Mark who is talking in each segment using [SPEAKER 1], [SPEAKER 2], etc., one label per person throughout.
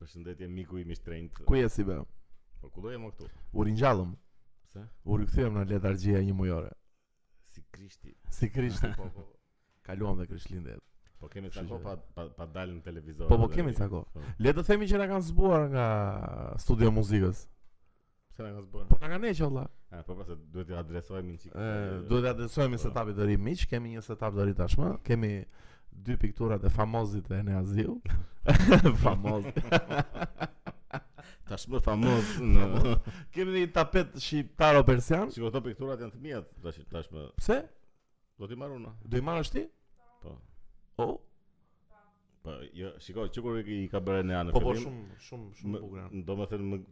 [SPEAKER 1] të je miku im i shtrenjtë.
[SPEAKER 2] Ku je si be?
[SPEAKER 1] Po ku do jam o këtu?
[SPEAKER 2] U ringjallëm,
[SPEAKER 1] Pse?
[SPEAKER 2] u rikthyem në letargjia një mujore.
[SPEAKER 1] Si Krishti.
[SPEAKER 2] Si Krishti, po po. Kaluam dhe Krishtlindjet.
[SPEAKER 1] Po kemi
[SPEAKER 2] Kështu
[SPEAKER 1] sa kohë
[SPEAKER 2] që-
[SPEAKER 1] pa pa, pa dalë në televizor.
[SPEAKER 2] Po po
[SPEAKER 1] edhe
[SPEAKER 2] kemi
[SPEAKER 1] ne.
[SPEAKER 2] ca kohë.
[SPEAKER 1] Po,
[SPEAKER 2] Le të themi që na kanë zbuar nga studio muzikës.
[SPEAKER 1] Pse na ka zbërë? Eh,
[SPEAKER 2] Po na kanë heqë olla.
[SPEAKER 1] A, po pas duhet të adresojmë një çik.
[SPEAKER 2] Ë, Duhet të adresojmë një setup të ri miq, kemi një setup të ri tashmë, kemi dy pikturat e famozit e Neaziu. Famoz.
[SPEAKER 1] tashmë famoz në
[SPEAKER 2] kemi një tapet shqiptaro persian.
[SPEAKER 1] Po. Shiko këto pikturat janë të mia tash tashmë.
[SPEAKER 2] Pse?
[SPEAKER 1] Do ti marr una.
[SPEAKER 2] Do i marrësh ti?
[SPEAKER 1] Po.
[SPEAKER 2] Oh,
[SPEAKER 1] Po jo, shiko çukur i ka bërë në anë.
[SPEAKER 2] po po shumë shumë shumë bukur. janë.
[SPEAKER 1] Do të thënë më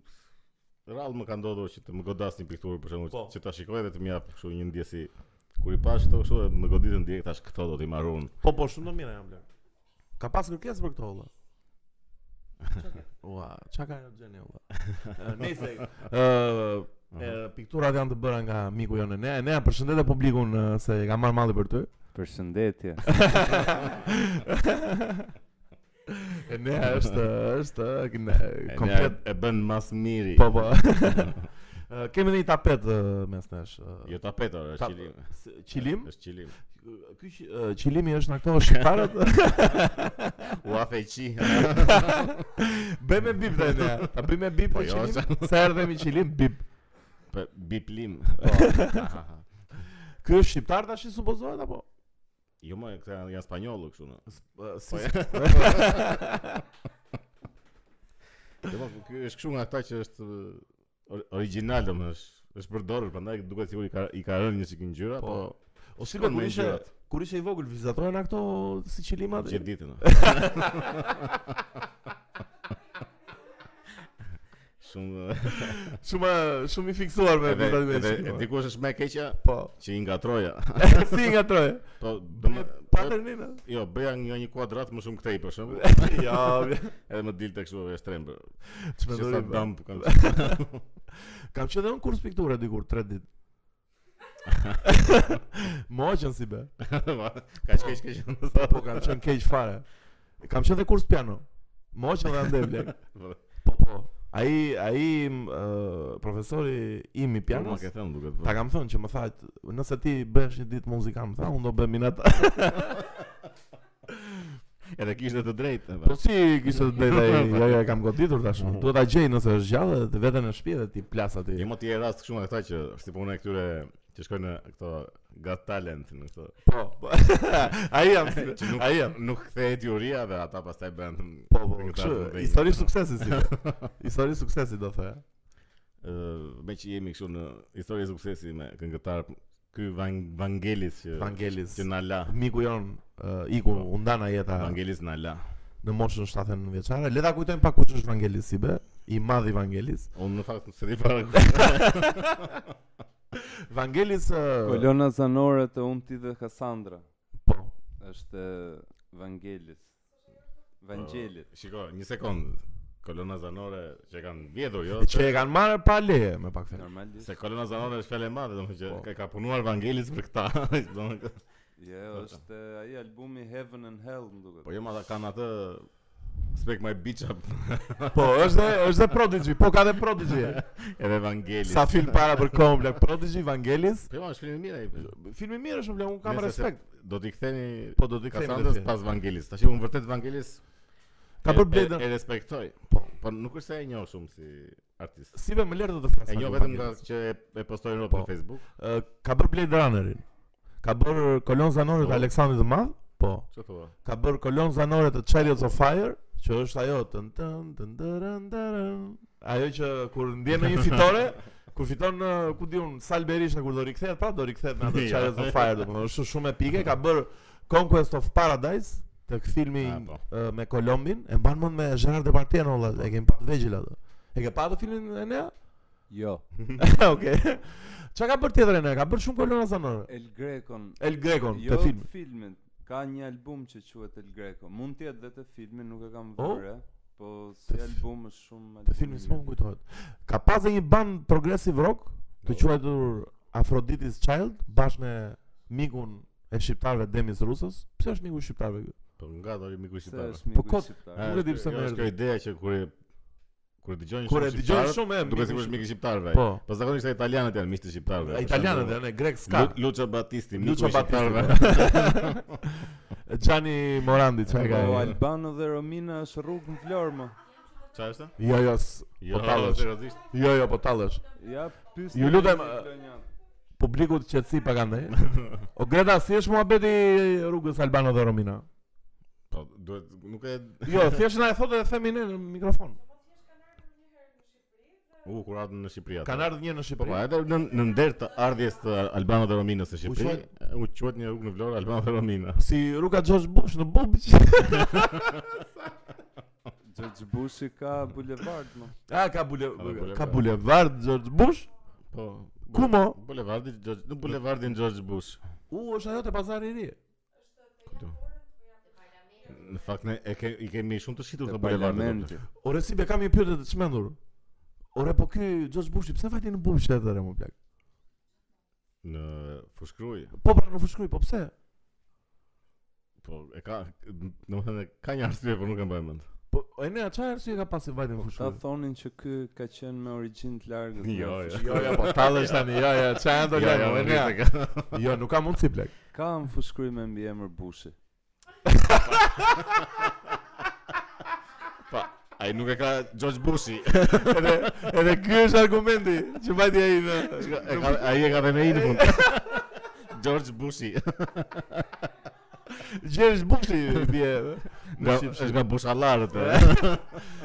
[SPEAKER 1] rrallë më ka ndodhur që të më godas një pikturë për shembull,
[SPEAKER 2] Po.
[SPEAKER 1] që ta shikoj dhe të më jap kështu një ndjesi kur i pash këto kështu më goditën direkt tash këto do t'i marr unë.
[SPEAKER 2] Po po shumë do mira janë bler. Ka pas kërkesë për këto olla. Ua, çka ka gjeni olla. Ë, Nëse
[SPEAKER 1] Eh,
[SPEAKER 2] ë E, pikturat janë të bëra nga miku jonë Ne, ne përshëndetje publikun ë, se e ka marrë malli për ty
[SPEAKER 3] Përshëndetje.
[SPEAKER 2] E ne është, është këne- komplet
[SPEAKER 1] e bën mas miri.
[SPEAKER 2] Po, po Ë, Kemi dhe një tapet ë, mes nesh ë,
[SPEAKER 1] Jo tapetor, është
[SPEAKER 2] tap-
[SPEAKER 1] qilim.
[SPEAKER 2] s- Qilim?
[SPEAKER 1] Është qilim.
[SPEAKER 2] Ky qi- ë, qilimi është në këto shqiptarët
[SPEAKER 1] U afeqi.
[SPEAKER 2] Bëj me bip dhe ne Ta bëj me bip
[SPEAKER 1] Po,
[SPEAKER 2] dhe
[SPEAKER 1] jo,
[SPEAKER 2] qilim Se erdhe mi qilim, bip
[SPEAKER 1] Po biplim.
[SPEAKER 2] Ky është shqiptar tash i supozohet apo?
[SPEAKER 1] Jo më këta janë- janë spanjollë kështu në. po.
[SPEAKER 2] Si
[SPEAKER 1] Do më po, ky është kështu nga ata që është ë, or- original domethënë është është përdorur, prandaj duket sikur i ka i ka rënë një sikë ngjyra, po
[SPEAKER 2] Po. O si
[SPEAKER 1] Shkon
[SPEAKER 2] kur
[SPEAKER 1] me
[SPEAKER 2] ishe
[SPEAKER 1] ngjyrat.
[SPEAKER 2] kur ishe i vogël vizatohen ato si qilimat?
[SPEAKER 1] gjithë ditën. o. Shumë
[SPEAKER 2] Shumë shumë i fiksuar me
[SPEAKER 1] Edhe,
[SPEAKER 2] Po, me
[SPEAKER 1] edhe,
[SPEAKER 2] qilima.
[SPEAKER 1] dikush është më e keqja
[SPEAKER 2] Po.
[SPEAKER 1] që i ngatroja.
[SPEAKER 2] si i ngatroje?
[SPEAKER 1] Po, do më
[SPEAKER 2] Paternina.
[SPEAKER 1] jo, bëja një një kuadrat më shumë këtej për shembull,
[SPEAKER 2] Ja,
[SPEAKER 1] edhe më dilte kështu e shtrembër.
[SPEAKER 2] çmë
[SPEAKER 1] Që sa
[SPEAKER 2] dorë.
[SPEAKER 1] damp kam.
[SPEAKER 2] Kam qenë në kurs pikture dikur 3 ditë. Moqën si be.
[SPEAKER 1] Ka shkesh keq.
[SPEAKER 2] Po kam qenë keq fare. Kam qenë dhe kurs piano. Moqën dhe andej blek. Po po. Ai ai m, ë, profesori im i
[SPEAKER 1] Piano
[SPEAKER 2] pianos
[SPEAKER 1] ke thënë duket. po.
[SPEAKER 2] Ta kam thënë që më thajt, nëse ti bësh një ditë muzikant, më tha, unë do bëj minat.
[SPEAKER 1] Edhe kishte të drejtë.
[SPEAKER 2] Po si kishte të bëj, ja ja e kam goditur tash.
[SPEAKER 1] Mm.
[SPEAKER 2] Duhet ta gjej nëse është gjallë dhe të veten në shtëpi dhe ti plas aty.
[SPEAKER 1] Jo më ti e rast kështu nga këta që si punë e këtyre që shkojnë në këto Got Talent në këto.
[SPEAKER 2] Po. po. Ai jam, si-
[SPEAKER 1] Që nuk,
[SPEAKER 2] ai jam.
[SPEAKER 1] nuk kthehet juria dhe ata pastaj bën.
[SPEAKER 2] Po po,
[SPEAKER 1] këta
[SPEAKER 2] kështu,
[SPEAKER 1] të mëdhenj.
[SPEAKER 2] histori suksesi si. Histori suksesi do thoya.
[SPEAKER 1] Ë, me që jemi kështu në histori e suksesi me këngëtar ky Van Vangelis që
[SPEAKER 2] Vangelis.
[SPEAKER 1] që na la.
[SPEAKER 2] Miku jon ë, iku
[SPEAKER 1] Po.
[SPEAKER 2] u ndana jeta
[SPEAKER 1] Vangelis na la.
[SPEAKER 2] në moshën 70 vjeçare. Le ta kujdojmë pak kush është Vangelis si be, i madh i Vangelis.
[SPEAKER 1] Unë në fakt nuk se di fare ku.
[SPEAKER 2] Vangelis ë,
[SPEAKER 3] Kolona zanore të Umti dhe Kassandra
[SPEAKER 2] po.
[SPEAKER 3] është e, Vangelis. Vangelit.
[SPEAKER 1] Shiko, një sekond. Kolona zanore që e kanë vjedhur jo.
[SPEAKER 2] Që e kanë marrë pa leje me pak fjalë.
[SPEAKER 3] Normalisht.
[SPEAKER 1] Se kolona zanore është fjalë e madhe, domethënë që
[SPEAKER 2] Po.
[SPEAKER 1] ka, ka punuar Vangelis për këta. domethënë që-
[SPEAKER 3] Jo, është e, ai albumi Heaven and Hell, më duket.
[SPEAKER 1] po jo, ata kanë atë Spek my bitch up
[SPEAKER 2] Po, është dhe, është dhe Prodigy, po ka dhe Prodigy.
[SPEAKER 1] edhe Vangelis.
[SPEAKER 2] Sa film para për kohën blek Prodigy, Vangelis.
[SPEAKER 1] Po jo, është film i mirë ai.
[SPEAKER 2] Filmi mirë është blek, unë kam
[SPEAKER 1] Nëse se-
[SPEAKER 2] respekt.
[SPEAKER 1] Do t'i ktheni
[SPEAKER 2] Po do t'i kthejmë
[SPEAKER 1] Kassandrës
[SPEAKER 2] vetë.
[SPEAKER 1] pas Vangelis. Tash unë vërtet Vangelis
[SPEAKER 2] Ka
[SPEAKER 1] e-
[SPEAKER 2] bërë
[SPEAKER 1] e-
[SPEAKER 2] bledën.
[SPEAKER 1] E respektoj.
[SPEAKER 2] Po.
[SPEAKER 1] Po nuk është se e njoh shumë si artist.
[SPEAKER 2] Si be më lërë do të flasë.
[SPEAKER 1] E njoh vetëm nga që e, e postojnë rrotë
[SPEAKER 2] Po.
[SPEAKER 1] në Facebook.
[SPEAKER 2] Ka bërë Blade Runnerin. Ka bërë kolon zanore
[SPEAKER 1] Po.
[SPEAKER 2] të Aleksandrit të Madh. Po.
[SPEAKER 1] Ço thua?
[SPEAKER 2] Ka bërë kolon zanore të Chariots of Fire, që është ajo tën tën tën tërën tërën. Ajo që kur ndjen në një fitore, kur fiton në ku diun Salberisha kur do rikthehet, prapë do rikthehet në atë
[SPEAKER 1] Ja.
[SPEAKER 2] Chariots of Fire, domethënë është shumë epike, ka bërë Conquest of Paradise tek filmi
[SPEAKER 1] Ah, po.
[SPEAKER 2] ë, me Kolombin, e mban mend me Gerard Depardieu olla, e kemi pat vegjël atë. E ke patë filmin e nea?
[SPEAKER 3] Jo.
[SPEAKER 2] Okej. Çka ka bërë tjetër e nea? Ka bërë shumë kolona zanore.
[SPEAKER 3] El Grecon.
[SPEAKER 2] El Grecon
[SPEAKER 3] Jo
[SPEAKER 2] te filmi.
[SPEAKER 3] filmin. Ka një album që quhet El Greco. Mund të jetë dhe të filmin, nuk e kam
[SPEAKER 2] Oh.
[SPEAKER 3] vënë. Po
[SPEAKER 2] Te
[SPEAKER 3] si
[SPEAKER 2] fi-
[SPEAKER 3] album është shumë
[SPEAKER 2] Te filmi s'po më kujtohet. Ka pas dhe një band progressive rock të quajtur Aphrodite's Child bashkë me mikun e shqiptarëve Demis Rusës. Pse është miku i shqiptarëve ky?
[SPEAKER 1] Po nga do miku i
[SPEAKER 3] Se
[SPEAKER 1] shqiptar.
[SPEAKER 3] është
[SPEAKER 2] Po
[SPEAKER 3] miku
[SPEAKER 2] kot-
[SPEAKER 3] shqiptar.
[SPEAKER 1] A,
[SPEAKER 2] nuk e di pse
[SPEAKER 1] kjo
[SPEAKER 2] më
[SPEAKER 1] është kjo
[SPEAKER 2] erdhi.
[SPEAKER 1] ideja që kur e- Kur e dëgjojnë
[SPEAKER 2] Kur e
[SPEAKER 1] shumë
[SPEAKER 2] dëgjoj
[SPEAKER 1] shqiptarët,
[SPEAKER 2] shumë e
[SPEAKER 1] duket
[SPEAKER 2] miku
[SPEAKER 1] sikur është
[SPEAKER 2] shqip-
[SPEAKER 1] mik i shqiptarëve. ai.
[SPEAKER 2] Po.
[SPEAKER 1] Po zakonisht ai italianët janë miqtë e shqiptarëve. për
[SPEAKER 2] Italianët
[SPEAKER 1] shembull.
[SPEAKER 2] janë, e grek s'ka.
[SPEAKER 1] Lu- Lucio Battisti, miku i
[SPEAKER 2] Lucio
[SPEAKER 1] shqiptarëve.
[SPEAKER 2] Battisti. Gianni Morandi çka ka.
[SPEAKER 3] Po
[SPEAKER 2] e?
[SPEAKER 3] Albano dhe Romina është rrugë në Vlorë më.
[SPEAKER 1] Çfarë është?
[SPEAKER 2] Jo, jo. s-
[SPEAKER 1] Jo,
[SPEAKER 2] tallesh.
[SPEAKER 1] seriozisht.
[SPEAKER 2] Jo, jo, po tallesh.
[SPEAKER 3] Ja, pyes.
[SPEAKER 2] Ju lutem, Publiku të qetësi pak andaj. O Greta, si është muhabeti i rrugës Albano dhe Romina?
[SPEAKER 1] Po duhet nuk e
[SPEAKER 2] Jo, thjesht na e thotë dhe themi ne në mikrofon.
[SPEAKER 1] u kur ardhën në Shqipëri atë.
[SPEAKER 2] Kanë ardhur një në
[SPEAKER 1] Po, po,
[SPEAKER 2] Shqipëri.
[SPEAKER 1] edhe në, në nder të ardhjes të Albanëve dhe Rominës në Shqipëri,
[SPEAKER 2] quhet-
[SPEAKER 1] e, u quhet një rrugë në Vlorë Albanëve dhe Romina.
[SPEAKER 2] Si rruga George Bush në Bubë.
[SPEAKER 3] George Bushi ka bulevard më.
[SPEAKER 2] A ka bule
[SPEAKER 1] bulevard.
[SPEAKER 2] ka bulevard George Bush?
[SPEAKER 1] Po.
[SPEAKER 2] Ku mo?
[SPEAKER 1] Bulevardi George, në bulevardin George Bush.
[SPEAKER 2] U është ajo te pazari i ri.
[SPEAKER 1] Këtu. Po Në fakt ne e ke, i kemi shumë të shitur
[SPEAKER 3] Te
[SPEAKER 1] të bulevardin.
[SPEAKER 3] parlamenti.
[SPEAKER 2] Ore si be kam një pyetje të çmendur. Ore po ky George Bush pse vajti në Bubë shtetë re më plak?
[SPEAKER 1] Në Fushkruj.
[SPEAKER 2] Po pra në fushkruj, po pse?
[SPEAKER 1] Po e ka, domethënë ka një arsye, por nuk e mbaj mend.
[SPEAKER 2] Po e ne çfarë arsye ka pasi vajti në
[SPEAKER 3] Ta
[SPEAKER 2] fushkruj?
[SPEAKER 3] thonin që ky ka qenë me origjinë të largët.
[SPEAKER 1] Jo,
[SPEAKER 3] në
[SPEAKER 1] jo.
[SPEAKER 3] Fushkruj.
[SPEAKER 2] Jo, jo, po tallesh tani. Jo, jo, çfarë do lajmë? e nea.
[SPEAKER 1] nuk e ka.
[SPEAKER 2] Jo, nuk ka mundsi plak.
[SPEAKER 3] Ka në fushkruj me mbi emër Bushi.
[SPEAKER 1] Po, ai nuk e ka George Bushi.
[SPEAKER 2] Edhe edhe ky është argumenti që vajti ai në
[SPEAKER 1] E ka- Ai e ka dhe me i në fund. George Bushi.
[SPEAKER 2] George Bushi bie
[SPEAKER 1] Nga,
[SPEAKER 2] në
[SPEAKER 1] është
[SPEAKER 2] Shqipëri.
[SPEAKER 1] nga bushallarët. e.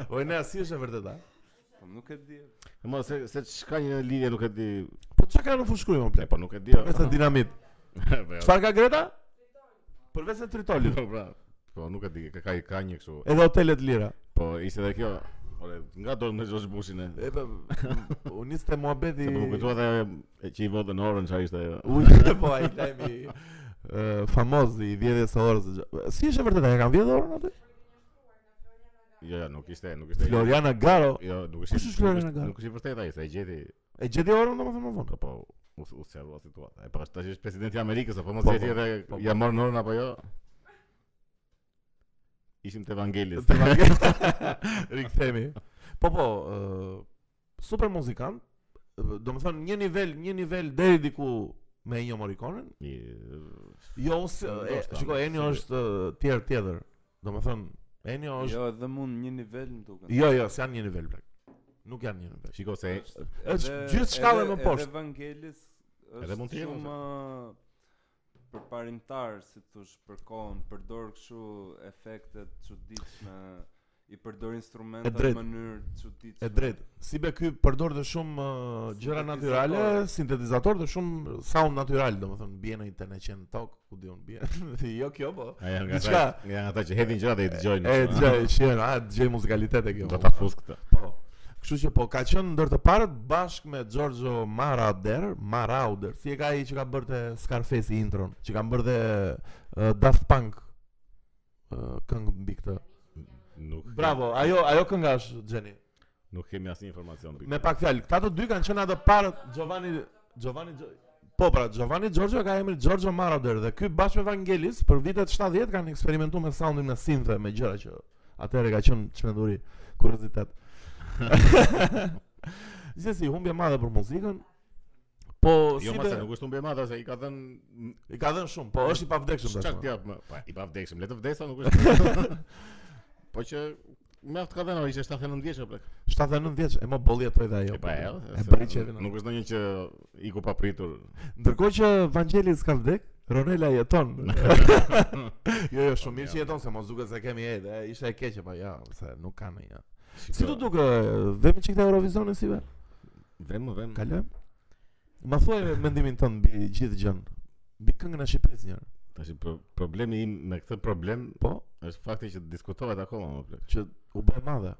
[SPEAKER 2] O e ne si është e vërteta?
[SPEAKER 3] Po nuk e di.
[SPEAKER 1] Mo se se çka një lidhje nuk e di.
[SPEAKER 2] Po çka ka në fushkruj më
[SPEAKER 1] E
[SPEAKER 2] plak?
[SPEAKER 1] po nuk e di. o.
[SPEAKER 2] Përveç të dinamit.
[SPEAKER 1] Po, jo.
[SPEAKER 2] Çfarë ka Greta? Përveç të tritolit.
[SPEAKER 1] Po pra. Po nuk e di, ka ka- ka një kështu.
[SPEAKER 2] Edhe hotelet lira.
[SPEAKER 1] Po ishte edhe kjo. Ore, nga dorë me George Bushin e.
[SPEAKER 2] E po u niste muhabeti.
[SPEAKER 1] Se po më kujtohet ajo e që i votën orën çfarë ishte ajo.
[SPEAKER 2] Uj, po ai lajmi ë, famoz i vjedhjes së orës. Si është e vërteta? E kanë vjedhur orën aty?
[SPEAKER 1] Jo, jo, nuk ishte, nuk ishte.
[SPEAKER 2] Floriana Garo
[SPEAKER 1] Jo, nuk
[SPEAKER 2] Kush është
[SPEAKER 1] ishte.
[SPEAKER 2] Floriana
[SPEAKER 1] nuk ishte-
[SPEAKER 2] Garo?
[SPEAKER 1] Nuk ishte vërtet ai, se e gjeti.
[SPEAKER 2] e gjeti orën domethënë më vonë.
[SPEAKER 1] Po po, u u serva situata. E pa tash është presidenti i Amerikës apo mos
[SPEAKER 2] Po,
[SPEAKER 1] e di
[SPEAKER 2] po,
[SPEAKER 1] edhe
[SPEAKER 2] po, po.
[SPEAKER 1] ja morën orën apo jo. Ishim te Evangelis.
[SPEAKER 2] Të vangë- Rikthehemi. Po po, ë, super muzikant. Do më thënë një nivel, një nivel deri diku me Ennio Morricone.
[SPEAKER 1] Një-
[SPEAKER 2] Jo, si, e,
[SPEAKER 1] Ndoshta,
[SPEAKER 2] shiko, Ennio
[SPEAKER 1] si-
[SPEAKER 2] është ë, tjerë tjetër. Do më thënë, Ennio Po, është...
[SPEAKER 3] Jo, edhe mund një nivel më duket.
[SPEAKER 2] Jo, jo, s'janë një nivel, plak. Nuk janë një nivel.
[SPEAKER 1] Shiko se
[SPEAKER 2] është gjithë shkallën më poshtë.
[SPEAKER 3] Edhe Evangelis është
[SPEAKER 1] Edhe mund të jetë,
[SPEAKER 3] shumë për parimtar, si thosh, për kohën, përdor kështu efekte të çuditshme, i përdor instrumente
[SPEAKER 2] E
[SPEAKER 3] në
[SPEAKER 2] drejtë.
[SPEAKER 3] mënyrë të çuditshme.
[SPEAKER 2] E drejtë. Si be ky përdor të shumë ë, gjëra
[SPEAKER 3] Sintetizator.
[SPEAKER 2] natyrale, sintetizator dhe shumë sound natyral, domethënë bie në internet që në tok, ku diun bie. jo kjo po.
[SPEAKER 1] A janë nga
[SPEAKER 2] Diçka.
[SPEAKER 1] ata, janë ata që hedhin gjëra dhe i dëgjojnë.
[SPEAKER 2] E
[SPEAKER 1] kështu,
[SPEAKER 2] dëgjoj, shihen, a dëgjoj muzikalitet e
[SPEAKER 1] a?
[SPEAKER 2] kjo.
[SPEAKER 1] Do ta fus këtë.
[SPEAKER 2] Po. Kështu që po ka qenë ndër të parët bashkë me Giorgio Moroder, Marauder, si e ka ai që ka bërë te Scarface intron, që kanë bërë te uh, Daft Punk uh, këngë mbi këtë.
[SPEAKER 1] Nuk.
[SPEAKER 2] Bravo, ajo ajo kënga është Xheni.
[SPEAKER 1] Nuk kemi asnjë informacion mbi.
[SPEAKER 2] Me
[SPEAKER 1] këtë.
[SPEAKER 2] pak fjalë, këta të dy kanë qenë ato parët Giovanni Giovanni Gio- Po pra, Giovanni Giorgio ka emrin Giorgio Moroder dhe ky bashkë me Vangelis për vitet 70 kanë eksperimentuar me soundin me synthë me gjëra që atëherë ka qenë çmenduri, kuriozitet. Gjithsesi, humbje e madhe për muzikën. Po,
[SPEAKER 1] Jo,
[SPEAKER 2] si
[SPEAKER 1] mase
[SPEAKER 2] be,
[SPEAKER 1] nuk është humbje e madhe se i ka thënë
[SPEAKER 2] i ka dhënë shumë, po është i pavdekshëm
[SPEAKER 1] çka
[SPEAKER 2] tashmë.
[SPEAKER 1] ti jap më. Pa, i pa vdekshëm, le të vdesa nuk është. po që mjaft ka dhënë, ishte 79 vjeç apo plak.
[SPEAKER 2] 79 vjeç, e më bolli jetoj dhe ajo.
[SPEAKER 1] E pa jo.
[SPEAKER 2] po, E
[SPEAKER 1] se-
[SPEAKER 2] bëri çevin.
[SPEAKER 1] Nuk është ndonjë që iku pa pritur.
[SPEAKER 2] Ndërkohë që Vangelis ka vdek, Ronela jeton. jo, jo, shumë mirë që jeton, se mos duket se kemi edhe, e, ishte e keqe, po ja, se nuk ka në ja. Si do duke, vemi çik te Eurovisioni si be?
[SPEAKER 1] Vem, më vem.
[SPEAKER 2] Kalojm. Ma thuaj mendimin tënd mbi gjithë gjën. Mbi këngën e Shqipërisë njërë.
[SPEAKER 1] Tash pro- problemi im me këtë problem
[SPEAKER 2] Po,
[SPEAKER 1] është fakti që diskutohet akoma më plak.
[SPEAKER 2] që u bë e madhe.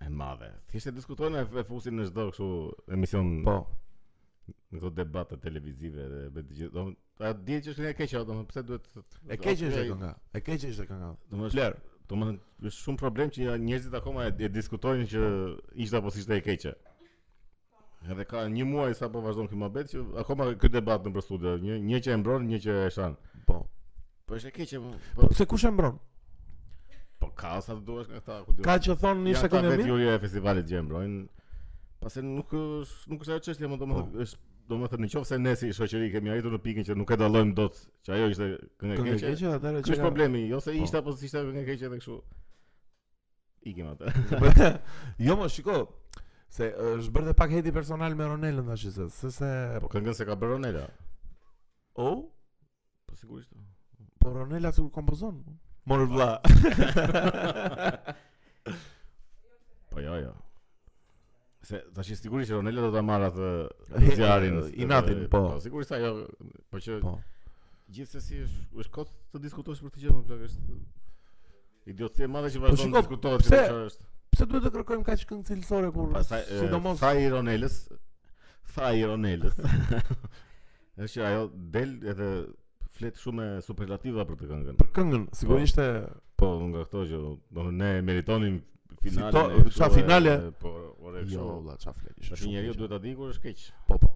[SPEAKER 1] E madhe. Thjesht e diskutojnë e- e fusin në çdo kështu emision
[SPEAKER 2] Po,
[SPEAKER 1] në këto debate televizive dhe me të gjithë. Domethënë, a di që është një e keqe, o, domethënë pse duhet të-
[SPEAKER 2] e keqe ishte
[SPEAKER 1] Okej,
[SPEAKER 2] kënga. E keqe ishte kënga.
[SPEAKER 1] domethënë,
[SPEAKER 2] Fler.
[SPEAKER 1] domethënë është shumë problem që ja- njerëzit akoma e, e diskutojnë që ishte apo s'ishte e keqe. Edhe ka një muaj sa po vazhdon ky mohabet që akoma ky debat nëpër studio, një një që e mbron, një që e shan.
[SPEAKER 2] Po.
[SPEAKER 1] Po është e keqe, po.
[SPEAKER 2] Po
[SPEAKER 1] po-
[SPEAKER 2] pse kush e mbron?
[SPEAKER 1] Po ka sa të duash nga këta, ku diun.
[SPEAKER 2] Ka që thonë ishte
[SPEAKER 1] Janë
[SPEAKER 2] ekonomi?
[SPEAKER 1] vetë e festivalit gjem, brojnë. Pastaj nuk është nuk është ajo çështje, më
[SPEAKER 2] Po.
[SPEAKER 1] domethënë është domethënë nëse ne si shoqëri kemi arritur në pikën që nuk e dallojmë dot, që ajo ishte këngë e keqe.
[SPEAKER 2] Këngë keqe, atëherë
[SPEAKER 1] Ky është problemi, jo se
[SPEAKER 2] Po.
[SPEAKER 1] ishte apo s'ishte këngë e keqe edhe kështu. Ikim atë.
[SPEAKER 2] problemi. jo, më shiko, se është bërë dhe pak heti personal me Ronelën tash se se se
[SPEAKER 1] Po këngën se ka bërë Ronela.
[SPEAKER 2] oh,
[SPEAKER 1] Po sigurisht.
[SPEAKER 2] po Ronela kur kompozon. Mor vlla.
[SPEAKER 1] Po jo, jo. Se tash sigurisht që Ronela do ta marr atë atë zjarin.
[SPEAKER 2] Eh, inatin, po.
[SPEAKER 1] Po sigurisht ajo, po që
[SPEAKER 2] po.
[SPEAKER 1] Gjithsesi është është kot të po, diskutosh për këtë gjë më plak është idiotësi e madhe që vazhdon
[SPEAKER 2] Po, shiko,
[SPEAKER 1] të diskutohet
[SPEAKER 2] pse-
[SPEAKER 1] se çfarë është.
[SPEAKER 2] Pse duhet të kërkojmë kaq këngë cilësore kur
[SPEAKER 1] Pastaj e,
[SPEAKER 2] sidomos
[SPEAKER 1] tha i Ronelës, tha i Ronelës. është që ajo del edhe flet shumë e superlativa për të këngën.
[SPEAKER 2] për këngën sigurisht e
[SPEAKER 1] Po nga këto që do ne meritonim finalen.
[SPEAKER 2] Fito-
[SPEAKER 1] e kështu
[SPEAKER 2] qa
[SPEAKER 1] e-
[SPEAKER 2] finale?
[SPEAKER 1] e- Po, ore
[SPEAKER 2] jo
[SPEAKER 1] kështu.
[SPEAKER 2] vlla çfarë flet. ishte
[SPEAKER 1] Tash
[SPEAKER 2] shumë
[SPEAKER 1] njeriu
[SPEAKER 2] keqe.
[SPEAKER 1] duhet ta di kur është keq.
[SPEAKER 2] Po po.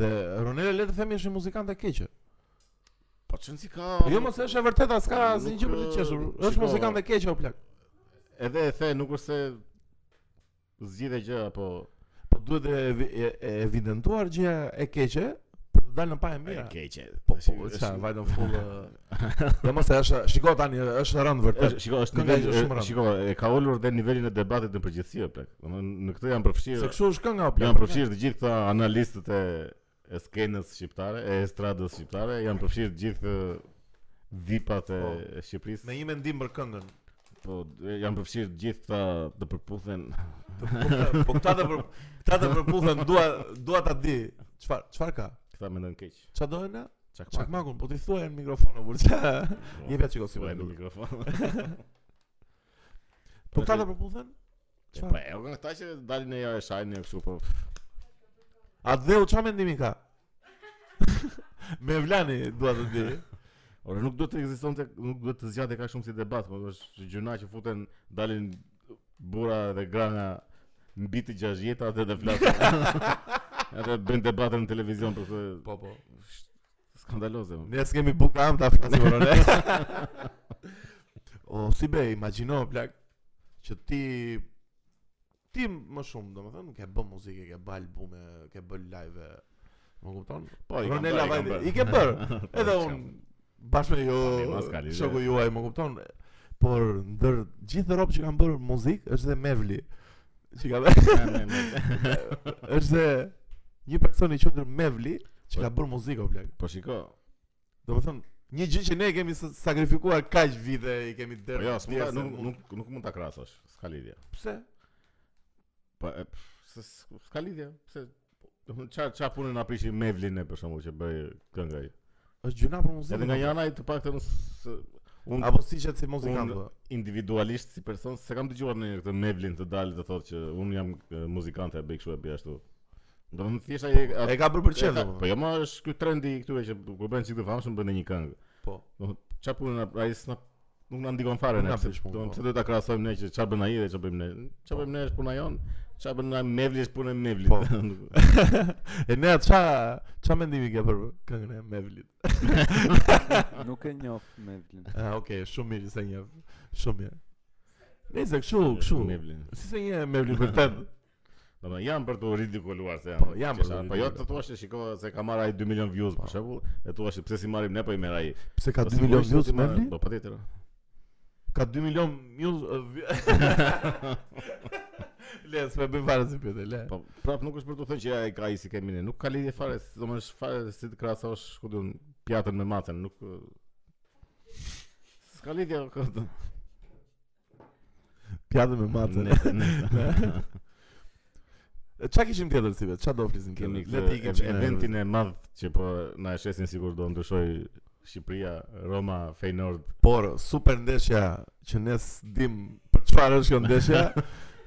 [SPEAKER 2] Dhe Ronela le të themi është një muzikante keqe.
[SPEAKER 1] Po çon si ka.
[SPEAKER 2] Po jo mos është e vërteta, s'ka
[SPEAKER 1] Nuk,
[SPEAKER 2] asnjë gjë për të
[SPEAKER 1] eh,
[SPEAKER 2] qeshur. Është
[SPEAKER 1] shiko.
[SPEAKER 2] muzikante keqe o plak.
[SPEAKER 1] Edhe e the nuk është se zgjidhe gjë apo
[SPEAKER 2] Po duhet e, evi- e, e evidentuar gjë e keqe për të dalë në pa e
[SPEAKER 1] e
[SPEAKER 2] mira.
[SPEAKER 1] keqe.
[SPEAKER 2] Po
[SPEAKER 1] Tash,
[SPEAKER 2] po,
[SPEAKER 1] është-
[SPEAKER 2] çfarë vajtën full. eh, Jo mos e është, shiko tani është rënd vërtet.
[SPEAKER 1] Është- Shiko, është
[SPEAKER 2] Kënga
[SPEAKER 1] nivel,
[SPEAKER 2] është shumë
[SPEAKER 1] e-
[SPEAKER 2] rëndë.
[SPEAKER 1] shiko, e ka ulur dhe nivelin e debatit në përgjithësi o plak. Domethënë në këtë janë
[SPEAKER 2] Se
[SPEAKER 1] përfshirë
[SPEAKER 2] kështu është kënga o plak.
[SPEAKER 1] janë përfshirë të gjithë këta analistët e e skenës shqiptare, e estradës shqiptare, janë përfshirë të gjithë ë, vipat e
[SPEAKER 2] Po.
[SPEAKER 1] e Shqipërisë.
[SPEAKER 2] Me një mendim për këngën.
[SPEAKER 1] Po e, janë përfshirë të gjithë këta të përputhen.
[SPEAKER 2] Po këta të për këta të përputhen dua dua ta di. Çfarë çfarë ka?
[SPEAKER 1] Këta mendon keq.
[SPEAKER 2] Ça dojen na?
[SPEAKER 1] Çak pak.
[SPEAKER 2] Çakmakun, po ti thuaj në mikrofon o burça. Jepja çiko si po.
[SPEAKER 1] po
[SPEAKER 2] e
[SPEAKER 1] në
[SPEAKER 2] duket.
[SPEAKER 1] mikrofon.
[SPEAKER 2] Po këta të përputhen?
[SPEAKER 1] E,
[SPEAKER 2] Çfarë?
[SPEAKER 1] Po e kanë këta që dalin e ja e shajnë e kështu po.
[SPEAKER 2] A dheu qa mendimi ka? Me Vlani dua të di.
[SPEAKER 1] Ora nuk duhet të ekzistonte, nuk duhet të zgjate kaq shumë si debat, por është gjëna që futen dalin burra dhe gra nga mbi të 60 atë dhe flasin. Edhe bën debate në televizion për këtë
[SPEAKER 2] Po po.
[SPEAKER 1] skandaloze. po. më.
[SPEAKER 2] Ne s'kemi bukë am ta flasim për ne. o si be, imagjino plak që ti ti më shumë, domethënë, ke bë muzikë, ke bë albume, ke bë live. Më kupton?
[SPEAKER 1] Po, i kam
[SPEAKER 2] Ronela
[SPEAKER 1] bërë, i kam
[SPEAKER 2] Vajdi,
[SPEAKER 1] bërë.
[SPEAKER 2] i ke bër. Edhe
[SPEAKER 1] Po,
[SPEAKER 2] un
[SPEAKER 1] s'kam.
[SPEAKER 2] bashkë me ju,
[SPEAKER 1] Tani, mas ka lidhje.
[SPEAKER 2] shoku juaj, më kupton? Por ndër gjithë rob që kanë bërë muzikë është dhe Mevli që ka bërë
[SPEAKER 1] Me- me- me.
[SPEAKER 2] është se një person i quajtur Mevli që ka bërë muzikë o plak.
[SPEAKER 1] Po shiko.
[SPEAKER 2] Domethënë, një gjë që ne kemi s- sakrifikuar kaq vite i kemi
[SPEAKER 1] Po
[SPEAKER 2] dërë.
[SPEAKER 1] jo, s'mund ta- nuk nuk nuk mund ta krahasosh. S'ka lidhje.
[SPEAKER 2] pse?
[SPEAKER 1] Po e, pff, se s- s'ka lidhje. Pse Domethënë çfarë çfarë punën na prishin Mevlin e për shembull që bëri këngë ai.
[SPEAKER 2] Është gjuna për muzikë.
[SPEAKER 1] Edhe nga
[SPEAKER 2] o plak.
[SPEAKER 1] jana i të paktën s- unë
[SPEAKER 2] apo si që si muzikant.
[SPEAKER 1] unë-
[SPEAKER 2] po.
[SPEAKER 1] individualisht si person, se kam dëgjuar në këtë Mevlin të dalë të thotë që unë jam e, muzikant e bëj kështu e bëj ashtu. Do më thjesht ai
[SPEAKER 2] E
[SPEAKER 1] atë-
[SPEAKER 2] ka bërë për çfarë
[SPEAKER 1] e ka- Po
[SPEAKER 2] domethënë?
[SPEAKER 1] jo, më është ky trendi i këtyre që kur bën çik të famshëm bën një këngë.
[SPEAKER 2] Po.
[SPEAKER 1] Do çfarë punë na- ai s'na nuk na ndikon fare
[SPEAKER 2] Nuk
[SPEAKER 1] ne.
[SPEAKER 2] na
[SPEAKER 1] pse-
[SPEAKER 2] prish punë,
[SPEAKER 1] Do
[SPEAKER 2] po.
[SPEAKER 1] pse duhet ta krahasojmë ne që çfarë bën ai dhe çfarë bëjmë ne? Çfarë bëjmë ne është puna jon. Çfarë bën ai Mevli është puna e Mevlit.
[SPEAKER 2] Po. E ne ça ça mendimi ke për këngën e Mevlit?
[SPEAKER 3] Nuk e njoh Mevlin.
[SPEAKER 2] Ah, okay, shumë mirë se një. Shumë mirë. Nëse kështu, Po, kështu.
[SPEAKER 1] Mevlin.
[SPEAKER 2] Si se një Mevli vërtet.
[SPEAKER 1] Do të jam për të ridikuluar se jam.
[SPEAKER 2] Po, jam për të
[SPEAKER 1] Po jo
[SPEAKER 2] ridikuluar.
[SPEAKER 1] të thua se shiko se ka marrë ai 2 milion views
[SPEAKER 2] Po.
[SPEAKER 1] për shembull, e thua se pse si marrim ne po i merr ai.
[SPEAKER 2] Pse ka
[SPEAKER 1] Po
[SPEAKER 2] 2 milion
[SPEAKER 1] sigurisht
[SPEAKER 2] views
[SPEAKER 1] ti marr-
[SPEAKER 2] Mevli?
[SPEAKER 1] Po patjetër.
[SPEAKER 2] Ka 2 milion views uh, vi- Le, s'me bëjmë fare si pyetje, le
[SPEAKER 1] Po prap nuk është për të thënë që ai ka ai si kemi ne, nuk ka lidhje fare, domosht fare si të krahasosh, ku diun, pjatën me macën, nuk ë, s'ka lidhje këtë.
[SPEAKER 2] Pjatë me matë
[SPEAKER 1] Ne ne
[SPEAKER 2] Qa kishim tjetër si vetë, qa do flisim
[SPEAKER 1] kemi
[SPEAKER 2] tjetër Le të ikim
[SPEAKER 1] këtë
[SPEAKER 2] që ne
[SPEAKER 1] eventin e madh që po na e shesin sikur do ndryshoj Shqipëria, Roma, Feyenoord.
[SPEAKER 2] Por, super ndeshja që ne s'dim për çfarë është kjo ndeshja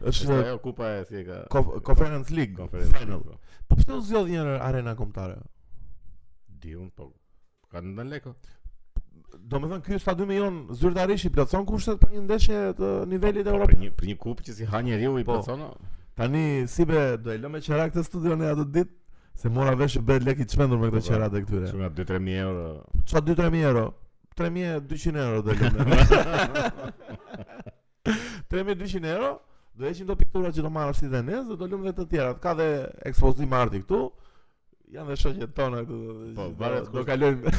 [SPEAKER 1] Është
[SPEAKER 2] është
[SPEAKER 1] ajo kupa e si e ka
[SPEAKER 2] Cof- Conference League
[SPEAKER 1] konferencë.
[SPEAKER 2] Final
[SPEAKER 1] po.
[SPEAKER 2] Po pse u zgjodh një arena kombëtare?
[SPEAKER 1] Diun po kanë ndën leko.
[SPEAKER 2] Do me thënë, kjo stadiumi jonë zyrtarisht i plotson kushtet për një ndeshje të nivelit
[SPEAKER 1] Po,
[SPEAKER 2] evropian.
[SPEAKER 1] Për një për një kupë që si ha njeriu i
[SPEAKER 2] Po.
[SPEAKER 1] plotson. o.
[SPEAKER 2] Tani si be do e lëmë qera këtë studion e atë ditë se mora vesh që bëhet lek i çmendur me këto
[SPEAKER 1] Po, po.
[SPEAKER 2] qera të këtyre.
[SPEAKER 1] Shumë nga 2-3000 euro.
[SPEAKER 2] Çfarë 2-3000 euro? 3200 euro do lëmë. 3200 euro do heqim do pikturat që do marrësh ti dhe ne, dhe do lëmë dhe të tjerat. Ka dhe ekspozim arti këtu. Janë dhe shoqet tona këtu. do-
[SPEAKER 1] Po,
[SPEAKER 2] do-
[SPEAKER 1] varet
[SPEAKER 2] do
[SPEAKER 1] kush-
[SPEAKER 2] kalojmë.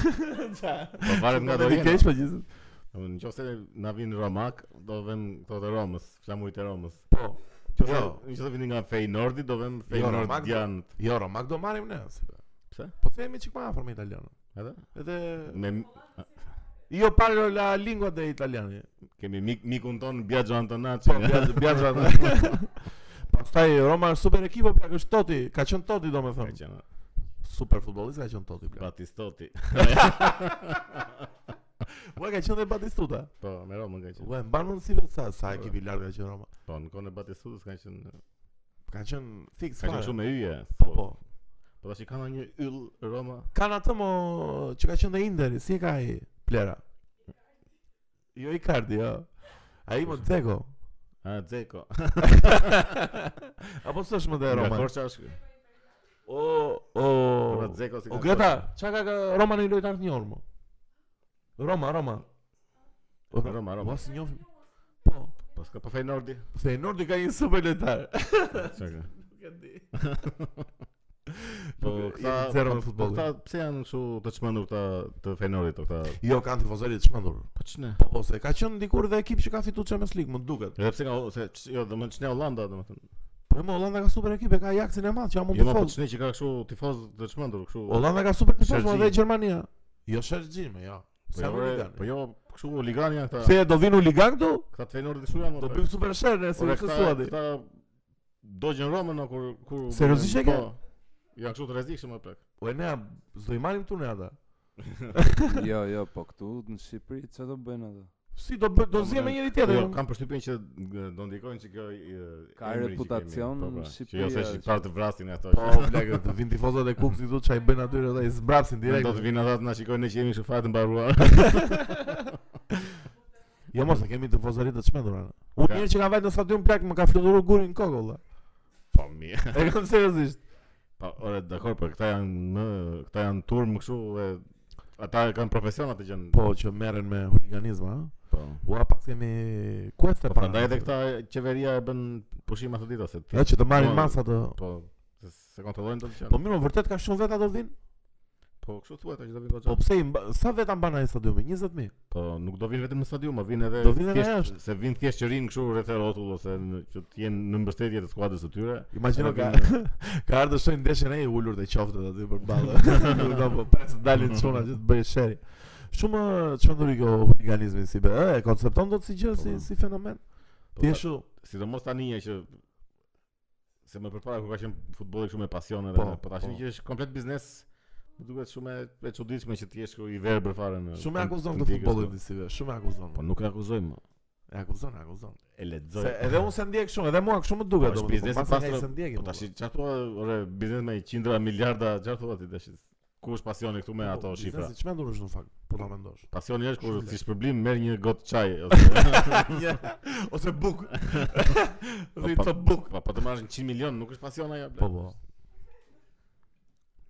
[SPEAKER 1] Po varet nga do
[SPEAKER 2] i
[SPEAKER 1] jenë.
[SPEAKER 2] keq po gjithë.
[SPEAKER 1] Në qoftë se na vinë romak, do vëm këto të Romës, flamurit e Romës.
[SPEAKER 2] Po.
[SPEAKER 1] Qoftë
[SPEAKER 2] Jo.
[SPEAKER 1] se- Në qoftë se vini nga Feynordi, do vëm
[SPEAKER 2] romak do-
[SPEAKER 1] Feynordian.
[SPEAKER 2] Jo, Romak do marrim ne. si be.
[SPEAKER 1] Pse?
[SPEAKER 2] Po themi çik më afër me italianën.
[SPEAKER 1] Edhe
[SPEAKER 2] Edhe
[SPEAKER 1] me
[SPEAKER 2] io parlo la lingua de italiani.
[SPEAKER 1] kemi mik mikun ton Biagio Antonacci.
[SPEAKER 2] Po, bjazë, bjazë. Po. Pastaj Roma është super ekip, o plak është Totti, ka qenë Totti
[SPEAKER 1] Ka
[SPEAKER 2] domethënë.
[SPEAKER 1] qenë
[SPEAKER 2] Super futbollist ka qenë Totti plak.
[SPEAKER 1] Batistotti.
[SPEAKER 2] Ua ka qenë dhe Batistuta.
[SPEAKER 1] Po, me Romën ka qenë.
[SPEAKER 2] Ua e mban mend si vetë sa sa ekip i lartë ka qenë Roma.
[SPEAKER 1] Po, në kohën e Batistutës ka qenë
[SPEAKER 2] Ka qenë fix
[SPEAKER 1] ka qenë
[SPEAKER 2] fare.
[SPEAKER 1] shumë me yje.
[SPEAKER 2] Po po.
[SPEAKER 1] Po tash i kanë një yll Roma.
[SPEAKER 2] Kan atë mo që ka qenë dhe Interi, si e ka ai Plera? Jo Icardi, jo. Ai më Dzeko.
[SPEAKER 1] A Dzeko.
[SPEAKER 2] Apo s'është më te
[SPEAKER 1] Nga
[SPEAKER 2] Roma?
[SPEAKER 1] Korça është.
[SPEAKER 2] O
[SPEAKER 1] Po
[SPEAKER 2] o.
[SPEAKER 1] nga Dzeko si.
[SPEAKER 2] O
[SPEAKER 1] nga
[SPEAKER 2] Greta, çka ka ka- Roma në lojtar të njohur më? Roma, Roma. O,
[SPEAKER 1] Korça. Po, Roma, Roma.
[SPEAKER 2] Mos njohim. Po,
[SPEAKER 1] Po s'ka po Feynordi.
[SPEAKER 2] Feyenoordi ka një super lojtar.
[SPEAKER 1] Çka?
[SPEAKER 2] Nuk e di.
[SPEAKER 1] Po
[SPEAKER 2] Nuk e-
[SPEAKER 1] këta
[SPEAKER 2] jemi zero në
[SPEAKER 1] po
[SPEAKER 2] futboll.
[SPEAKER 1] Këta pse janë kështu të çmendur këta të Feynordit këta?
[SPEAKER 2] Jo, kanë tifozëri të çmendur.
[SPEAKER 1] Po ç'ne?
[SPEAKER 2] Po, po, se ka qenë dikur dhe ekip që ka fituar Champions League, më duket.
[SPEAKER 1] Edhe pse nga se ç- jo do të ç'ne Holanda domethënë.
[SPEAKER 2] Po më Holanda ka super ekip, e ka Ajaxin e madh që ja mund
[SPEAKER 1] Jo
[SPEAKER 2] të
[SPEAKER 1] ma po
[SPEAKER 2] foz.
[SPEAKER 1] ç'ne që ka kështu tifoz të çmendur kështu.
[SPEAKER 2] Holanda ka super tifoz,
[SPEAKER 1] Sergi.
[SPEAKER 2] më dhe Gjermania. po, Jo Sergjime, jo.
[SPEAKER 1] Po jo,
[SPEAKER 2] Sa
[SPEAKER 1] ore,
[SPEAKER 2] më ligan.
[SPEAKER 1] Po jo kështu ligan janë këta.
[SPEAKER 2] Se do vinë u ligan këtu,
[SPEAKER 1] Këta të Feynordit kështu janë. mo,
[SPEAKER 2] do bëjmë super sherrë si
[SPEAKER 1] Ore,
[SPEAKER 2] se suadi.
[SPEAKER 1] Këta dogjën Romën o, kur kur
[SPEAKER 2] Seriozisht e ke?
[SPEAKER 1] Po, Janë kështu të rrezikshëm apo?
[SPEAKER 2] Po e ne do i marrim këtu ne ata.
[SPEAKER 3] jo, jo, po këtu në Shqipëri çfarë do bëjnë ato?
[SPEAKER 2] Si do bë, do
[SPEAKER 1] Po,
[SPEAKER 2] zihem me
[SPEAKER 1] mëre,
[SPEAKER 2] njëri
[SPEAKER 1] Jo,
[SPEAKER 2] tjetër. jo?
[SPEAKER 1] kam përshtypjen që g- do ndikojnë që kjo i-
[SPEAKER 3] Ka
[SPEAKER 1] emri që
[SPEAKER 3] reputacion
[SPEAKER 1] kemi, po, po,
[SPEAKER 3] në
[SPEAKER 1] Që jo se
[SPEAKER 3] Shqipëri,
[SPEAKER 1] shqiptarë të vrasin ato.
[SPEAKER 2] Po, blek, të vinë tifozat e Kukës i thotë çaj bën aty ata i zbrasin direkt.
[SPEAKER 1] Do të vinë ata të na shikojnë ne që jemi kështu fare të mbaruar.
[SPEAKER 2] Jo mos e kemi tifozëri të çmendur ana. Unë
[SPEAKER 1] Ka-
[SPEAKER 2] herë që ka vajt në stadium plak më ka fluturuar guri në kokë valla.
[SPEAKER 1] Po mirë.
[SPEAKER 2] E kam seriozisht.
[SPEAKER 1] Po, ore, dakor, po këta janë në këta janë turm kështu e ata e kanë profesion atë gjën.
[SPEAKER 2] Po që merren me huliganizëm, ha.
[SPEAKER 1] po.
[SPEAKER 2] Ua pas kemi quest e
[SPEAKER 1] Po
[SPEAKER 2] para.
[SPEAKER 1] prandaj edhe këta qeveria e bën pushim atë ditë ose ti.
[SPEAKER 2] Ja që të marrin
[SPEAKER 1] Po,
[SPEAKER 2] masa të.
[SPEAKER 1] Po, se, se kontrollojnë të gjën.
[SPEAKER 2] Po mirë, më vërtet ka shumë veta do vinë.
[SPEAKER 1] Po, kështu thuhet që do vinë
[SPEAKER 2] Po
[SPEAKER 1] goxha.
[SPEAKER 2] pse i mba- sa veta mban ai stadiumi? 20000.
[SPEAKER 1] Po, nuk do vinë vetëm në stadium, po vinë edhe
[SPEAKER 2] Do vinë edhe
[SPEAKER 1] thjesht
[SPEAKER 2] jashtë.
[SPEAKER 1] se vinë thjesht që rinë kështu rreth e rrotull ose në, që të jenë në mbështetje të skuadrës së tyre. Edhe
[SPEAKER 2] Imagjino ka
[SPEAKER 1] vinë-
[SPEAKER 2] ka ardhur shoj ndeshjen e i ulur të qoftet aty për ballë. Nuk do po pres dalin çuna që të bëjë sheri. Shumë çmenduri kjo huliganizmi si be, e e koncepton dot si gjë si
[SPEAKER 1] Po.
[SPEAKER 2] si fenomen.
[SPEAKER 1] Po,
[SPEAKER 2] Ti
[SPEAKER 1] ta-
[SPEAKER 2] je shu.
[SPEAKER 1] Sidomos tani e që se më përpara kur ka qenë futbolli kështu me pasion edhe
[SPEAKER 2] Po,
[SPEAKER 1] po, po tash
[SPEAKER 2] po.
[SPEAKER 1] që është komplet biznes. Më duket shumë e- e çuditshme që ti je kështu i verbër fare në.
[SPEAKER 2] Shumë e
[SPEAKER 1] në-
[SPEAKER 2] akuzon
[SPEAKER 1] në
[SPEAKER 2] këtë
[SPEAKER 1] ndjekës,
[SPEAKER 2] futbollin
[SPEAKER 1] po.
[SPEAKER 2] ti si be, shumë e akuzon.
[SPEAKER 1] Po nuk e akuzoj më.
[SPEAKER 2] E akuzon, e akuzon.
[SPEAKER 1] E lexoj.
[SPEAKER 2] Se edhe unë se ndjek shumë, edhe mua kështu më
[SPEAKER 1] Po,
[SPEAKER 2] duket
[SPEAKER 1] është
[SPEAKER 2] domethënë.
[SPEAKER 1] biznesi
[SPEAKER 2] pas nga
[SPEAKER 1] pastro-
[SPEAKER 2] i se ndjek.
[SPEAKER 1] Po tash çfarë thua, ore, biznes me qindra miliarda, çfarë thua ti tash? Ku është pasioni këtu
[SPEAKER 2] Po,
[SPEAKER 1] me ato shifra?
[SPEAKER 2] Si çmendur është në fakt, po ta mendosh.
[SPEAKER 1] Pasioni është kur
[SPEAKER 2] Shumë
[SPEAKER 1] si shpërblim merr një gotë çaj ose
[SPEAKER 2] Ose buk. Ose
[SPEAKER 1] po,
[SPEAKER 2] të buk.
[SPEAKER 1] po po të marrësh 100 milion, nuk është pasion ajo.
[SPEAKER 2] Po po.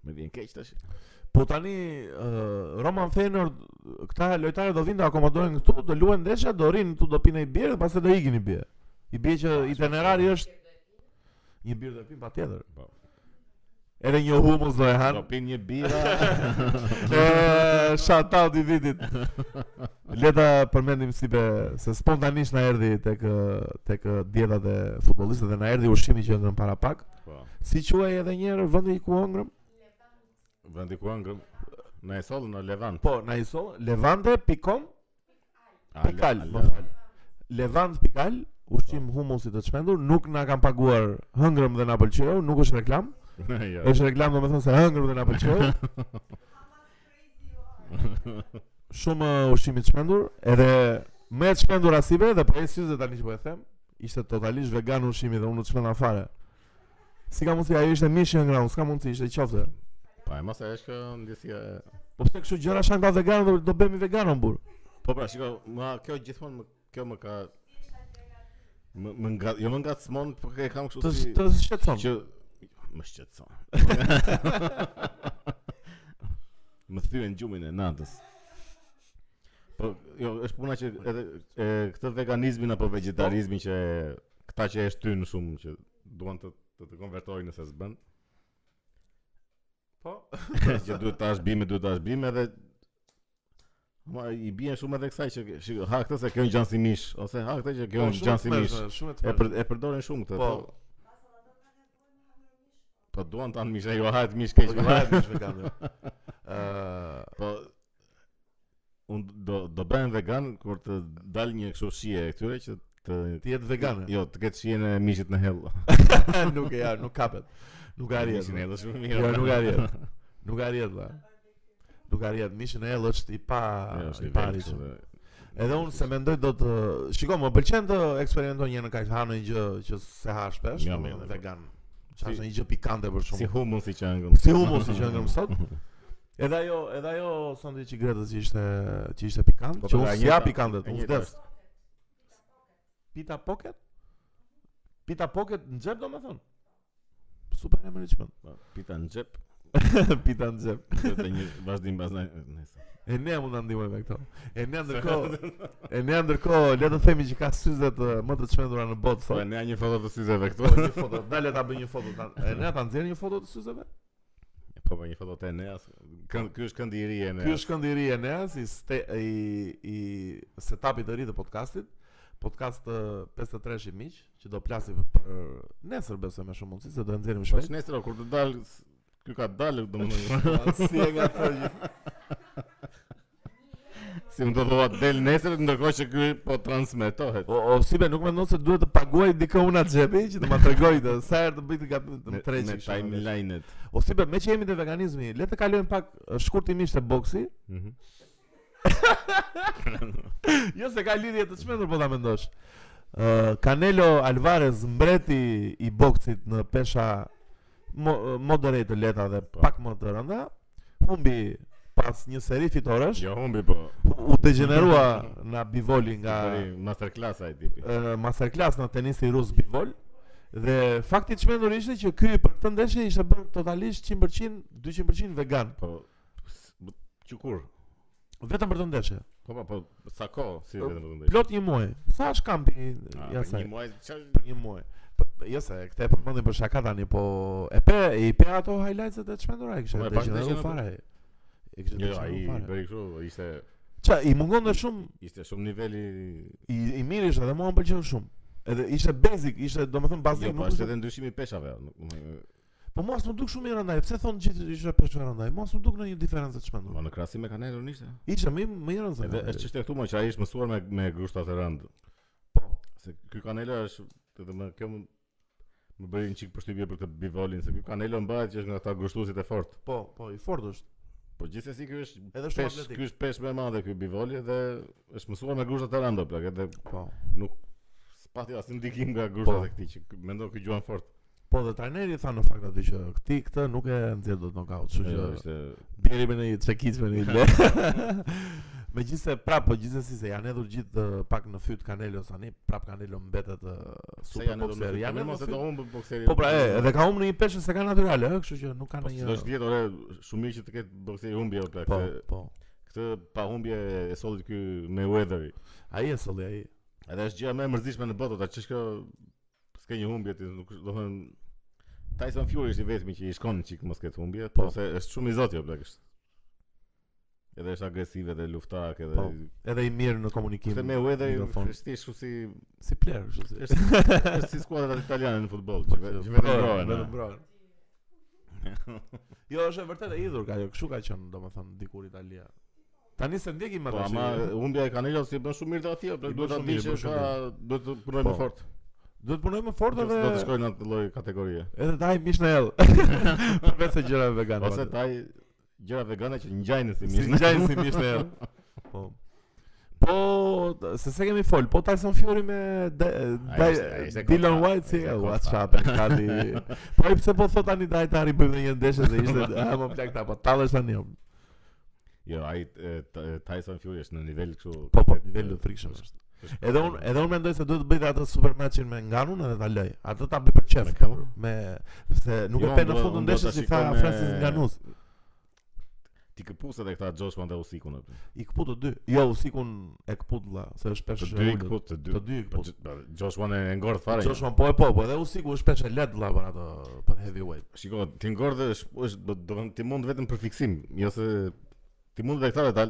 [SPEAKER 1] Më vjen keq tash.
[SPEAKER 2] Po tani uh, Roman Feyenoord këta lojtarë do vinë të akomodohen këtu, do luajnë ndeshja, do rinë këtu, do pinë një birë, pastaj do ikin një birë. I bie që itinerari është një birë do pinë patjetër.
[SPEAKER 1] Po.
[SPEAKER 2] Edhe një humus do e han.
[SPEAKER 1] Do pim një bira.
[SPEAKER 2] Ë, Shout out i vitit. Le ta përmendim si be se spontanisht na erdhi tek ë, tek ë, dietat e futbollistëve dhe na erdhi ushqimi që ëngrën para pak.
[SPEAKER 1] Po.
[SPEAKER 2] Si quhej edhe një herë vendi ku ëngrëm?
[SPEAKER 1] Vendi ku ëngrëm. Në e sollën në Levant.
[SPEAKER 2] Po, na i sol levante.com
[SPEAKER 1] A,
[SPEAKER 2] Pikal,
[SPEAKER 1] le- a,
[SPEAKER 2] më
[SPEAKER 1] le-
[SPEAKER 2] fal. Levant Pikal, ushqim humusi të çmendur, nuk na kanë paguar hëngrëm dhe na pëlqeu, nuk është reklam.
[SPEAKER 1] Jo.
[SPEAKER 2] Është reklam domethënë se hëngrëm dhe na pëlqeu. Shumë uh, ushqim i çmendur, edhe më e çmendur asibe dhe për syze tani që po e them, ishte totalisht vegan ushqimi dhe unë nuk çmenda fare. Si ka mundsi ajo ishte mish i hëngrëm, s'ka mundsi ishte qoftë.
[SPEAKER 1] Po e mos e është kjo ndjesia. e-
[SPEAKER 2] Po pse kështu gjëra shan ka vegan do, do bëhemi veganon burr.
[SPEAKER 1] Po pra, shiko, ma kjo gjithmonë më kjo më ka më më nga, jo më ngacmon, po e kam kështu
[SPEAKER 2] Të
[SPEAKER 1] si
[SPEAKER 2] të shqetëson.
[SPEAKER 1] që më shqetëson. më thyen gjumin e natës. jo, është puna që edhe e, këtë veganizmin apo vegetarizmin që këta që e shtyn shumë që duan të të, të konvertojnë nëse s'bën,
[SPEAKER 2] Po.
[SPEAKER 1] Pra, që duhet ta ashbime, duhet ta ashbime edhe Ma i bien shumë edhe kësaj që shiko, ha këtë se kjo në gjansi mish ose ha këtë që kjo
[SPEAKER 2] Po,
[SPEAKER 1] në
[SPEAKER 2] shumë
[SPEAKER 1] gjansi
[SPEAKER 2] të
[SPEAKER 1] mish.
[SPEAKER 2] mërshme, Shumë
[SPEAKER 1] E
[SPEAKER 2] të
[SPEAKER 1] për,
[SPEAKER 2] mërshme.
[SPEAKER 1] e përdorin shumë këtë.
[SPEAKER 2] Po.
[SPEAKER 1] Po, po duan ta mish, jo hajt mish keq.
[SPEAKER 2] Po, varet mish vegan. jo. Ë,
[SPEAKER 1] Po un do do bëhem vegan kur të dal një kështu shije e këtyre që të
[SPEAKER 2] Ti jetë vegane.
[SPEAKER 1] Jo, të ketë shijen e mishit në hell.
[SPEAKER 2] nuk e ja, nuk kapet. Nuk arrihet.
[SPEAKER 1] Mishin e hell është shumë mirë.
[SPEAKER 2] Jo, nuk arrihet. Nuk arrihet vlla. Nuk arrihet. Mishin e ellë është i pa
[SPEAKER 1] Jo, është
[SPEAKER 2] Ah, i
[SPEAKER 1] i
[SPEAKER 2] pa
[SPEAKER 1] vërtetë,
[SPEAKER 2] arritshëm.
[SPEAKER 1] dhe-
[SPEAKER 2] Edhe unë se mendoj do të Shiko, më pëlqen të eksperimentoj një në kaq ha në një gjë që se ha shpesh,
[SPEAKER 1] Nga
[SPEAKER 2] domethënë
[SPEAKER 1] mirë,
[SPEAKER 2] vegan.
[SPEAKER 1] Si-
[SPEAKER 2] Çfarë është një gjë pikante për
[SPEAKER 1] Si
[SPEAKER 2] shkakun.
[SPEAKER 1] humus i qëngëm.
[SPEAKER 2] Si humus që ngëm sot. Edhe ajo, edhe ajo sandviç i gretës që ishte që ishte pikant,
[SPEAKER 1] Po,
[SPEAKER 2] që
[SPEAKER 1] po,
[SPEAKER 2] unë
[SPEAKER 1] e
[SPEAKER 2] s'ja
[SPEAKER 1] njëjta-
[SPEAKER 2] pikante,
[SPEAKER 1] e
[SPEAKER 2] unë
[SPEAKER 1] njëjta
[SPEAKER 2] vdes. Pita pocket? Pita pocket në xhep domethënë. Super emergjment.
[SPEAKER 1] Po, Pita në xhep,
[SPEAKER 2] Pita në xhep.
[SPEAKER 1] vetë një vazhdim pastaj. Nëse.
[SPEAKER 2] E ne mund ta ndihmoj me këto. E ne ndërkohë, e ne ndërkohë le të themi që ka syzet eh, më të çmendura në botë
[SPEAKER 1] Po
[SPEAKER 2] sot.
[SPEAKER 1] ne një foto të syzeve
[SPEAKER 2] Po
[SPEAKER 1] këtu.
[SPEAKER 2] një foto, na le ta bëj një foto. ta- E ne ta nxjerr një foto të syzeve?
[SPEAKER 1] Po po një foto të Eneas. Kën- Ky është këndi i ri i Eneas.
[SPEAKER 2] Ky është këndi i ri e Eneas i ste, i i setupit të ri të podcastit. Podcast eh, 53 i miq që do plasim për nesër besoj me shumë mundësi se do e nxjerrim
[SPEAKER 1] Po
[SPEAKER 2] shpejt.
[SPEAKER 1] nesër kur të dal s- ky ka dalë domethënë.
[SPEAKER 2] si e nga thërë gjithë.
[SPEAKER 1] Si më do thua del nesër ndërkohë që ky po transmetohet.
[SPEAKER 2] O, o si be, nuk mendon se duhet të paguaj dikë unë atë xhepi që të ma tregoj të sa herë të bëj të gabim të më
[SPEAKER 1] Me-
[SPEAKER 2] treqi.
[SPEAKER 1] me
[SPEAKER 2] kështu.
[SPEAKER 1] timeline-et.
[SPEAKER 2] O si be, me që jemi te veganizmi, le të kalojmë pak eh, shkurtimisht te boksi.
[SPEAKER 1] Mhm.
[SPEAKER 2] Jo se ka lidhje të çmendur po ta mendosh. Ë Canelo Alvarez mbreti i boksit në pesha mo, moderate të lehta dhe
[SPEAKER 1] Po.
[SPEAKER 2] pak më të rënda, humbi pas një seri fitoresh,
[SPEAKER 1] Jo humbi po.
[SPEAKER 2] u degenerua nga bivoli nga
[SPEAKER 1] Bëri masterclass ai tipi.
[SPEAKER 2] ë, masterclass në tenisi rus bivol dhe fakti i çmendur ishte që ky për këtë ndeshje ishte bërë totalisht 100% 200% vegan,
[SPEAKER 1] Po s- b- që kur?
[SPEAKER 2] vetëm për këtë ndeshje.
[SPEAKER 1] Po po po sa kohë si
[SPEAKER 2] Po,
[SPEAKER 1] vetëm do të ndaj.
[SPEAKER 2] Plot një muaj. Sa është kampi
[SPEAKER 1] Ah,
[SPEAKER 2] i
[SPEAKER 1] për
[SPEAKER 2] asaj?
[SPEAKER 1] Një muaj çfarë
[SPEAKER 2] për një muaj. Po, po, Jo se, këtë e përmendim për shaka tani, po e pe e i pe ato highlights-et e çmendura e kishte
[SPEAKER 1] Po, e
[SPEAKER 2] të
[SPEAKER 1] pash
[SPEAKER 2] gjitha
[SPEAKER 1] degeneru-
[SPEAKER 2] fare. E kishte të
[SPEAKER 1] Jo, ai
[SPEAKER 2] gjitha fare.
[SPEAKER 1] bëri kështu, ishte
[SPEAKER 2] Ça i mungon dhe shumë
[SPEAKER 1] ishte shumë niveli
[SPEAKER 2] i, i mirë ishte dhe mua më pëlqeu shumë. Edhe ishte basic, ishte domethënë bazik,
[SPEAKER 1] Jo, po është
[SPEAKER 2] nuk ishte.
[SPEAKER 1] edhe ndryshimi i peshave. nuk- nuk-
[SPEAKER 2] Po mua s'm duk shumë i rëndaj. Pse thon gjithë ishte peshë rëndaj? Mua s'm duk ndonjë diferencë
[SPEAKER 1] Ma
[SPEAKER 2] të çmendur.
[SPEAKER 1] në krahasim me Canelon ishte.
[SPEAKER 2] Ishte më më i rëndë.
[SPEAKER 1] Edhe është çështja këtu më që ai është mësuar me me grushta të rënd.
[SPEAKER 2] Po.
[SPEAKER 1] Se ky Canelo është, do të më kjo më më bëri një çik përshtypje për këtë bivolin se ky Canelo mbahet që është nga ata grushtuesit e fortë.
[SPEAKER 2] Po, po, i fortë është.
[SPEAKER 1] Po gjithsesi ky është
[SPEAKER 2] Edhe shumë
[SPEAKER 1] pesh,
[SPEAKER 2] atletik.
[SPEAKER 1] ky është pesh më e madhe ky bivoli dhe është mësuar me grushta të rënda plak, edhe
[SPEAKER 2] Po.
[SPEAKER 1] nuk spati asnjë ndikim nga grushtat
[SPEAKER 2] Po.
[SPEAKER 1] e këtij që ky- mendon ky gjuan fort.
[SPEAKER 2] Po dhe trajneri tha në fakt aty që ti këtë nuk e nxjerr dot knockout,
[SPEAKER 1] Jo,
[SPEAKER 2] kështu që
[SPEAKER 1] ishte
[SPEAKER 2] Bjeri me një çekic me një le. me gjithse prap, po gjithsesi se janë edhur gjithë uh, pak në fyt Canelo tani, prap Canelo mbetet uh,
[SPEAKER 1] se
[SPEAKER 2] super
[SPEAKER 1] janë edhe
[SPEAKER 2] boxer. Janë
[SPEAKER 1] mos
[SPEAKER 2] në
[SPEAKER 1] e do
[SPEAKER 2] fyt.
[SPEAKER 1] humbë bokseri.
[SPEAKER 2] Po pra, e, edhe ka humbur në një peshë se ka natyrale, ë, kështu që nuk ka
[SPEAKER 1] Po
[SPEAKER 2] ndonjë.
[SPEAKER 1] do të vjet ore shumë mirë që të ketë bokseri humbje o plak.
[SPEAKER 2] Po,
[SPEAKER 1] se
[SPEAKER 2] po.
[SPEAKER 1] Këtë pa humbje e solli ky Mayweatheri.
[SPEAKER 2] Ai e solli ai.
[SPEAKER 1] Edhe është gjëja më e mërzitshme në botë, ta ç'është kjo s'ke një humbje ti, nuk do të thënë Tyson Fury është i vetmi që i shkon çik mos ketë humbje,
[SPEAKER 2] Po.
[SPEAKER 1] po se është shumë i zoti o blek është. Edhe është agresiv edhe luftarak edhe
[SPEAKER 2] Po, Edhe i mirë në komunikim.
[SPEAKER 1] Kështë me uedhe,
[SPEAKER 2] mikrofon.
[SPEAKER 1] është ti shumë si
[SPEAKER 2] si player, kështu si.
[SPEAKER 1] është është si skuadrat italiane në futboll, që ve- që vetëm
[SPEAKER 2] Brohen,
[SPEAKER 1] brohen.
[SPEAKER 2] Po, vetëm
[SPEAKER 1] a.
[SPEAKER 2] brohen. Jo, është e vërtet e idhur ka, kështu ka qenë, domethënë dikur Italia. Tani se ndjekim
[SPEAKER 1] Po
[SPEAKER 2] atë.
[SPEAKER 1] ama humbja e Canelo si bën shumë mirë atje, o
[SPEAKER 2] I
[SPEAKER 1] blek
[SPEAKER 2] bën
[SPEAKER 1] duhet ta
[SPEAKER 2] shumë
[SPEAKER 1] di
[SPEAKER 2] mirë, i
[SPEAKER 1] që
[SPEAKER 2] bën shumë
[SPEAKER 1] ka duhet të punojmë më
[SPEAKER 2] Po.
[SPEAKER 1] fort.
[SPEAKER 2] Duhet punoj më fort
[SPEAKER 1] Do
[SPEAKER 2] edhe
[SPEAKER 1] të shkojnë në atë lloj kategorie.
[SPEAKER 2] Edhe taj mish në ellë. Përveç se gjërave vegane.
[SPEAKER 1] Ose taj gjëra vegane që ngjajnë si
[SPEAKER 2] si
[SPEAKER 1] mirë.
[SPEAKER 2] ngjajnë si mish në ellë. Po. Po, t- se se kemi fol, po Tyson Fury me De-
[SPEAKER 1] Ai
[SPEAKER 2] Dai-
[SPEAKER 1] ishte- ai ishte
[SPEAKER 2] Dylan
[SPEAKER 1] kontra,
[SPEAKER 2] White si
[SPEAKER 1] ishte
[SPEAKER 2] e what's
[SPEAKER 1] kontra.
[SPEAKER 2] up, kati. Po ai pse po thot tani dajtari bëjmë në një ndeshje se ishte ah më plak ta, po tallesh tani. o.
[SPEAKER 1] Jo, ai e, t- e, Tyson Fury është në nivel kështu.
[SPEAKER 2] Po, po,
[SPEAKER 1] komplet,
[SPEAKER 2] nivel
[SPEAKER 1] e,
[SPEAKER 2] të frikshëm është.
[SPEAKER 1] është-
[SPEAKER 2] Edhe unë edhe unë mendoj se duhet të bëj dhe atë super matchin me Nganun edhe ta loj. Atë ta bëj për çef.
[SPEAKER 1] Me këmbë?
[SPEAKER 2] Me se nuk
[SPEAKER 1] Jo,
[SPEAKER 2] e pe
[SPEAKER 1] unë
[SPEAKER 2] në
[SPEAKER 1] do-
[SPEAKER 2] fund të
[SPEAKER 1] unë do ta
[SPEAKER 2] ndeshjes si tha
[SPEAKER 1] shikoj me-
[SPEAKER 2] Francis Nganus.
[SPEAKER 1] ti këpuset e këta Joshua dhe Usikun. apo.
[SPEAKER 2] I këput të dy. Jo, usikun e këput vlla, se është
[SPEAKER 1] Të
[SPEAKER 2] pesh.
[SPEAKER 1] dy i këput, të dy.
[SPEAKER 2] Të dy i
[SPEAKER 1] Po
[SPEAKER 2] këput.
[SPEAKER 1] Gj- po, Joshua e e ngordh fare.
[SPEAKER 2] Joshua po e po, po edhe usiku është pesh e lehtë vlla për ato për heavyweight.
[SPEAKER 1] Shiko, ti ngordhe është është do do të ti mund vetëm për fiksim, jo se ti mund vetë këta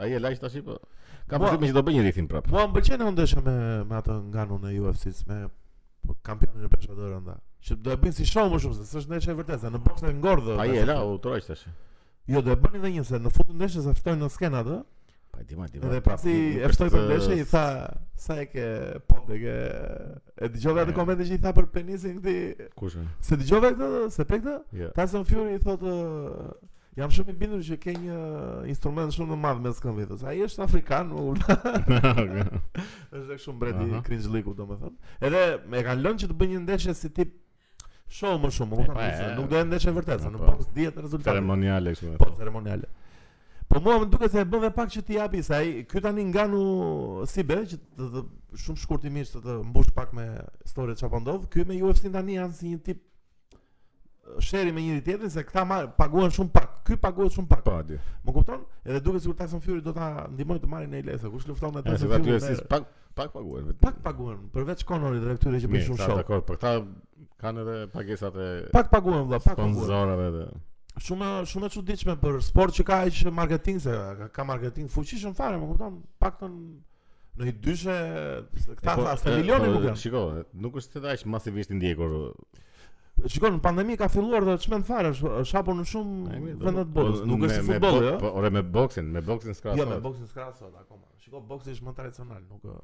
[SPEAKER 1] ai e lajsh tash po. Ka
[SPEAKER 2] Po.
[SPEAKER 1] përshtypjen që do bëj një rithim prap.
[SPEAKER 2] Mua më pëlqen e ndeshja me me atë nganun e UFC-s me po, kampionin e peshadorë nda. Që do e bëjnë si show më shumë se s'është ndeshje e vërtetë, se në boks e ngordhë. po.
[SPEAKER 1] Ai e la u toraj tash.
[SPEAKER 2] Jo, do e bënin edhe një se në fund të ndeshjes e ftojnë në skenë atë.
[SPEAKER 1] Pa e di ma, di ma.
[SPEAKER 2] Edhe
[SPEAKER 1] prap,
[SPEAKER 2] pasi
[SPEAKER 1] pra, nuk- nuk
[SPEAKER 2] e ftoi
[SPEAKER 1] është,
[SPEAKER 2] për ndeshje i tha sa e ke ponte ke e dëgjova atë
[SPEAKER 1] E.
[SPEAKER 2] komente që i tha për penisin këtij.
[SPEAKER 1] Kush? e?
[SPEAKER 2] Se dëgjova këtë, se pe këtë?
[SPEAKER 1] Jo.
[SPEAKER 2] Tyson Fury i thotë "Ë, jam shumë i bindur që ke një instrument shumë të madh mes këmbëve. Ai është afrikan, u është dhe shumë breti
[SPEAKER 1] Aha.
[SPEAKER 2] i cringe liku domethënë. Edhe e kanë lënë që të bëjë një ndeshje si tip show më shumë, më
[SPEAKER 1] E,
[SPEAKER 2] kupton?
[SPEAKER 1] pa,
[SPEAKER 2] se
[SPEAKER 1] e,
[SPEAKER 2] Nuk do të ndeshje vërtet, se në
[SPEAKER 1] po.
[SPEAKER 2] boks dihet rezultati.
[SPEAKER 1] Ceremoniale kështu. me
[SPEAKER 2] Po
[SPEAKER 1] thonë.
[SPEAKER 2] ceremoniale. Po mua më duket se e bën dhe pak që ti japi se ai ky tani nganu si be që të, të shumë shkurtimisht të, të mbush pak me historinë çfarë po ndodh. Ky me UFC tani janë si një tip ë, sheri me njëri tjetrin se këta marr paguhen shumë pak. Ky paguhet shumë pak.
[SPEAKER 1] Po, di.
[SPEAKER 2] Më kupton? Edhe duket sikur Tyson Fury do ta ndihmojë të marrin ai lesa. Kush lufton me
[SPEAKER 1] E, Se
[SPEAKER 2] Tyson
[SPEAKER 1] ta
[SPEAKER 2] Fury?
[SPEAKER 1] ty si
[SPEAKER 2] merr.
[SPEAKER 1] pak pak paguhen. vetë.
[SPEAKER 2] Pak paguhen, përveç Conorit dhe këtyre që bëjnë
[SPEAKER 1] Mirë,
[SPEAKER 2] shumë
[SPEAKER 1] sa,
[SPEAKER 2] show.
[SPEAKER 1] Dakor, po këta kanë edhe pagesat e
[SPEAKER 2] Pak paguhen vëlla, pak paguhen.
[SPEAKER 1] sponsorave dhe
[SPEAKER 2] Shumë shumë e çuditshme për sport që ka aq marketing se ka, ka marketing fuqishëm fare, më kupton? Paktën në i dyshe se
[SPEAKER 1] E,
[SPEAKER 2] këta
[SPEAKER 1] po,
[SPEAKER 2] tha
[SPEAKER 1] e,
[SPEAKER 2] se milionë
[SPEAKER 1] po,
[SPEAKER 2] nuk janë.
[SPEAKER 1] Shiko, e, nuk është edhe aq masivisht i ndjekur.
[SPEAKER 2] Shikon, pandemi ka filluar dhe çmend fare, është është hapur në shumë vende të botës.
[SPEAKER 1] Po,
[SPEAKER 2] Nuk
[SPEAKER 1] me-
[SPEAKER 2] është si
[SPEAKER 1] me
[SPEAKER 2] futbolli,
[SPEAKER 1] bok-
[SPEAKER 2] ëh.
[SPEAKER 1] Po, ore me boksin, me boksin s'ka.
[SPEAKER 2] Jo, me
[SPEAKER 1] asfalt.
[SPEAKER 2] boksin s'ka sot akoma. Shiko, boksi është më tradicional, nuk ë,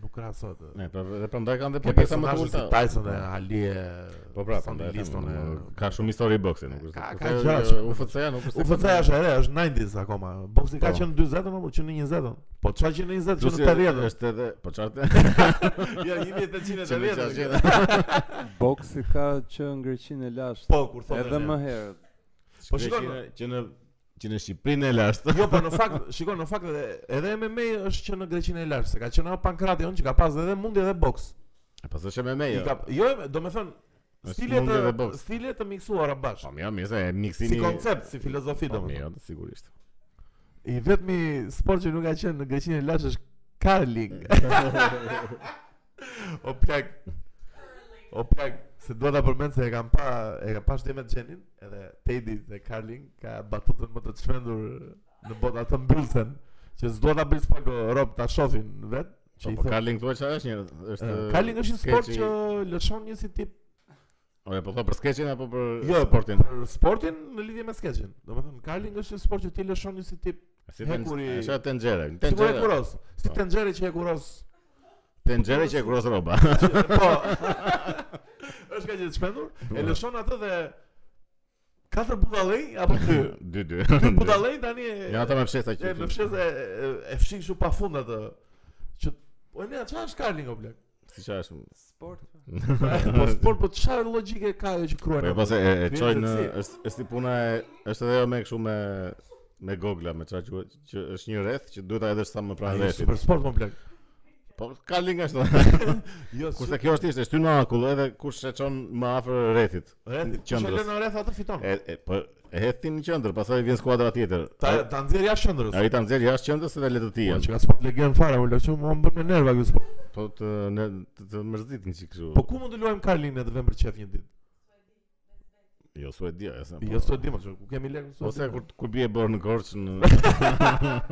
[SPEAKER 2] nuk krahasohet. ë.
[SPEAKER 1] Ne, pra, dhe prandaj kanë dhe
[SPEAKER 2] Ke
[SPEAKER 1] pagesa më të
[SPEAKER 2] personazhe
[SPEAKER 1] ulta.
[SPEAKER 2] si Tyson e Ali e
[SPEAKER 1] Po pra,
[SPEAKER 2] Sonny
[SPEAKER 1] prandaj
[SPEAKER 2] Liston
[SPEAKER 1] them, po,
[SPEAKER 2] e-
[SPEAKER 1] nuk- ka shumë histori boksi, nuk është.
[SPEAKER 2] Ka-
[SPEAKER 1] se-
[SPEAKER 2] ka
[SPEAKER 1] se-
[SPEAKER 2] gjëra që-
[SPEAKER 1] UFC-ja nuk është.
[SPEAKER 2] UFC është e re, është 90s akoma. Boksi ka
[SPEAKER 1] Po.
[SPEAKER 2] qenë 40-ën apo qenë në 20-ën? Po çfarë që në 20, që
[SPEAKER 1] Plus,
[SPEAKER 2] në 80-ën?
[SPEAKER 1] Është edhe, po çfarë?
[SPEAKER 2] Ja 1880.
[SPEAKER 3] Boksi ka që në Greqinë e lashtë.
[SPEAKER 2] Po, kur thonë.
[SPEAKER 3] Edhe
[SPEAKER 2] ne.
[SPEAKER 3] më herët.
[SPEAKER 2] Po shikon,
[SPEAKER 1] që në që në Shqipërinë e lashtë.
[SPEAKER 2] Jo, po në fakt, shikoj në fakt edhe edhe MMA është që në Greqinë e Lartë, se ka qenë ajo Pankratiun që ka pas edhe mundje edhe boks.
[SPEAKER 1] Po s'është me me.
[SPEAKER 2] I
[SPEAKER 1] jo.
[SPEAKER 2] ka jo, do të
[SPEAKER 1] Është
[SPEAKER 2] thënë stile
[SPEAKER 1] mundje dhe
[SPEAKER 2] të
[SPEAKER 1] boks.
[SPEAKER 2] stile të miksuara
[SPEAKER 1] Po
[SPEAKER 2] bashkë.
[SPEAKER 1] mirë, mirë, se e miksimi.
[SPEAKER 2] Si koncept, si filozofi
[SPEAKER 1] Po
[SPEAKER 2] domethënë.
[SPEAKER 1] mirë, sigurisht.
[SPEAKER 2] I vetmi sport që nuk ka qenë në Greqinë e Lartë është curling. O plak. O plak, se dua ta përmend se e kam pa e kam pa shtime të Xhenin, edhe Teddy dhe Karlin ka batutën më të çmendur në botë atë mbyllsen, që s'dua ta bëj pak o, rob ta shohin vet,
[SPEAKER 1] Po
[SPEAKER 2] që i
[SPEAKER 1] po
[SPEAKER 2] thon.
[SPEAKER 1] Karling thua çfarë është një është
[SPEAKER 2] "Eh, Karling është një sport
[SPEAKER 1] skeçi-
[SPEAKER 2] që lëshon një si tip
[SPEAKER 1] Ore, po thua për skeçin apo për
[SPEAKER 2] jo
[SPEAKER 1] sportin?
[SPEAKER 2] për sportin në lidhje me skeçin. Domethënë Karling është një sport që ti lëshon një si tip
[SPEAKER 1] Si ten-
[SPEAKER 2] hekuri-
[SPEAKER 1] është atë tenxhere.
[SPEAKER 2] si kur e
[SPEAKER 1] Tenxhere.
[SPEAKER 2] kuros, si
[SPEAKER 1] Po.
[SPEAKER 2] tenxheri që e kuros.
[SPEAKER 1] Tenxhere që e kuros rroba.
[SPEAKER 2] Po. Është kaq e çmendur, e lëshon atë dhe katër budallëj apo dy.
[SPEAKER 1] 2-2.
[SPEAKER 2] Ky budallej tani e
[SPEAKER 1] Ja ata me fshesa që.
[SPEAKER 2] e më fshes e e- e fshin kështu pafund atë që po ne çfarë është Karling o blek?
[SPEAKER 1] Si çfarë është?
[SPEAKER 3] Sport.
[SPEAKER 2] Po sport po çfarë logjike ka ajo që
[SPEAKER 1] Po
[SPEAKER 2] kruajnë?
[SPEAKER 1] e pas e e
[SPEAKER 2] Mirë,
[SPEAKER 1] çojnë
[SPEAKER 2] zotësi.
[SPEAKER 1] është është si puna e është edhe ajo me kështu me me gogla me çfarë quhet që është një rreth që duhet ta hedhësh sa më pranë
[SPEAKER 2] Ai
[SPEAKER 1] rrethit.
[SPEAKER 2] super sport më blek.
[SPEAKER 1] Po Karling është.
[SPEAKER 2] Jo,
[SPEAKER 1] Kurse kjo është thjesht e shtyn në akull edhe kush e çon më afër rrethit.
[SPEAKER 2] rreth
[SPEAKER 1] qendrës.
[SPEAKER 2] qendrës. Në rreth atë fiton.
[SPEAKER 1] E e po e hedhin në qendër, pastaj vjen skuadra tjetër.
[SPEAKER 2] Ta ta nxjerr jashtë qendrës.
[SPEAKER 1] Ai ta nxjerr jashtë qendrës edhe le të
[SPEAKER 2] Po,
[SPEAKER 1] tijen.
[SPEAKER 2] Që ka sport legend fare, më lëshu më bën me nerva ky sport.
[SPEAKER 1] Po të ne të, të mërzitin çik kështu.
[SPEAKER 2] Po ku mund të luajmë Karling ne të vëmë për çef një ditë?
[SPEAKER 1] jo Suedia, e sa.
[SPEAKER 2] Jo s'e di më çu, ku kemi lekë s'e
[SPEAKER 1] Ose
[SPEAKER 2] di.
[SPEAKER 1] kur kur bie borë në Korçë në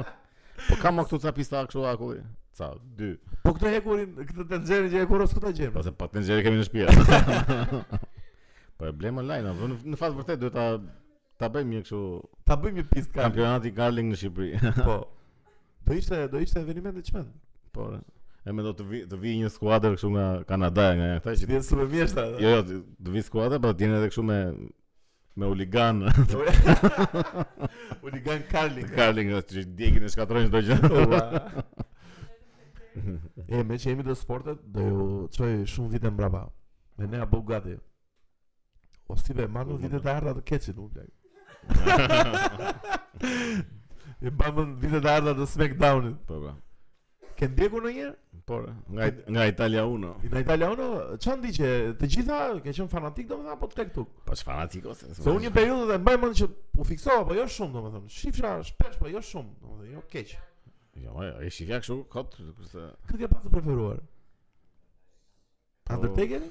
[SPEAKER 1] Po ka më këtu ca pista kështu akulli. Ca, dy.
[SPEAKER 2] po këtë hekurin, këtë tenxherin që e kuros ku ta gjejmë?
[SPEAKER 1] Pasi pa tenxhere kemi në shtëpi. po e blem online, apo në, në fakt vërtet duhet ta ta bëjmë një kështu
[SPEAKER 2] Ta bëjmë një pistë Karling.
[SPEAKER 1] kampionati Garling në Shqipëri.
[SPEAKER 2] Po. Do ishte do ishte eveniment i çmend.
[SPEAKER 1] po. re. E më do të vi të vi një skuadër kështu nga Kanada, nga këta që
[SPEAKER 2] Vjen super mjeshta.
[SPEAKER 1] jo jo të- të vi skuadër, po t'jen edhe kështu me me uligan
[SPEAKER 2] Uligan Karling.
[SPEAKER 1] Garling që djegin e shkatrojnë çdo gjë.
[SPEAKER 2] e me që jemi të sportet do ju çoj shumë vite mbrapa. Ne ne apo gati. O si be, ma në vitet e ardha të keqit, unë plak. E ma në vitet e ardha të Smackdownit.
[SPEAKER 1] Po po.
[SPEAKER 2] Ke ndjekur ndonjëherë?
[SPEAKER 1] Por, nga, nga Italia 1.
[SPEAKER 2] Në Italiano, çan di që të gjitha ke qenë fanatik domethënë apo tek tu.
[SPEAKER 1] Po ç'fanatik ose.
[SPEAKER 2] Se unë një periudhë dhe mbaj mend që u fiksova, po jo shumë domethënë. Shifra shpesh, po jo shumë, domethënë jo keq.
[SPEAKER 1] Jo, e shifja kështu kot kurse
[SPEAKER 2] Kë ke pas të preferuar?
[SPEAKER 1] Po-
[SPEAKER 2] Undertaker?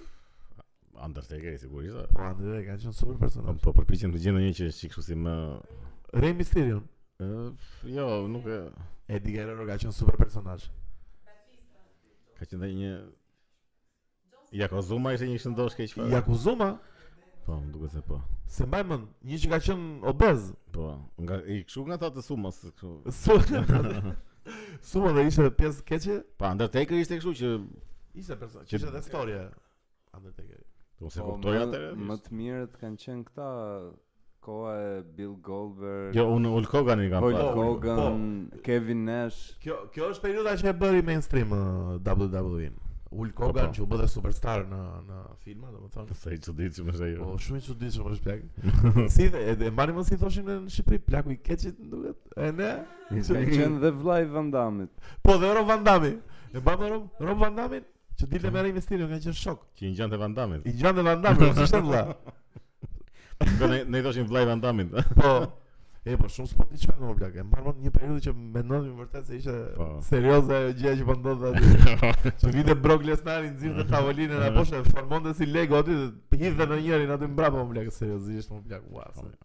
[SPEAKER 1] Undertaker sigurisht. a.
[SPEAKER 2] Po, Undertaker ka qenë super personazh.
[SPEAKER 1] Po përpiqem të gjej ndonjë që është kështu si më
[SPEAKER 2] Po, Rey Mysterio.
[SPEAKER 1] Ë, jo, nuk e
[SPEAKER 2] Eddie Guerrero ka qenë super personazh.
[SPEAKER 1] ka qenë ndonjë Jakozuma ishte një shëndosh keq fare.
[SPEAKER 2] Yakuzuma,
[SPEAKER 1] Po, më duket se po.
[SPEAKER 2] se mbaj mend, një që ka qenë obez.
[SPEAKER 1] Po, nga i kështu nga ata të sumos kështu.
[SPEAKER 2] Su- Sumo dhe ishte pjesë keqe,
[SPEAKER 1] Pa Undertaker ishte kështu që
[SPEAKER 2] ishte personazh,
[SPEAKER 1] Që-
[SPEAKER 2] ishte edhe storje Undertaker.
[SPEAKER 1] mos e
[SPEAKER 3] Po,
[SPEAKER 1] kuptoj
[SPEAKER 3] më-
[SPEAKER 1] atë.
[SPEAKER 3] Më të mirët kanë qenë këta koha e Bill Goldberg,
[SPEAKER 1] Jo, unë Hulk Hogan i kam
[SPEAKER 3] Hulk
[SPEAKER 1] parë.
[SPEAKER 2] Po,
[SPEAKER 3] Hogan, Kevin Nash.
[SPEAKER 2] Kjo kjo është periudha që e bëri mainstream uh, WWE-n. Hulk
[SPEAKER 1] Po,
[SPEAKER 2] Hogan
[SPEAKER 1] po.
[SPEAKER 2] që u bë dhe superstar në në filma, domethënë.
[SPEAKER 1] Sa i çuditshëm është jo. ajo.
[SPEAKER 2] Po shumë i çuditshëm është plak. si e, e mbani mos si thoshin në Shqipëri plaku i keqit më duket. E ne?
[SPEAKER 3] Ka qenë dhe vllai Van Damme.
[SPEAKER 2] Po dhe Rob Van Damme. E mbamë Rob Rob Van Damme që dilte me Rey Mysterio ka qenë shok.
[SPEAKER 1] Që i ngjante Van Damme.
[SPEAKER 2] I gjante Van Damme, si ishte vlla.
[SPEAKER 1] Kur ne ne i thoshin vllai Van Damme.
[SPEAKER 2] Po. E po shumë sport i çfarë më plak. E mbanë një periudhë që mendonin vërtet se ishte
[SPEAKER 1] Po.
[SPEAKER 2] serioze ajo gjë që po ndodhte aty. Që vinte Brock Lesnar i nxirrte tavolinën apo she formonte si Lego aty, dhe hidhte në njërin aty mbrapa më plak seriozisht, më plak ua. se-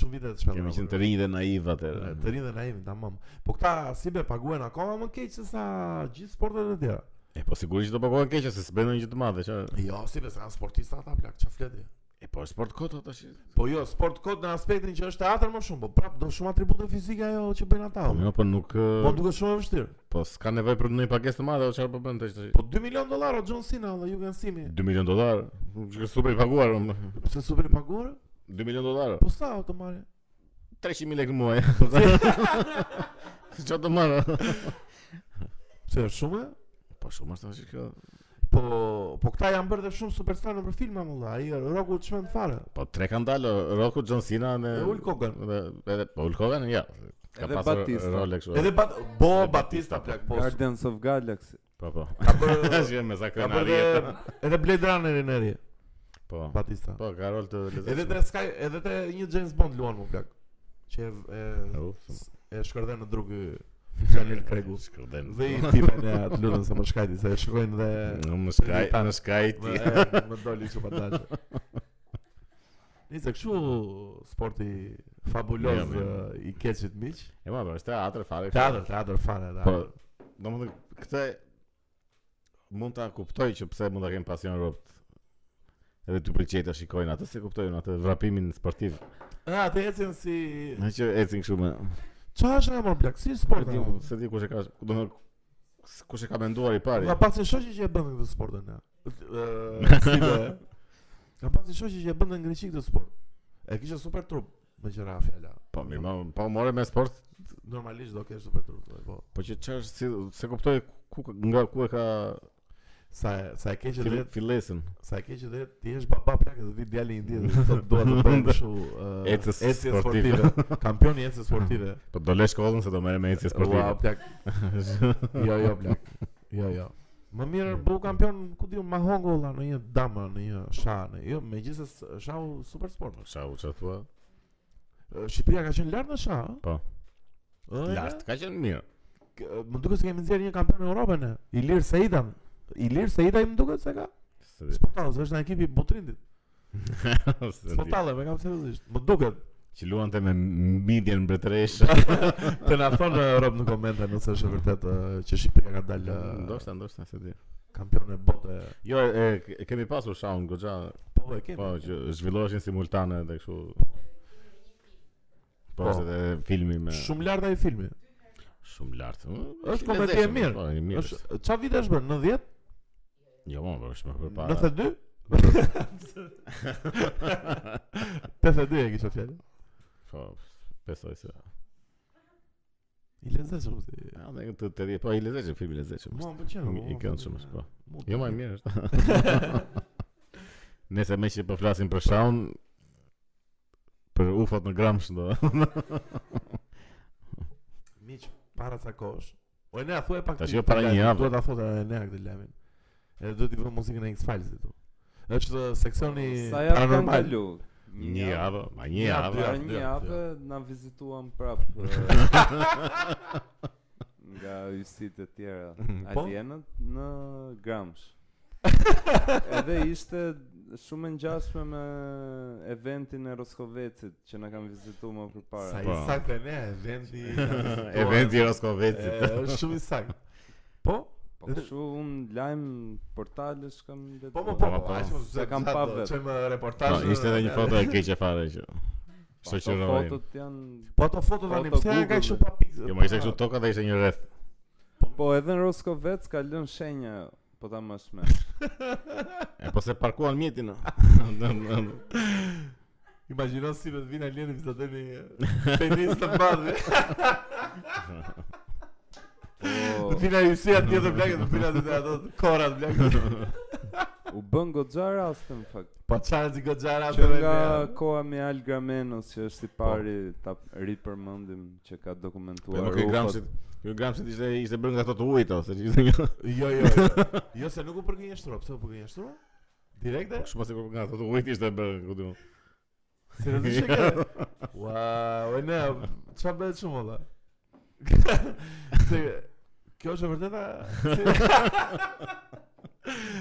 [SPEAKER 2] Shumë vite të shpëndon.
[SPEAKER 1] Po. Kemi qenë të rinj dhe naiv atëherë.
[SPEAKER 2] Të rinë dhe naiv, tamam. Po këta si be paguen akoma më keq se sa gjithë sportet e tjera.
[SPEAKER 1] E po sigurisht do pagohen keq se s'bën ndonjë gjë të madhe, çfarë?
[SPEAKER 2] Jo, si be se janë sportista ata plak, çfarë fleti?
[SPEAKER 1] E po është sport kot tash.
[SPEAKER 2] Po jo, sport kod në aspektin që është teatër më shumë, po prap do shumë atribute fizike ajo që bëjnë ata.
[SPEAKER 1] Po
[SPEAKER 2] o.
[SPEAKER 1] jo, po nuk
[SPEAKER 2] Po më
[SPEAKER 1] eh,
[SPEAKER 2] duket shumë e vështirë.
[SPEAKER 1] po s'ka nevojë për ndonjë pagesë të madhe, o çfarë po bën tash? tash?
[SPEAKER 2] Po 2 milion dollar o John Cena dhe Jürgen Simi.
[SPEAKER 1] 2 milion dollar. Që super i paguar. unë.
[SPEAKER 2] Pse super i paguar?
[SPEAKER 1] 2 milion dollar.
[SPEAKER 2] Po sa o të marrë?
[SPEAKER 1] 300 mijë lekë në muaj. Çfarë do marr?
[SPEAKER 2] Pse është shumë? e?
[SPEAKER 1] Po shumë është tash kjo.
[SPEAKER 2] Po, po këta janë bërë dhe shumë superstar nëpër filma më valla. Ai Roku çmend fare.
[SPEAKER 1] Po tre kanë dalë Roku John Cena dhe
[SPEAKER 2] Dhe Hulk Hogan.
[SPEAKER 1] Dhe edhe po Hulk Hogan ja. Ka
[SPEAKER 3] Edhe
[SPEAKER 1] pasur
[SPEAKER 3] Batista.
[SPEAKER 1] role kështu.
[SPEAKER 2] Edhe Bat Bo
[SPEAKER 1] Edhe Batista,
[SPEAKER 2] Batista
[SPEAKER 1] po.
[SPEAKER 2] plak po.
[SPEAKER 3] Guardians of Galaxy.
[SPEAKER 1] po po.
[SPEAKER 2] Ka bërë
[SPEAKER 1] Tash jam me
[SPEAKER 2] ka
[SPEAKER 1] zakën
[SPEAKER 2] bërë
[SPEAKER 1] arrijet.
[SPEAKER 2] dhe- edhe Blade Runnerin e ri
[SPEAKER 1] Po.
[SPEAKER 2] Batista.
[SPEAKER 1] Po ka rol të lezetshëm.
[SPEAKER 2] Edhe te Sky, edhe te një James Bond luan më plak. Që e e,
[SPEAKER 1] Au, shumë.
[SPEAKER 2] e shkërdhen në drug ky Daniel Craigu.
[SPEAKER 1] Shkërdhen.
[SPEAKER 2] Dhe i tipen e atë lutën se më shkajti se e shkojnë dhe
[SPEAKER 1] Në më skaj,
[SPEAKER 2] Tan.
[SPEAKER 1] në skaj
[SPEAKER 2] Më,
[SPEAKER 1] ti.
[SPEAKER 2] e, më doli që pa dashë Nice, kështu sporti fabuloz
[SPEAKER 1] Mirë, mirë.
[SPEAKER 2] e, i keqit miq.
[SPEAKER 1] E ma, po, është teatr fare. kështu.
[SPEAKER 2] Teatr, teatr fare,
[SPEAKER 1] Po,
[SPEAKER 2] teatr.
[SPEAKER 1] domethënë këtë mund ta kuptoj që pse mund ta kem pasion robt. Edhe ty pëlqej ta shikojnë atë se kuptojnë atë vrapimin sportiv.
[SPEAKER 2] Ah, të ecën si
[SPEAKER 1] Në që ecin kështu me.
[SPEAKER 2] Çfarë është ajo më plak? Si
[SPEAKER 1] Po
[SPEAKER 2] sport?
[SPEAKER 1] di,
[SPEAKER 2] ajo?
[SPEAKER 1] se di kush e ka, domethënë kush e ka menduar i pari.
[SPEAKER 2] Nga pasi shoqi që e bën këtë sportin ja. Ë, si be. Nga pasi shoqi që e bën në Greqi këtë sport. E kishte super trup me qira fjala.
[SPEAKER 1] Po mirë, ma, po more me sport,
[SPEAKER 2] Normalisht do kesh super trup, po.
[SPEAKER 1] po që çfarë si se kuptoj ku nga ku e ka
[SPEAKER 2] Sa e- sa e keq që
[SPEAKER 1] fill-
[SPEAKER 2] det,
[SPEAKER 1] fillesën.
[SPEAKER 2] sa e keq që det, ti je baba plak dhe vi djali një ditë dhe thotë dua të bëj kështu ë,
[SPEAKER 1] Ecës sportive.
[SPEAKER 2] Kampion i ecës sportive.
[SPEAKER 1] Po do lë shkollën se do merre me ecje sportive.
[SPEAKER 2] Ua, plak. Jo, jo, plak. Jo, jo. Më mirë bëu kampion, ku diu, ma hongo valla në një damë, në një shah, në jo, megjithëse s- shahu super sport.
[SPEAKER 1] Po shau çfarë thua?
[SPEAKER 2] Ë, Shqipëria ka qenë lart në shah? ë?
[SPEAKER 1] Po.
[SPEAKER 2] Ë,
[SPEAKER 1] Lart, ka qenë mirë.
[SPEAKER 2] k- Më duket se kemi nxjerrë një kampion në Europën ne. Ilir Seidan. Ilir Seidaj më duket se ka.
[SPEAKER 1] Se di.
[SPEAKER 2] Sportallës, është në ekipi i Butrindit. Po,
[SPEAKER 1] se di.
[SPEAKER 2] Sportallë, me kam seriozisht. Më duket.
[SPEAKER 1] Që luante me midjen mbretëresh.
[SPEAKER 2] Po, Të na thonë në Europë në komente nëse është e vërtet ë, që Shqipëria ka dalë ë,
[SPEAKER 1] Ndoshta, ndoshta se di.
[SPEAKER 2] kampion e bote.
[SPEAKER 1] Jo, e, e kemi pasur shaun goxha,
[SPEAKER 2] Po, e kemi.
[SPEAKER 1] po që zhvilloheshin simultane dhe kështu. Po,
[SPEAKER 2] Po.
[SPEAKER 1] është edhe filmi me
[SPEAKER 2] Shumë lart ai filmi.
[SPEAKER 1] shumë lart.
[SPEAKER 2] Është komedi e mirë.
[SPEAKER 1] Po, e mirë.
[SPEAKER 2] Është çfarë vite është bërë? 90?
[SPEAKER 1] Jo, mo, po, është më përpara.
[SPEAKER 2] 92? 82 e kisha fjalën.
[SPEAKER 1] Po, besoj se.
[SPEAKER 2] I po, lezesh mos.
[SPEAKER 1] Ja, ne të të di, po i lezetshëm filmi i lezetshëm.
[SPEAKER 2] Mua
[SPEAKER 1] është.
[SPEAKER 2] më pëlqen.
[SPEAKER 1] I- I këndshëm është, po. Jo, më mirë është. Nëse më që po flasim për shaun për ufot në Gramsh do.
[SPEAKER 2] Miq, para sa kohësh O Enea thuaj pak
[SPEAKER 1] Tash
[SPEAKER 2] ti
[SPEAKER 1] jo para
[SPEAKER 2] këtë
[SPEAKER 1] një
[SPEAKER 2] lajmin,
[SPEAKER 1] jave.
[SPEAKER 2] Duhet ta thotë Enea këtë lajmin. Edhe duhet i vëmë muzikën e X-Files këtu. Është seksioni
[SPEAKER 3] Sa javë kam
[SPEAKER 2] paranormal.
[SPEAKER 3] kalu?
[SPEAKER 1] Një javë, ma një
[SPEAKER 2] Një javë,
[SPEAKER 1] javë.
[SPEAKER 2] dy
[SPEAKER 3] Para
[SPEAKER 2] javë,
[SPEAKER 3] një
[SPEAKER 2] javë,
[SPEAKER 3] javë na vizituan prapë nga ysit e tjera
[SPEAKER 2] Po?
[SPEAKER 3] alienët në Gramsh. Edhe ishte shumë e ngjashme me eventin e Roskovecit që na kanë vizituar më
[SPEAKER 2] Sa
[SPEAKER 3] përpara.
[SPEAKER 2] i
[SPEAKER 1] Po.
[SPEAKER 2] saktë Enea eventi.
[SPEAKER 1] Eventi i
[SPEAKER 2] E,
[SPEAKER 1] Roskovecit.
[SPEAKER 2] Është shumë i saktë. Po,
[SPEAKER 3] Po kështu un lajm portalesh kam
[SPEAKER 2] po, po,
[SPEAKER 1] Po,
[SPEAKER 2] po.
[SPEAKER 1] po, po.
[SPEAKER 2] aq mos
[SPEAKER 3] Se kam
[SPEAKER 2] zezat,
[SPEAKER 3] pa
[SPEAKER 2] do
[SPEAKER 3] vetë.
[SPEAKER 2] Çojmë
[SPEAKER 1] Po,
[SPEAKER 2] reportazh.
[SPEAKER 1] ishte edhe një foto e keqe fare që.
[SPEAKER 3] Po, Ato
[SPEAKER 1] Shoqëroi.
[SPEAKER 3] Fotot janë
[SPEAKER 2] Po ato foto tani
[SPEAKER 3] Foto
[SPEAKER 2] pse janë ka
[SPEAKER 3] Google-e.
[SPEAKER 2] kështu pa pikë.
[SPEAKER 1] Jo, më ishte kështu toka dhe ishte një rreth.
[SPEAKER 3] Po edhe në Roskovec ka lënë shenja po ta mësh me.
[SPEAKER 1] E po se parkuan mjetin.
[SPEAKER 2] Imagjino si vetë vjen alieni vizatoni penis të madhe.
[SPEAKER 3] Po Oh.
[SPEAKER 2] Të vjen ai si atje të blakë, të vjen atë ato korat blakë.
[SPEAKER 3] u bën goxha rast në fakt.
[SPEAKER 2] Po çfarë di goxhara
[SPEAKER 3] Që nga koha me Al Gramenos që është i pari ta ripërmendim që ka
[SPEAKER 1] Po
[SPEAKER 3] dokumentuar.
[SPEAKER 1] nuk e
[SPEAKER 3] rufat.
[SPEAKER 1] gramshit. Ky gramshit Jo, ishte ishte bërë nga ato të ujit ose ishte një.
[SPEAKER 2] Jo, jo, jo. Jo se nuk u përgënjesh shtrua, pse u përgënjesh shtrua? Direkte?
[SPEAKER 1] Kështu pas kur nga ato të ujit ishte bërë, ku diun.
[SPEAKER 2] Se do të shkë. Ua, e ne, çfarë bëhet shumë valla. Se kjo është e vërteta.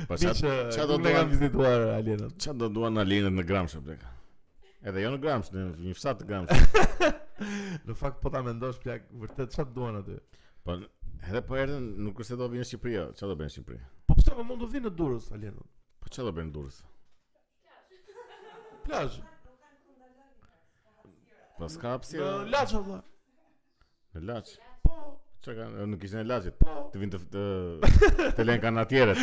[SPEAKER 1] Po
[SPEAKER 2] Miq,
[SPEAKER 1] çfarë
[SPEAKER 2] çfarë
[SPEAKER 1] do
[SPEAKER 2] do të
[SPEAKER 1] duan-
[SPEAKER 2] kanë vizituar alienët?
[SPEAKER 1] çfarë do duan alienët në gramsh blek. Edhe jo në gramsh, në një fshat të gramsh.
[SPEAKER 2] Në fakt po ta mendosh plak, vërtet çfarë duan aty?
[SPEAKER 1] Po edhe po erdhën, nuk është se do vinë në Shqipëri, o, çfarë do bëjnë në Shqipëri?
[SPEAKER 2] Po pse më mund të vinë në Durrës alienët?
[SPEAKER 1] Po çfarë do bëjnë në Durrës?
[SPEAKER 2] Plazh.
[SPEAKER 1] Po s'ka hapësirë.
[SPEAKER 2] Në Laç valla.
[SPEAKER 1] Në Laç.
[SPEAKER 2] Po,
[SPEAKER 1] Çka kanë, nuk ishin në Laçit.
[SPEAKER 2] po.
[SPEAKER 1] Të vinë të të, të lënë kanë atjerët.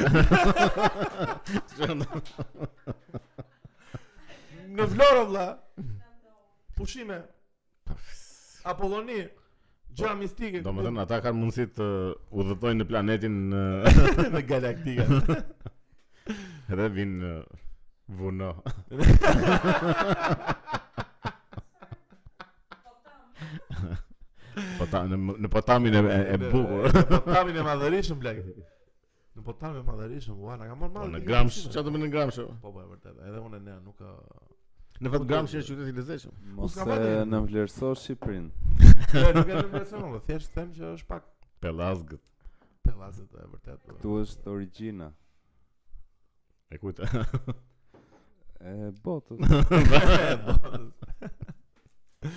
[SPEAKER 2] Në Vlorë valla. Pushime. Apolloni. Gjëra mistike.
[SPEAKER 1] Do më thënë, ata kanë mundësi të udhëtojnë në planetin ë,
[SPEAKER 2] në galaktika.
[SPEAKER 1] edhe vinë ë, vuno. Pota, Po në, në potamin e, e, e
[SPEAKER 2] Në-
[SPEAKER 1] bukur.
[SPEAKER 2] Në potamin e madhërishëm blek. Në potamin e madhërishëm, ua, na ka marrë
[SPEAKER 1] Po,
[SPEAKER 2] madhë.
[SPEAKER 1] në Gramsh, çfarë do bëjnë në Gramsh? o?
[SPEAKER 2] Po, po, e vërtet. Edhe unë e ne nuk ka
[SPEAKER 1] Në fakt Gramsh është qytet i lezetshëm.
[SPEAKER 2] Mos ka
[SPEAKER 3] Mose
[SPEAKER 2] vënë.
[SPEAKER 3] në vlerëso Shqipërinë.
[SPEAKER 2] Jo, nuk e kam impresion, po thjesht them që është pak
[SPEAKER 1] Pellazgët.
[SPEAKER 2] pellazët e vërtet. po.
[SPEAKER 3] Këtu është origjina
[SPEAKER 1] E kujtë.
[SPEAKER 3] e botës.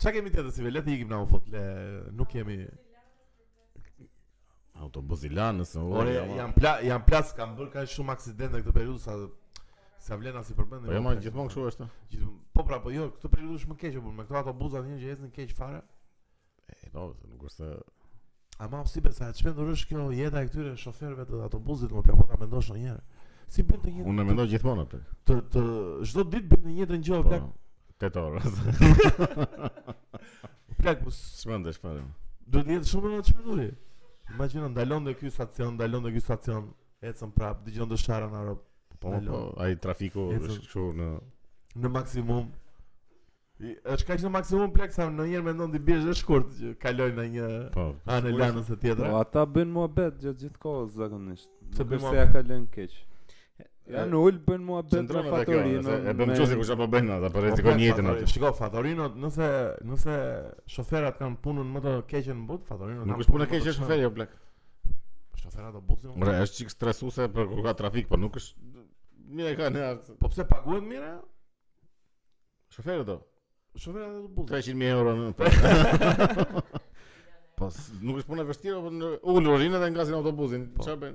[SPEAKER 2] Çka kemi tjetër si velet i ikim na u fut le nuk kemi
[SPEAKER 1] Autobus i lanës. o,
[SPEAKER 2] Ore
[SPEAKER 1] jama.
[SPEAKER 2] janë pla janë plas kanë bërë kaq shumë aksidente këtë periudhë sa sa vlen as i përmendim.
[SPEAKER 1] Po jo, ma gjithmonë kështu është.
[SPEAKER 2] Gjithmonë- Po pra, po jo, këtë periudhë është më keq e bën me këto autobuzat një që ecën keq fare.
[SPEAKER 1] E, po, nuk është se-
[SPEAKER 2] Ama si besa, çfarë ndrysh kjo jeta e këtyre shoferëve të autobusit, më plako ta mendosh ndonjëherë. Si bën të njëjtën?
[SPEAKER 1] Unë e mendoj gjithmonë atë.
[SPEAKER 2] të të çdo ditë bën të njëjtën gjë
[SPEAKER 1] Po.
[SPEAKER 2] plak.
[SPEAKER 1] Tetë orë.
[SPEAKER 2] Plak, po s-
[SPEAKER 1] Çmendesh fare.
[SPEAKER 2] duhet të jetë shumë më çmenduri. Imagjino ndalon dhe ky stacion, ndalon dhe ky stacion, ecën prap, dëgjon dëshara në Europë
[SPEAKER 1] Po, mo, po, ai trafiku
[SPEAKER 2] Ecën.
[SPEAKER 1] është kështu në
[SPEAKER 2] në maksimum. I- Është kaq në maksimum plak sa ndonjëherë mendon ti biesh është shkurt që kalojnë në një
[SPEAKER 1] po.
[SPEAKER 2] anë e lanës së
[SPEAKER 3] Po
[SPEAKER 2] tjetër.
[SPEAKER 3] ata bëjnë muhabet gjatë gjithë kohës zakonisht.
[SPEAKER 2] Se
[SPEAKER 3] Se
[SPEAKER 2] bëjnë
[SPEAKER 3] bëjnë se ja
[SPEAKER 2] muhabet.
[SPEAKER 3] ka lënë keq. Ja në ul bën muhabet me
[SPEAKER 1] Qendron edhe kjo.
[SPEAKER 3] fatorinën.
[SPEAKER 1] se E bëm
[SPEAKER 3] me-
[SPEAKER 1] çusi kush apo bën ata, po
[SPEAKER 2] Po,
[SPEAKER 1] rrezikon
[SPEAKER 2] plak,
[SPEAKER 1] jetën
[SPEAKER 2] Fatori-
[SPEAKER 1] aty.
[SPEAKER 2] Shiko, Fatorino, nëse nëse shoferat kanë punën më të keqen në botë, Fatorino
[SPEAKER 1] Nuk
[SPEAKER 2] kanë
[SPEAKER 1] është punë
[SPEAKER 2] punën më
[SPEAKER 1] keq
[SPEAKER 2] të
[SPEAKER 1] është
[SPEAKER 2] shënë.
[SPEAKER 1] shoferi o plak.
[SPEAKER 2] Shoferat do buzin.
[SPEAKER 1] Bre, është çik stresuese për kur ka trafik, po nuk është mira e ka në arsë.
[SPEAKER 2] Po pse paguhet mira?
[SPEAKER 1] Shoferi do.
[SPEAKER 2] Shoferat do buzin.
[SPEAKER 1] 300.000 euro në për. Po s- nuk është punë e vështirë, po në ulur urinë dhe ngasin autobusin.
[SPEAKER 2] Po.
[SPEAKER 1] Çfarë bën?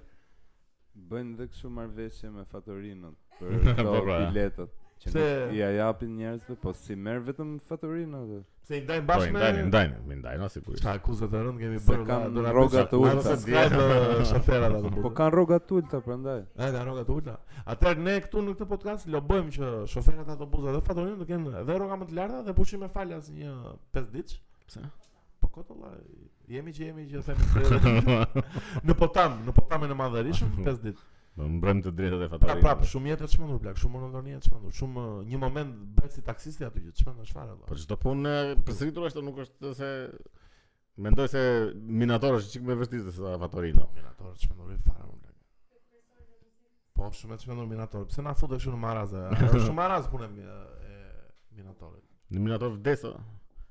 [SPEAKER 3] Bëjnë dhe kështu marrveshje me fatorinën për
[SPEAKER 1] Po,
[SPEAKER 3] këto
[SPEAKER 1] pra.
[SPEAKER 3] biletat. Që
[SPEAKER 2] Se-
[SPEAKER 3] nuk ja japin njerëzve, po si merr vetëm fatorinën atë.
[SPEAKER 2] Se i ndajnë
[SPEAKER 1] Po
[SPEAKER 2] bashkë
[SPEAKER 1] ndajnë,
[SPEAKER 2] me
[SPEAKER 1] ndajnë, mi ndajnë sigurisht.
[SPEAKER 2] Çfarë akuzat e rënd kemi
[SPEAKER 3] Se
[SPEAKER 2] bërë
[SPEAKER 3] kanë
[SPEAKER 2] do na
[SPEAKER 3] rroga të ulta.
[SPEAKER 2] shoferat ato
[SPEAKER 3] Po
[SPEAKER 2] buzin.
[SPEAKER 3] kanë rroga tulta prandaj.
[SPEAKER 2] A kanë rroga të ulta. Atëherë ne këtu në këtë podcast lobojmë që shoferat e autobusave dhe Fatorino do kenë dhe rroga më të larta dhe pushime falas një 5 ditë.
[SPEAKER 1] Pse?
[SPEAKER 2] Po koto valla, jemi që jemi që themi se- në Potam, në Potamën e Madhërisëm 5 ditë.
[SPEAKER 1] Do mbrëm të drejtat e
[SPEAKER 2] Pra
[SPEAKER 1] fatarit.
[SPEAKER 2] prap, shumë jetë të çmendur blak, shumë monotonia të çmendur, shumë uh, një moment Po, bëhet si taksisti aty që çmendesh fare valla.
[SPEAKER 1] Po çdo punë e përsëritur është nuk është se Mendoj se Minator është çik më vështirë se Avatorino.
[SPEAKER 2] Minator të shmendori fare më blek. Po, shumë të shmendor Minator. Pse na futet kështu në maraz? e? Ajo është shumë maraz punë e e Minatorit.
[SPEAKER 1] Në Minator vdes o,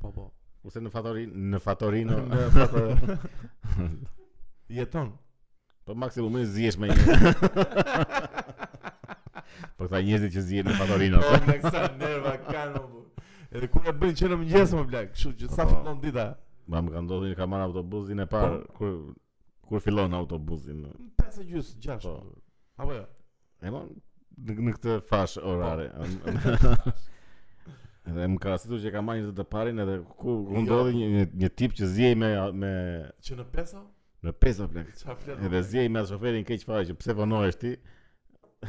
[SPEAKER 2] Po, po.
[SPEAKER 1] kurse në Fatorin, në Fatorino,
[SPEAKER 2] Në fatë. Jeton.
[SPEAKER 1] po maksimum e zihesh me një. Po këta njerëzit që zihen në Fatorino.
[SPEAKER 2] Po, me kësa nerva kanë më. Edhe kur e bëjnë që në mëngjes më blek, kështu që sa
[SPEAKER 1] Po.
[SPEAKER 2] fillon dita.
[SPEAKER 1] Ma më ka ndodhur një ka marrë autobusin e parë kur kur fillon autobusin.
[SPEAKER 2] 5 e gjys, 6.
[SPEAKER 1] Po.
[SPEAKER 2] Apo jo.
[SPEAKER 1] E mon në, në këtë fashë orare. Edhe më ka situr që e ka marrë një të parin edhe ku ku ndodhi një, një, një tip që zihej me me
[SPEAKER 2] Që në 5 o?
[SPEAKER 1] në pesë plak.
[SPEAKER 2] Çfarë flet?
[SPEAKER 1] Edhe zjej me atë shoferin keq fare që pse vonohesh ti.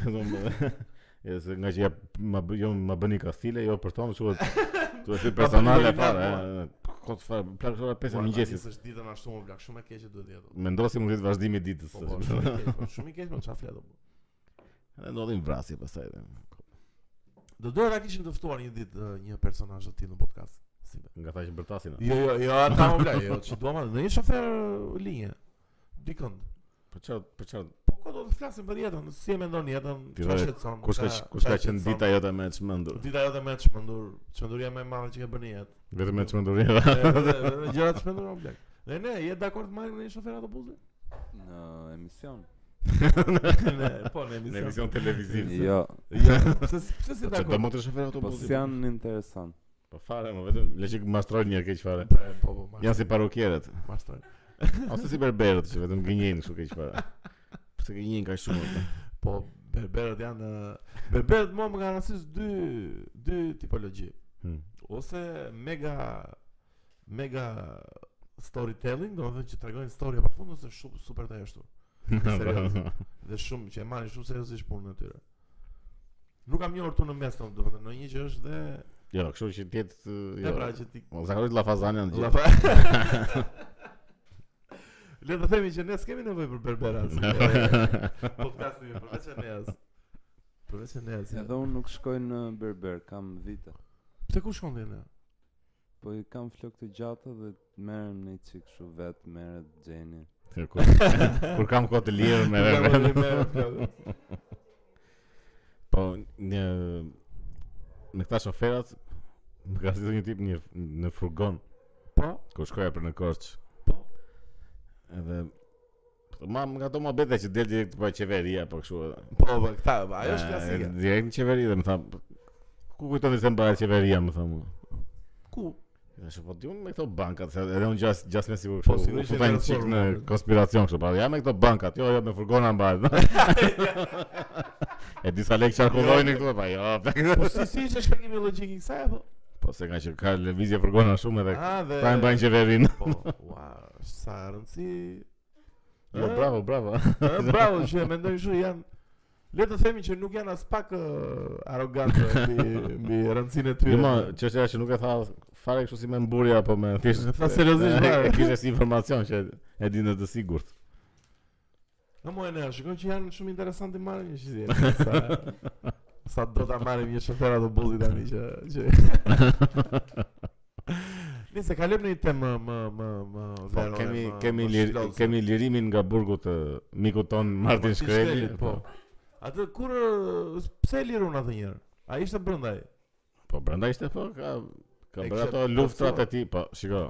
[SPEAKER 1] Domethënë Ja se nga që ja ma bë- jo ma bëni kastile, jo për tonë, shuhet Tu e thy personale
[SPEAKER 2] bëni
[SPEAKER 1] fare.
[SPEAKER 2] lart,
[SPEAKER 1] e, Kot fare, plak ora 5 e mëngjesit.
[SPEAKER 2] Është ditën ashtu më blek, shumë e keqe duhet jetë.
[SPEAKER 1] Mendosim këtë vazhdim i ditës.
[SPEAKER 2] Po, po, shumë i keq, po, shumë i keq, më çfarë flet? o, po.
[SPEAKER 1] Edhe ndodhin vrasje pastaj. dhe.
[SPEAKER 2] Do doja ta kishim të ftuar një ditë eh, një personazh të tillë në podcast. Si be.
[SPEAKER 1] Nga ta që bërtasin. a?
[SPEAKER 2] Jo, jo, jo, ata më blej, jo, që dua më, në një shofer eh, linje, dikënd.
[SPEAKER 1] Po çfarë, po çfarë
[SPEAKER 2] Po ko do të flasim për jetën, si e mendon jetën,
[SPEAKER 1] Ti
[SPEAKER 2] çfarë
[SPEAKER 1] dhe
[SPEAKER 2] shqetëson?
[SPEAKER 1] Kush ka
[SPEAKER 2] çfarë-
[SPEAKER 1] kush ka
[SPEAKER 2] çfarë
[SPEAKER 1] qenë
[SPEAKER 2] shqetëson?
[SPEAKER 1] dita jote më e çmendur?
[SPEAKER 2] Dita jote më e çmendur, çmenduria më e madhe që ke bërë në jetë.
[SPEAKER 1] Vetëm e çmenduria.
[SPEAKER 2] Edhe- edhe- edhe Gjëra të çmendura më blej. Dhe ne, je dakord të marrim në një shofer autobusi?
[SPEAKER 3] Në emision.
[SPEAKER 2] Ne, po, në
[SPEAKER 1] Në
[SPEAKER 2] emision.
[SPEAKER 1] emision televiziv.
[SPEAKER 3] Jo,
[SPEAKER 2] Jo, pse pse si
[SPEAKER 1] Po çfarë do
[SPEAKER 2] dakord?
[SPEAKER 1] motë shofer
[SPEAKER 3] po
[SPEAKER 1] autobusi?
[SPEAKER 3] s'janë interesant.
[SPEAKER 1] Po fare, më vetëm le që mashtrojnë një keq fare.
[SPEAKER 2] Po, po, po,
[SPEAKER 1] Janë si parokierët
[SPEAKER 2] mashtoj.
[SPEAKER 1] ose si berberët që vetëm gënjejnë kështu keq fare. Pse gënjejnë kaq shumë? ata?
[SPEAKER 2] Po, berberët janë eh, berberët mua më kanë rastis dy dy tipologji.
[SPEAKER 1] Hmm.
[SPEAKER 2] Ose mega mega storytelling, domethënë që tregojnë story pa fund ose shumë super të ashtu. Serioz. Dhe shumë që e marrin shumë seriozisht punën e tyre. Nuk kam njohur tu në mes tom, domethënë në një që është dhe
[SPEAKER 1] Jo, kështu që ti jetë
[SPEAKER 2] e
[SPEAKER 1] jo.
[SPEAKER 2] pra që ti
[SPEAKER 1] Mo zakonisht llafazania në gjithë.
[SPEAKER 2] Le të themi që ne s'kemi nevojë për berbera. se- Po flasim përveç e ne as. Përveç e ne as.
[SPEAKER 3] Edhe unë nuk shkoj në berber, kam vite.
[SPEAKER 2] Pse ku shkon ti ne?
[SPEAKER 3] Po i kam flok të gjata dhe merrem në një çik kështu vetë, merret gjeni.
[SPEAKER 1] Kur, kur kam kohë të lirë me berberët. Po, një me këta shoferat më ka sjellë një tip një në furgon.
[SPEAKER 2] Po,
[SPEAKER 1] Kur shkoja për në Korçë.
[SPEAKER 2] po.
[SPEAKER 1] Edhe po, ma nga ato mohabete që del direkt pa qeveria apo kështu. edhe.
[SPEAKER 2] Po, po, këta, ajo është
[SPEAKER 1] E,
[SPEAKER 2] klasike.
[SPEAKER 1] Direkt në qeveri dhe më tha ku kujton se mbahet qeveria më tha mua.
[SPEAKER 2] Ku?
[SPEAKER 1] Dhe po di unë me këto bankat, se edhe unë gjas gjas me sigur
[SPEAKER 2] Po,
[SPEAKER 1] kështu.
[SPEAKER 2] sigurisht
[SPEAKER 1] u
[SPEAKER 2] e
[SPEAKER 1] futa një
[SPEAKER 2] kanë
[SPEAKER 1] çik në
[SPEAKER 2] reformuar.
[SPEAKER 1] konspiracion kështu, pa ja me këto bankat, jo jo me furgona mbahet. e disa lek qarkullojnë këtu, pa jo.
[SPEAKER 2] Po si si ishte shpjegimi logjik i kësaj apo?
[SPEAKER 1] Po se nga që ka lëvizje furgona shumë edhe
[SPEAKER 2] Ah, dhe
[SPEAKER 1] ta pra e mbajnë qeverinë.
[SPEAKER 2] Po, ua, sa rëndësi.
[SPEAKER 1] Jo,
[SPEAKER 2] Eh,
[SPEAKER 1] bravo, bravo.
[SPEAKER 2] eh, Bravo që e mendoj kështu janë Le të themi që nuk janë as pak uh, arrogante mbi mbi rëndësinë e tyre.
[SPEAKER 1] Jo, ma, çështja është që nuk e tha fare kështu si me mburje apo me thjesht.
[SPEAKER 2] E tha seriozisht,
[SPEAKER 1] E-
[SPEAKER 2] fare.
[SPEAKER 1] e Kishte si informacion që e dinë të sigurt.
[SPEAKER 2] Në mojë në, shikon që janë shumë interesant të marrim një qizje Sa, sa do të marrim një shofer autobusi tani që... që... Nëse kalem në një temë më... më, më
[SPEAKER 1] Po
[SPEAKER 2] verore,
[SPEAKER 1] kemi
[SPEAKER 2] më-
[SPEAKER 1] kemi
[SPEAKER 2] më
[SPEAKER 1] lir,
[SPEAKER 2] shlodhse.
[SPEAKER 1] kemi lirimin nga burgu të mikut ton Martin
[SPEAKER 2] Martin
[SPEAKER 1] Shkreli.
[SPEAKER 2] Shkrelit, po. Atë kur... ë, Pse e lirun atë njerë? A ishte brëndaj?
[SPEAKER 1] Po brenda ishte po ka ka
[SPEAKER 2] E
[SPEAKER 1] bërë
[SPEAKER 2] kishte
[SPEAKER 1] ato luftrat
[SPEAKER 2] forcuar.
[SPEAKER 1] e tij, po shiko.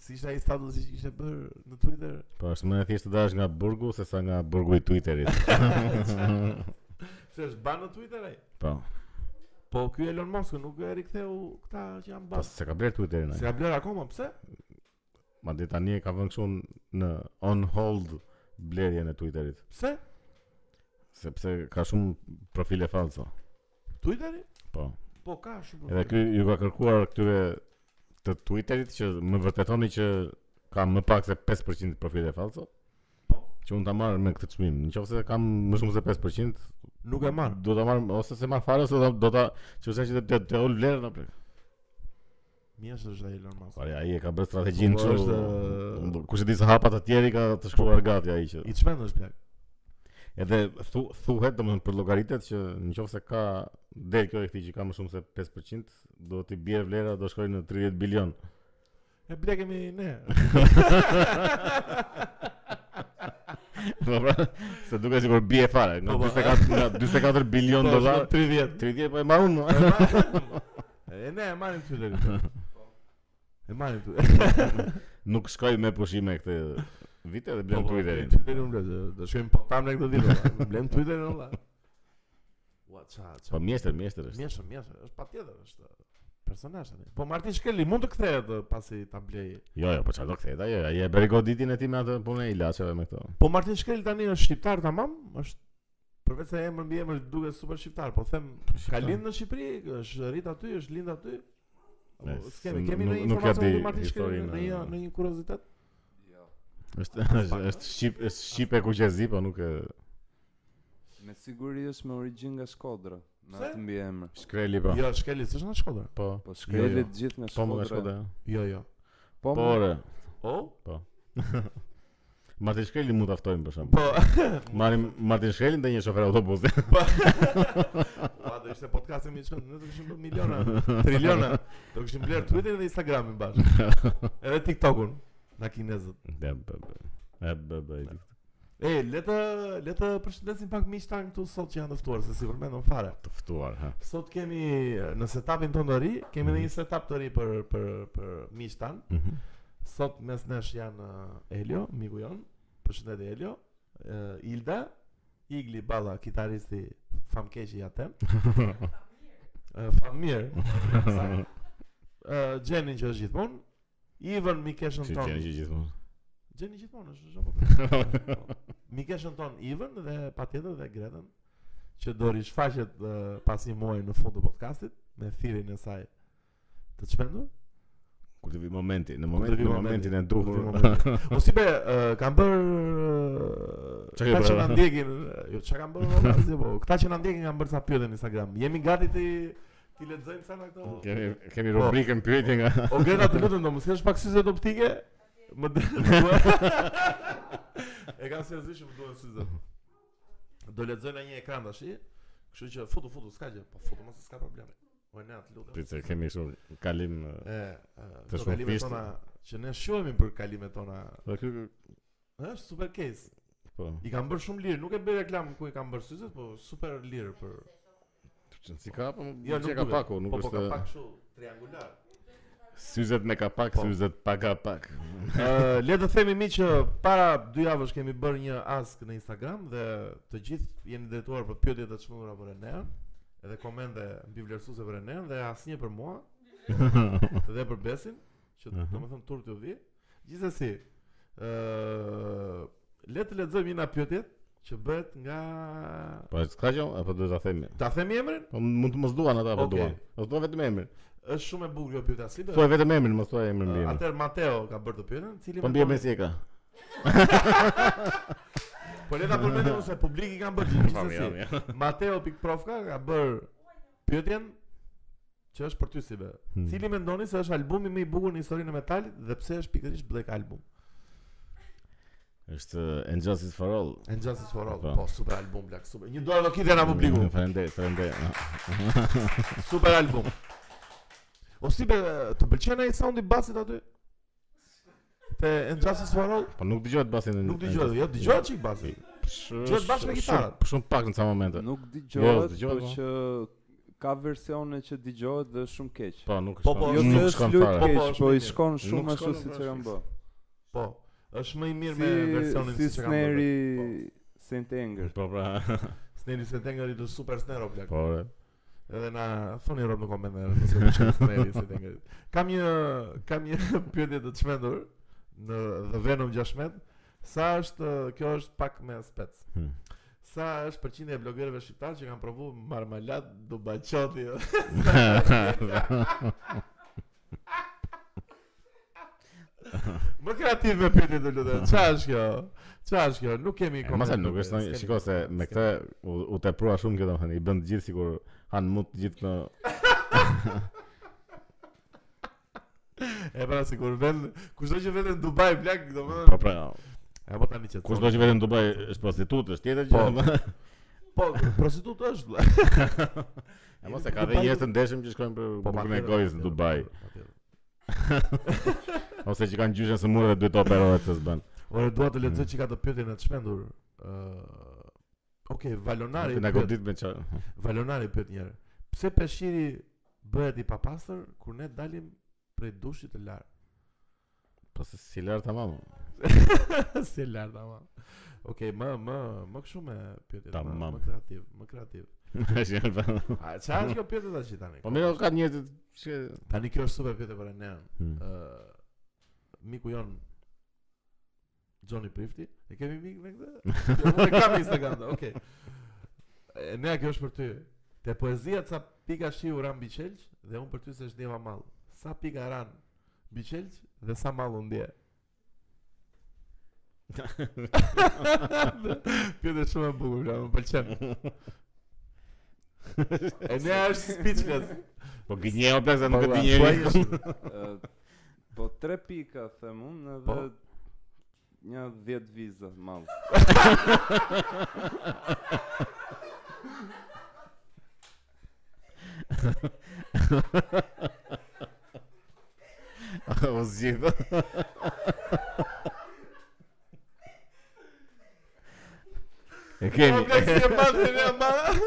[SPEAKER 2] Si ishte ai statusi që ishte bërë në Twitter?
[SPEAKER 1] Po është më e thjeshtë të dash nga burgu se sa nga burgu i Twitterit. po.
[SPEAKER 2] Se është banë në Twitter ai?
[SPEAKER 1] po.
[SPEAKER 2] Po ky Elon Musk nuk e riktheu këta që janë
[SPEAKER 1] Po
[SPEAKER 2] banë.
[SPEAKER 1] se ka bler Twitterin
[SPEAKER 2] Se
[SPEAKER 1] ai.
[SPEAKER 2] ka bler akoma, pse?
[SPEAKER 1] Madje tani e ka vënë kështu në on hold blerjen e Twitterit,
[SPEAKER 2] Pse?
[SPEAKER 1] sepse ka shumë profile falso.
[SPEAKER 2] Twitteri?
[SPEAKER 1] Po.
[SPEAKER 2] Po ka shumë.
[SPEAKER 1] Edhe ky ju ka kërkuar këtyre të Twitterit që më vërtetoni që ka më pak se 5% profile falso.
[SPEAKER 2] Po.
[SPEAKER 1] Që unë ta marr me këtë çmim. Nëse kam më shumë se 5%,
[SPEAKER 2] nuk e marr.
[SPEAKER 1] do ta marr ose se marr fare ose do- do ta, çfarë që të të ul vlerën apo.
[SPEAKER 2] Mjesht është ai Elon Musk.
[SPEAKER 1] Po ai e ka bërë strategjinë
[SPEAKER 2] Po,
[SPEAKER 1] kështu.
[SPEAKER 2] është,
[SPEAKER 1] unë- Kush e di se hapa të tjerë i ka të shkruar gati ai që.
[SPEAKER 2] I çmend është plak.
[SPEAKER 1] Edhe thu, thuhet domethënë për llogaritet që nëse ka del kjo e këtij që ka më shumë se 5%, do t'i bjerë vlera do shkojë në 30 bilion.
[SPEAKER 2] E bile kemi ne.
[SPEAKER 1] Po pra, se duket sikur bie fare, nga
[SPEAKER 2] Po, po.
[SPEAKER 1] 44 nga 44 bilion
[SPEAKER 2] Po,
[SPEAKER 1] dollar,
[SPEAKER 2] është 30.
[SPEAKER 1] 30 po e marrun. mo.
[SPEAKER 2] E marrim- E ne e marrim ty deri. E marrim ty.
[SPEAKER 1] Nuk shkoj me pushime këtë vite dhe blem
[SPEAKER 2] Po, po,
[SPEAKER 1] Twitterin.
[SPEAKER 2] blem Twitterin unë blem, do shkojmë po tam në këtë ditë. valla. Blem Twitterin olla. Ua ça ça.
[SPEAKER 1] Po mjeshtër, mjeshtër është.
[SPEAKER 2] Mjeshtër, mjeshtër, është patjetër është personazh tani. Po Martin Shkeli mund të kthehet eh, pasi ta blej.
[SPEAKER 1] Jo, jo, po çfarë do kthehet ajo? Ai e bëri goditin e tij me atë punën e ilaçeve me këto.
[SPEAKER 2] Po Martin Shkeli tani është shqiptar tamam, është përveç se emër mbi emër duket super shqiptar, po them ka lind në Shqipëri, është rrit aty, është lind aty. Apo,
[SPEAKER 1] Ne,
[SPEAKER 2] S'kemi,
[SPEAKER 1] s-
[SPEAKER 2] kemi
[SPEAKER 1] nuk- nuk
[SPEAKER 2] në
[SPEAKER 1] ja
[SPEAKER 2] informacion
[SPEAKER 1] di
[SPEAKER 2] për Martin Shkeli
[SPEAKER 1] historinë,
[SPEAKER 2] në një
[SPEAKER 1] eh.
[SPEAKER 2] në një kuriozitet.
[SPEAKER 1] Është është- është shqip, është shqip e kuqezi, po nuk e
[SPEAKER 3] Me siguri është me origjinë nga Shkodra, me
[SPEAKER 2] Pse?
[SPEAKER 3] atë mbiemër.
[SPEAKER 1] shkreli po.
[SPEAKER 2] Jo, Shkeli s'është në Shkodër.
[SPEAKER 1] Po.
[SPEAKER 3] Po
[SPEAKER 1] jo.
[SPEAKER 3] shkrelet të gjithë nga
[SPEAKER 1] Po më ka
[SPEAKER 3] Shkodra.
[SPEAKER 1] shkoda.
[SPEAKER 2] Jo, jo.
[SPEAKER 3] Po,
[SPEAKER 1] Po,
[SPEAKER 3] mo,
[SPEAKER 1] ore.
[SPEAKER 2] O?
[SPEAKER 1] Martin Shkreli e mund ta ftojmë për shemb.
[SPEAKER 2] Po.
[SPEAKER 1] Martin Martin Shkreli ndaj një shofer autobusi.
[SPEAKER 2] Pa, Po, do ishte podcasti më i çon, ne do kishim bërë miliona, triliona. Do kishim bler Twitterin dhe Instagramin bashkë. Edhe TikTokun nga kinezët.
[SPEAKER 1] Ja, bë, bë. Ja, bë, bë, i dik-
[SPEAKER 2] E, le të le të përshëndesim pak miqtë tanë këtu sot që janë të ftuar, se si përmendëm fare.
[SPEAKER 1] Të ftuar, ha.
[SPEAKER 2] Sot kemi e, në setupin tonë të ri, kemi edhe një setup të ri për për për miqtë tanë.
[SPEAKER 1] Mhm.
[SPEAKER 2] Sot mes nesh janë e, Elio, miku jon. Përshëndetje Elio. E, Ilda, Igli Balla, kitaristi famkeq i Aten.
[SPEAKER 1] Mhm.
[SPEAKER 2] E, Eh, Famir. saktë. E, Gjeni që është gjithmonë. Ivan Mikeshën
[SPEAKER 1] Si
[SPEAKER 2] tonë.
[SPEAKER 1] gjeni që gjithmonë.
[SPEAKER 2] Gjeni gjithmonë është jo? është apo. Mikeshën ton Ivan dhe patjetër dhe Gretën që do rishfaqet uh, pas një muaji në fund të podcastit me thirrjen e saj të çmendur.
[SPEAKER 1] Kur të vi momenti, në
[SPEAKER 2] Kur të
[SPEAKER 1] momentin,
[SPEAKER 2] vi
[SPEAKER 1] në
[SPEAKER 2] momenti,
[SPEAKER 1] momentin e
[SPEAKER 2] kur të vi
[SPEAKER 1] duhur.
[SPEAKER 2] momenti. Mos i bë, uh, kam bër uh,
[SPEAKER 1] Çka ke
[SPEAKER 2] këta që
[SPEAKER 1] bërë?
[SPEAKER 2] na ndjekin, uh, jo çka kam bër valla, si po. Këta që na ndjekin kanë bërë sa pyetje në Instagram. Jemi gati ti ti lexojmë sa nga këto.
[SPEAKER 1] Kemi kemi rubrikën pyetje nga
[SPEAKER 2] O Greta të lutem do mos kesh pak syze optike. Më dua- E kam seriozisht më duhen syze. Do lexoj në një ekran tash. Kështu që futu futu s'ka gjë, po futu mos s'ka problem. O ne atë lutem.
[SPEAKER 1] Pritë, kemi shumë kalim.
[SPEAKER 2] E,
[SPEAKER 1] Të
[SPEAKER 2] të
[SPEAKER 1] shumë
[SPEAKER 2] kalimet
[SPEAKER 1] fishtë.
[SPEAKER 2] tona që ne shohemi për kalimet tona.
[SPEAKER 1] Po ky
[SPEAKER 2] Është super case.
[SPEAKER 1] po.
[SPEAKER 2] I kam bërë shumë lirë, nuk e bëj reklam ku i kam bërë syzet, po super lirë për.
[SPEAKER 1] Si ka po?
[SPEAKER 2] Jo,
[SPEAKER 1] që
[SPEAKER 2] nuk
[SPEAKER 1] ka
[SPEAKER 2] duhet.
[SPEAKER 1] paku, nuk
[SPEAKER 2] po, po ka
[SPEAKER 1] është.
[SPEAKER 2] pak kështu triangular.
[SPEAKER 1] Syzet me kapak,
[SPEAKER 2] Po.
[SPEAKER 1] syzet pa kapak.
[SPEAKER 2] Ë, le të themi mi që para dy javësh kemi bërë një ask në Instagram dhe të gjithë jeni drejtuar për pyetje të çmendura për Enea, edhe komente mbi vlerësuese për Enea dhe asnjë për mua dhe për Besin, që uh
[SPEAKER 1] Aha.
[SPEAKER 2] domethënë tur të vi. Gjithsesi, ë le të lexojmë një nga pyetjet që bëhet nga
[SPEAKER 1] Po s'ka gjë, apo do ta themi.
[SPEAKER 2] Ta themi emrin?
[SPEAKER 1] Po mund të mos duan ata apo
[SPEAKER 2] Okej.
[SPEAKER 1] duan. Do thua vetëm emrin.
[SPEAKER 2] Është shumë e bukur kjo pyetje, si
[SPEAKER 1] Thuaj vetëm emrin, mos thuaj emrin mbi.
[SPEAKER 2] Atëherë Mateo ka bërë të pyetjen, cili
[SPEAKER 1] Po mbi emrin si e ka.
[SPEAKER 2] Po le ta përmendim se publiki kanë bërë
[SPEAKER 1] Po
[SPEAKER 2] gjithsesi.
[SPEAKER 1] mirë, mirë.
[SPEAKER 2] Mateo Pikprofka ka bër pyetjen që është për ty si be.
[SPEAKER 1] Hmm.
[SPEAKER 2] Cili mendoni se është albumi më i bukur në historinë e metalit dhe pse është pikërisht Black Album?
[SPEAKER 1] Është uh, And Justice for All.
[SPEAKER 2] And Justice for All.
[SPEAKER 1] Po.
[SPEAKER 2] Po, super album Black, super. Një dorë do kitë na publiku.
[SPEAKER 3] Hmm.
[SPEAKER 1] Faleminderit, faleminderit. Ah,
[SPEAKER 2] Super album. O si be, të pëlqen ai soundi basit aty? Te And Justice for All?
[SPEAKER 1] Po nuk dëgjohet basi në
[SPEAKER 2] Nuk dëgjohet, jo dëgjohet çik basi.
[SPEAKER 1] Dëgjohet
[SPEAKER 2] Dëgjohet bashkë me kitarën.
[SPEAKER 1] Shumë pak në ca momente.
[SPEAKER 3] nuk Jo, dëgjohet,
[SPEAKER 1] s'dëgjohet,
[SPEAKER 3] po
[SPEAKER 1] po.
[SPEAKER 3] që ka versione që dëgjohet dhe është shumë keq.
[SPEAKER 1] Po nuk
[SPEAKER 2] Po, po,
[SPEAKER 1] shkon-
[SPEAKER 3] Jo se
[SPEAKER 1] nuk
[SPEAKER 3] është
[SPEAKER 1] shkon
[SPEAKER 3] lujt
[SPEAKER 1] fare.
[SPEAKER 2] Po,
[SPEAKER 3] keq,
[SPEAKER 2] po, është
[SPEAKER 3] po i
[SPEAKER 2] mirë.
[SPEAKER 3] shkon
[SPEAKER 1] Nuk
[SPEAKER 3] shumë ashtu
[SPEAKER 1] shkon,
[SPEAKER 3] siç
[SPEAKER 1] nuk
[SPEAKER 3] e kanë bë.
[SPEAKER 2] Po, është më i mirë me versionin
[SPEAKER 3] Hmm. Si si
[SPEAKER 2] siç e kam bërë.
[SPEAKER 3] Sneri
[SPEAKER 2] Po.
[SPEAKER 3] Saint Anger.
[SPEAKER 1] Po pra.
[SPEAKER 2] Sneri se tengëri do super snero Black.
[SPEAKER 1] Po. re.
[SPEAKER 2] Edhe na thoni rob në komente nëse do të shkoni smeri si të ngrit. Kam një kam një pyetje të çmendur në The Venom 16. Sa është kjo është pak me spec.
[SPEAKER 1] Hmm.
[SPEAKER 2] Sa është përqindja e blogerëve shqiptar që kanë provu marmalat dubaqoti? Më kreativ me pyetje të lutem. Ç'a është kjo? Ç'a është kjo? Nuk kemi
[SPEAKER 1] E, Masa nuk është ndonjë,
[SPEAKER 2] s'kemi-
[SPEAKER 1] shiko se me
[SPEAKER 2] s'kemi-
[SPEAKER 1] këtë u, u teprua shumë kjo domethënë, i bën të gjithë sikur han mut të gjithë në
[SPEAKER 2] E pra sikur vend kushdo që veten në Dubai blak,
[SPEAKER 1] po
[SPEAKER 2] domethënë.
[SPEAKER 1] pra.
[SPEAKER 2] Apo tani që.
[SPEAKER 1] Kushdo që vetëm në Dubai është prostitut, është tjetër
[SPEAKER 2] Po.
[SPEAKER 1] gjë.
[SPEAKER 2] Po, prostitutë është. vlla.
[SPEAKER 1] E mos e ka dhe njerëz të ndeshëm që shkojnë për
[SPEAKER 2] Po,
[SPEAKER 1] bukën e
[SPEAKER 2] patjetër,
[SPEAKER 1] gojës në
[SPEAKER 2] patjetër,
[SPEAKER 1] Dubai.
[SPEAKER 2] patjetër.
[SPEAKER 1] Ose që kanë gjyshen së murë dhe duhet të operohet të s'bën.
[SPEAKER 2] Ore dua të lexoj çka të pyetin e të shpendur. Ë Okej, Valonari.
[SPEAKER 1] Na
[SPEAKER 2] pyet-
[SPEAKER 1] godit me çfarë.
[SPEAKER 2] Valonari pyet një herë. Pse peshqiri bëhet i papastër kur ne dalim prej dushit të lartë?
[SPEAKER 1] Po se si lart tamam.
[SPEAKER 2] si e lart ama. Okej, më më më kështu me pyetjet. më-
[SPEAKER 1] Tamam.
[SPEAKER 2] Më kreativ, më kreativ. A çfarë është kjo pyetje tash tani?
[SPEAKER 1] Po mirë, ka njerëz që
[SPEAKER 2] Tani kjo është super pyetje për Enean.
[SPEAKER 1] Hmm.
[SPEAKER 2] Ë miku jon Johnny Prifti, e kemi mik me këtë? Unë e kam në Instagram, do, okay. E nea kjo është për ty. Te poezia ca pika shiu ran mbi qelç dhe unë për ty se shdjeva mall. Sa pika ran mbi qelç dhe sa mall u ndje. Pjetë shumë e bukur, bla, më pëlqen. E nea është speechless.
[SPEAKER 1] po gënjeu pse nuk e di
[SPEAKER 2] Po,
[SPEAKER 1] njeri.
[SPEAKER 2] ai është-
[SPEAKER 3] Ë, po tre pika them unë edhe
[SPEAKER 2] Po.
[SPEAKER 3] një 10 viza mall.
[SPEAKER 1] O zgjidh. E kemi.
[SPEAKER 2] Po, plak, si e madhe, ne e madhe.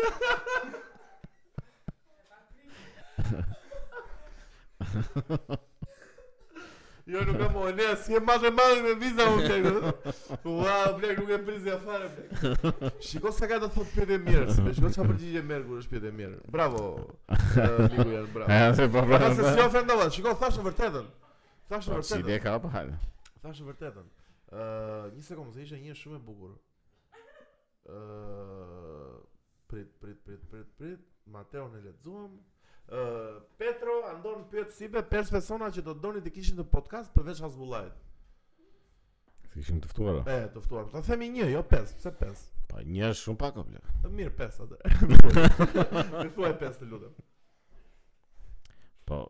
[SPEAKER 2] Jo, nuk e mojë, ne, si e madhe madhe me viza më plek Ua, plek, nuk e prisja fare, plek Shiko sa ka të thot pjete mirë, se shiko qa përgjigje merë kur është pjete mirë Bravo, eh, Liku janë, bravo
[SPEAKER 1] Ja se po pra.
[SPEAKER 2] Ata se si ofendova, shiko, thashtë vërtetën Thashtë
[SPEAKER 1] Si
[SPEAKER 2] vërtetën
[SPEAKER 1] ide ka pa hal.
[SPEAKER 2] Thashë Po vërtetën. Ë, një sekondë, se ishte një shumë e bukur. Ë, prit, prit, prit, prit, prit. Mateo ne lexuam. Ë, Petro andon pyet si be pesë persona që do donin të kishin në podcast përveç Hasbullajt.
[SPEAKER 1] Si kishim të ftuar. o.
[SPEAKER 2] E, të ftuar. Ta themi një, jo pesë, pse pesë?
[SPEAKER 1] Po një është shumë pak o bler.
[SPEAKER 2] Të mirë pesë atë. Më thuaj pesë të lutem.
[SPEAKER 1] Po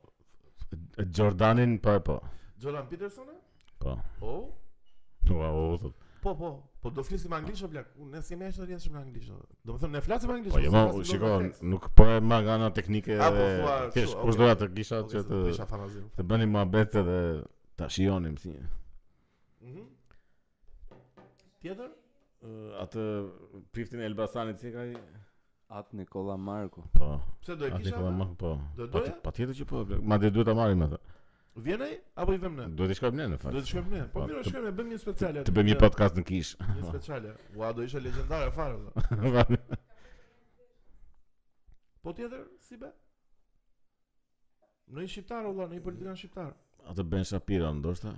[SPEAKER 1] Jordanin po e po.
[SPEAKER 2] Jordan Peterson?
[SPEAKER 1] Po.
[SPEAKER 2] Oh.
[SPEAKER 1] Ua u. thot.
[SPEAKER 2] Po, po, po do flisim anglisht o blak. Unë s'kem jashtë të rrjedhshëm në anglisht. o. Domethënë ne flasim anglisht.
[SPEAKER 1] Po
[SPEAKER 2] mos e
[SPEAKER 1] jema,
[SPEAKER 2] flasim
[SPEAKER 1] shiko,
[SPEAKER 2] dot me tekst.
[SPEAKER 1] nuk po e marr nga ana teknike
[SPEAKER 2] A, po,
[SPEAKER 1] dhe
[SPEAKER 2] thua,
[SPEAKER 1] thjesht
[SPEAKER 2] kështu,
[SPEAKER 1] kush
[SPEAKER 2] okay.
[SPEAKER 1] doja të kisha
[SPEAKER 2] Ok,
[SPEAKER 1] që
[SPEAKER 2] se
[SPEAKER 1] të
[SPEAKER 2] do Po, isha fanazim.
[SPEAKER 1] të bëni muhabet edhe ta shijonim si.
[SPEAKER 2] Mhm. Tjetër?
[SPEAKER 1] Atë priftin e Elbasanit si ka i?
[SPEAKER 3] At Nikola Marku.
[SPEAKER 1] Po.
[SPEAKER 2] Pse do e
[SPEAKER 1] Atë
[SPEAKER 2] kisha?
[SPEAKER 1] Nikola
[SPEAKER 2] atë?
[SPEAKER 1] Mah, po.
[SPEAKER 2] Do doja?
[SPEAKER 1] Pati- Patjetër që po. bler. Madje duhet ta marrim atë.
[SPEAKER 2] Vjen ai apo i vëm ne?
[SPEAKER 1] Duhet i shkojmë ne në fakt.
[SPEAKER 2] Do të shkojmë ne.
[SPEAKER 1] Po,
[SPEAKER 2] Po mirë,
[SPEAKER 1] të-
[SPEAKER 2] shkojmë ne, bëjmë një speciale.
[SPEAKER 1] Të bëjmë një podcast në kish.
[SPEAKER 2] Një speciale. Ua, do isha legjendare fare. valla. Po tjetër, si be? Në një shqiptar, valla, në një politikan shqiptar.
[SPEAKER 1] Atë Ben Shapiro ndoshta.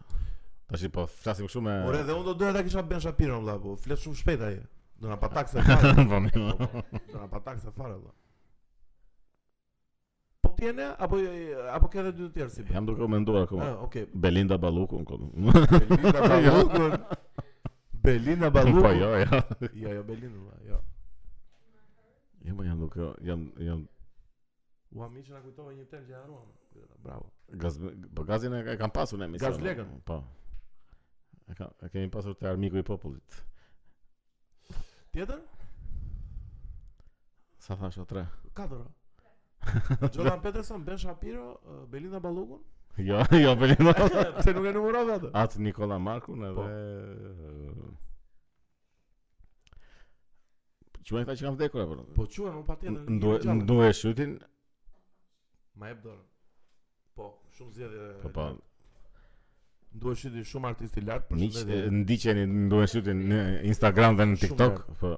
[SPEAKER 1] Tashi po flasim kështu me
[SPEAKER 2] Ore, dhe unë do doja ta kisha Ben Shapiron, valla, po flet shumë shpejt ai. Do na pa takse fare.
[SPEAKER 1] Po mirë.
[SPEAKER 2] Po, po, Do na pa takse fare, valla. Po ti e ne apo apo ke edhe dy të tjerë si be?
[SPEAKER 1] Jam duke u menduar akoma.
[SPEAKER 2] Ah, okay.
[SPEAKER 1] Belinda Balluku në kodë.
[SPEAKER 2] Belinda Ballukun. Belinda
[SPEAKER 1] Po
[SPEAKER 2] Ballukun.
[SPEAKER 1] jo, jo.
[SPEAKER 2] Jo, jo, Belinda, valla, jo.
[SPEAKER 1] Jo, po jam duke, jam, jam,
[SPEAKER 2] Ua mi që na kujtova një temë që ja haruam. Bravo.
[SPEAKER 1] gaz, po gazin e e kam pasur në emision.
[SPEAKER 2] Gazlegën?
[SPEAKER 1] Po. E, kam, e kemi pasur te armiku i popullit.
[SPEAKER 2] Tjetër?
[SPEAKER 1] Sa thash o tre?
[SPEAKER 2] Katër. Jordan Peterson, Ben Shapiro, eh, Belinda Ballukun.
[SPEAKER 1] Jo, jo, Belinda.
[SPEAKER 2] Pse nuk e numërove atë?
[SPEAKER 1] Atë Nikola Markun
[SPEAKER 2] Po.
[SPEAKER 1] edhe... Quajnë këta që kanë vdekur apo?
[SPEAKER 2] Po quhen unë patjetër.
[SPEAKER 1] N-
[SPEAKER 2] një
[SPEAKER 1] ndue-
[SPEAKER 2] gjallë.
[SPEAKER 1] Ndue shëtin,
[SPEAKER 2] Ma jep dorën. Po, shumë zgjedhje.
[SPEAKER 1] po po,
[SPEAKER 2] Duhet shiti shumë artist i lart,
[SPEAKER 1] miq, e,
[SPEAKER 2] përshëndetje.
[SPEAKER 1] ndiqeni ndue shëtin në Instagram dhe në
[SPEAKER 2] Shumë
[SPEAKER 1] TikTok,
[SPEAKER 2] lart.
[SPEAKER 1] po,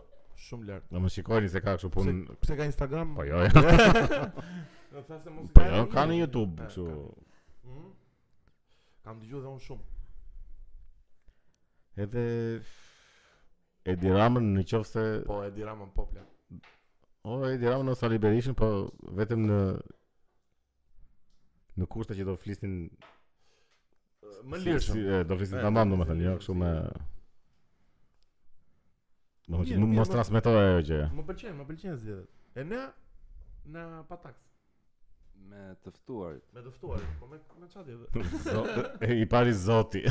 [SPEAKER 2] Shumë lart.
[SPEAKER 1] do më shikojni se ka kështu punë,
[SPEAKER 2] Pse- Pse ka Instagram?
[SPEAKER 1] po jo, jo,
[SPEAKER 2] Do thashë mos
[SPEAKER 1] po
[SPEAKER 2] ka
[SPEAKER 1] jo,
[SPEAKER 2] edhe
[SPEAKER 1] ka në
[SPEAKER 2] një.
[SPEAKER 1] YouTube,
[SPEAKER 2] Eh,
[SPEAKER 1] kështu,
[SPEAKER 2] ka. Mhm. Kam dëgjuar dhe unë shumë.
[SPEAKER 1] edhe Edi Ramën në qoftë se,
[SPEAKER 2] Po Edi Ramën po plan.
[SPEAKER 1] o, Edi Ramën ose Ali Berishin, po vetëm në, në kushte që do flisnin
[SPEAKER 2] Eh, Më
[SPEAKER 1] Si-
[SPEAKER 2] lirshëm.
[SPEAKER 1] si- e, do flisim
[SPEAKER 2] E,
[SPEAKER 1] tamam
[SPEAKER 2] po,
[SPEAKER 1] domethënë,
[SPEAKER 2] si-
[SPEAKER 1] jo kështu
[SPEAKER 2] si-
[SPEAKER 1] me Domethënë
[SPEAKER 2] Mirë,
[SPEAKER 1] mu-
[SPEAKER 2] mirë,
[SPEAKER 1] mos
[SPEAKER 2] mo-
[SPEAKER 1] transmetoja ajo gjë.
[SPEAKER 2] Më pëlqen, më pëlqen zgjedhjet. E ne na pa taks,
[SPEAKER 3] Me të ftuarit.
[SPEAKER 2] me të ftuarit, po me me çfarë tjetër?
[SPEAKER 1] Zot- e, I pari zoti.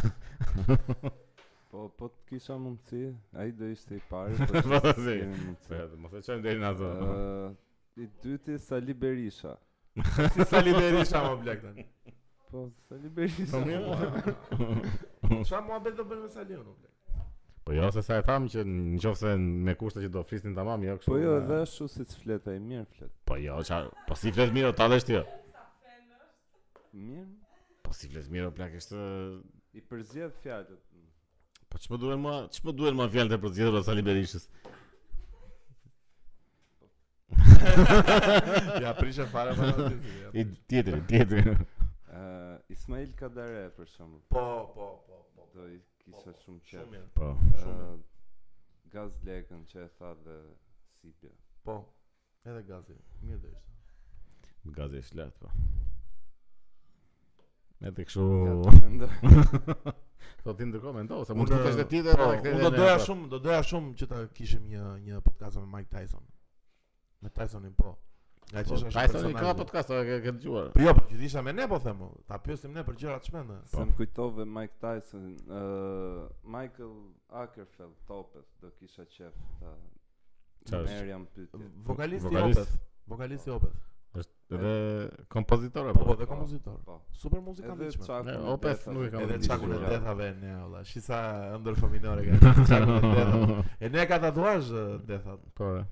[SPEAKER 3] Po po të kisha mundësi, ai do ishte i pari,
[SPEAKER 1] Po,
[SPEAKER 3] po të
[SPEAKER 1] si.
[SPEAKER 3] mundësi.
[SPEAKER 1] Mos e çojmë deri në
[SPEAKER 2] Po,
[SPEAKER 1] atë.
[SPEAKER 3] Ë, I dyti Sali Berisha.
[SPEAKER 2] Si Sali Berisha më blek tani.
[SPEAKER 3] Po, Sali Beri.
[SPEAKER 1] Po mirë.
[SPEAKER 2] Qa muhabet do bënë me Salionu? ble?
[SPEAKER 1] Po jo se sa e tham që nëse me kushte që do flisnin tamam, jo kështu.
[SPEAKER 3] Po jo,
[SPEAKER 1] e-
[SPEAKER 3] edhe ashtu si të flet ai, mirë flet.
[SPEAKER 1] Po jo, qa, po si flet mirë, ta dhe ti.
[SPEAKER 3] Mirë.
[SPEAKER 1] Po si flet mirë, plak është
[SPEAKER 3] I përzjedh fjalët.
[SPEAKER 1] Po ç'më duhen më, ç'më duhen më fjalët e përzgjedhura Sali Berishës.
[SPEAKER 2] Ja prishe fare për në ditë, ja.
[SPEAKER 1] I tjetri, tjetri.
[SPEAKER 3] Ë, Ismail Kadare për shembull.
[SPEAKER 2] Po, po, po, po.
[SPEAKER 3] Do i kisha shumë
[SPEAKER 2] Shumë
[SPEAKER 3] qef.
[SPEAKER 2] mirë.
[SPEAKER 1] Po.
[SPEAKER 2] shumë
[SPEAKER 3] Ë, Ehm, Gaz lekën që e tha dhe Sipja.
[SPEAKER 2] Po. Edhe gazi. Mirë do ishte.
[SPEAKER 1] Gazi është lart, po. Edhe kështu.
[SPEAKER 3] Ja, të mendoj.
[SPEAKER 1] Po ti ndërkohë mendo, se mund të
[SPEAKER 2] Unë-
[SPEAKER 1] thosh edhe ti dhe
[SPEAKER 2] Po,
[SPEAKER 1] edhe kthej
[SPEAKER 2] unë do
[SPEAKER 1] edhe
[SPEAKER 2] doja
[SPEAKER 1] prap.
[SPEAKER 2] shumë, do doja shumë që ta kishim një një podcast me Mike Tyson. Me Tysonin po. Nga që
[SPEAKER 1] Po,
[SPEAKER 2] është
[SPEAKER 1] Tyson i ka
[SPEAKER 2] personazh.
[SPEAKER 1] podcast, a ke ke dëgjuar?
[SPEAKER 2] Po jo, po që isha me ne po them, unë. ta pyesim ne për gjëra të shmenda.
[SPEAKER 1] Po.
[SPEAKER 3] Se më kujtove Mike Tyson, ë, Michael Ackerfeld topet, do kisha qef ta
[SPEAKER 1] Qa është?
[SPEAKER 3] merja në pyetje.
[SPEAKER 2] Po. Vokalisti i
[SPEAKER 1] Vokalist.
[SPEAKER 2] Opeth. Vokalisti i Opeth.
[SPEAKER 1] Edhe kompozitor
[SPEAKER 2] Po,
[SPEAKER 1] apo?
[SPEAKER 2] po, dhe kompozitor.
[SPEAKER 3] Po.
[SPEAKER 2] Super muzikant
[SPEAKER 3] Edhe
[SPEAKER 2] i çmë.
[SPEAKER 3] çakun.
[SPEAKER 1] Ne,
[SPEAKER 3] e
[SPEAKER 1] Opeth
[SPEAKER 3] detave.
[SPEAKER 1] nuk e kam
[SPEAKER 2] Edhe
[SPEAKER 1] Kompozitor.
[SPEAKER 2] çakun e
[SPEAKER 1] Ja.
[SPEAKER 2] dethave ne, olla. Shi sa ëndër fëminore ka. Çakun e dethave. E ne ka tatuazh ë, dethat.
[SPEAKER 1] Po. e.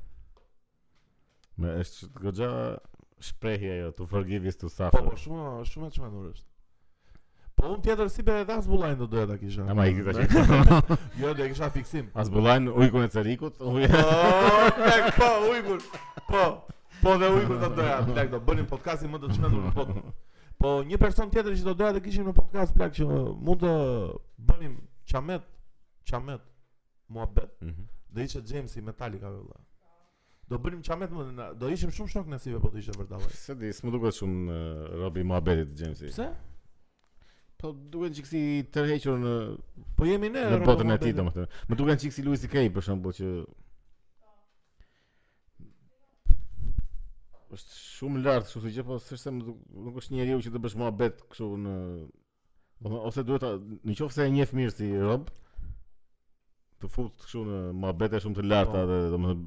[SPEAKER 1] Me është goxha shprehje ajo, to forgive is to
[SPEAKER 2] Po,
[SPEAKER 1] suffer.
[SPEAKER 2] po, shumë shumë e çmendur është. Po unë tjetër si be edhe Azbullajn do doja ta kisha.
[SPEAKER 1] Ama i kita që
[SPEAKER 2] Jo, do e kisha fiksim.
[SPEAKER 1] As bullajn ujkun e cerikut uj-
[SPEAKER 2] Po, tek, po, ujgur. Po. Po dhe ujgur do doja, plak do bënim podcastin më të çmendur në botë. Po një person tjetër që do doja të kishim në podcast plak që uh, mund të bënim çamet, çamet, muhabet.
[SPEAKER 1] Mhm.
[SPEAKER 2] Do ishte Jamesi Metallica valla. Do bënim çamet më na- do ishim shumë shok nesive po të ishte vërtet. valla.
[SPEAKER 1] Se di, s'më duket shumë në robi i muhabetit Jamesi.
[SPEAKER 2] Pse?
[SPEAKER 1] Po duken çik si i tërhequr në
[SPEAKER 2] Po jemi ne
[SPEAKER 1] në
[SPEAKER 2] Robo
[SPEAKER 1] botën e
[SPEAKER 2] Muhabeti.
[SPEAKER 1] tij domethënë. Më duken çik si Louis CK për shembull që është shumë lart, kështu si gjë, po s'është se më duk- nuk është njeriu që të bësh muhabet kështu në domethënë, ose duhet ta nëse e njeh mirë si rob të fut kështu në muhabete shumë të larta
[SPEAKER 2] Po.
[SPEAKER 1] dhe domethënë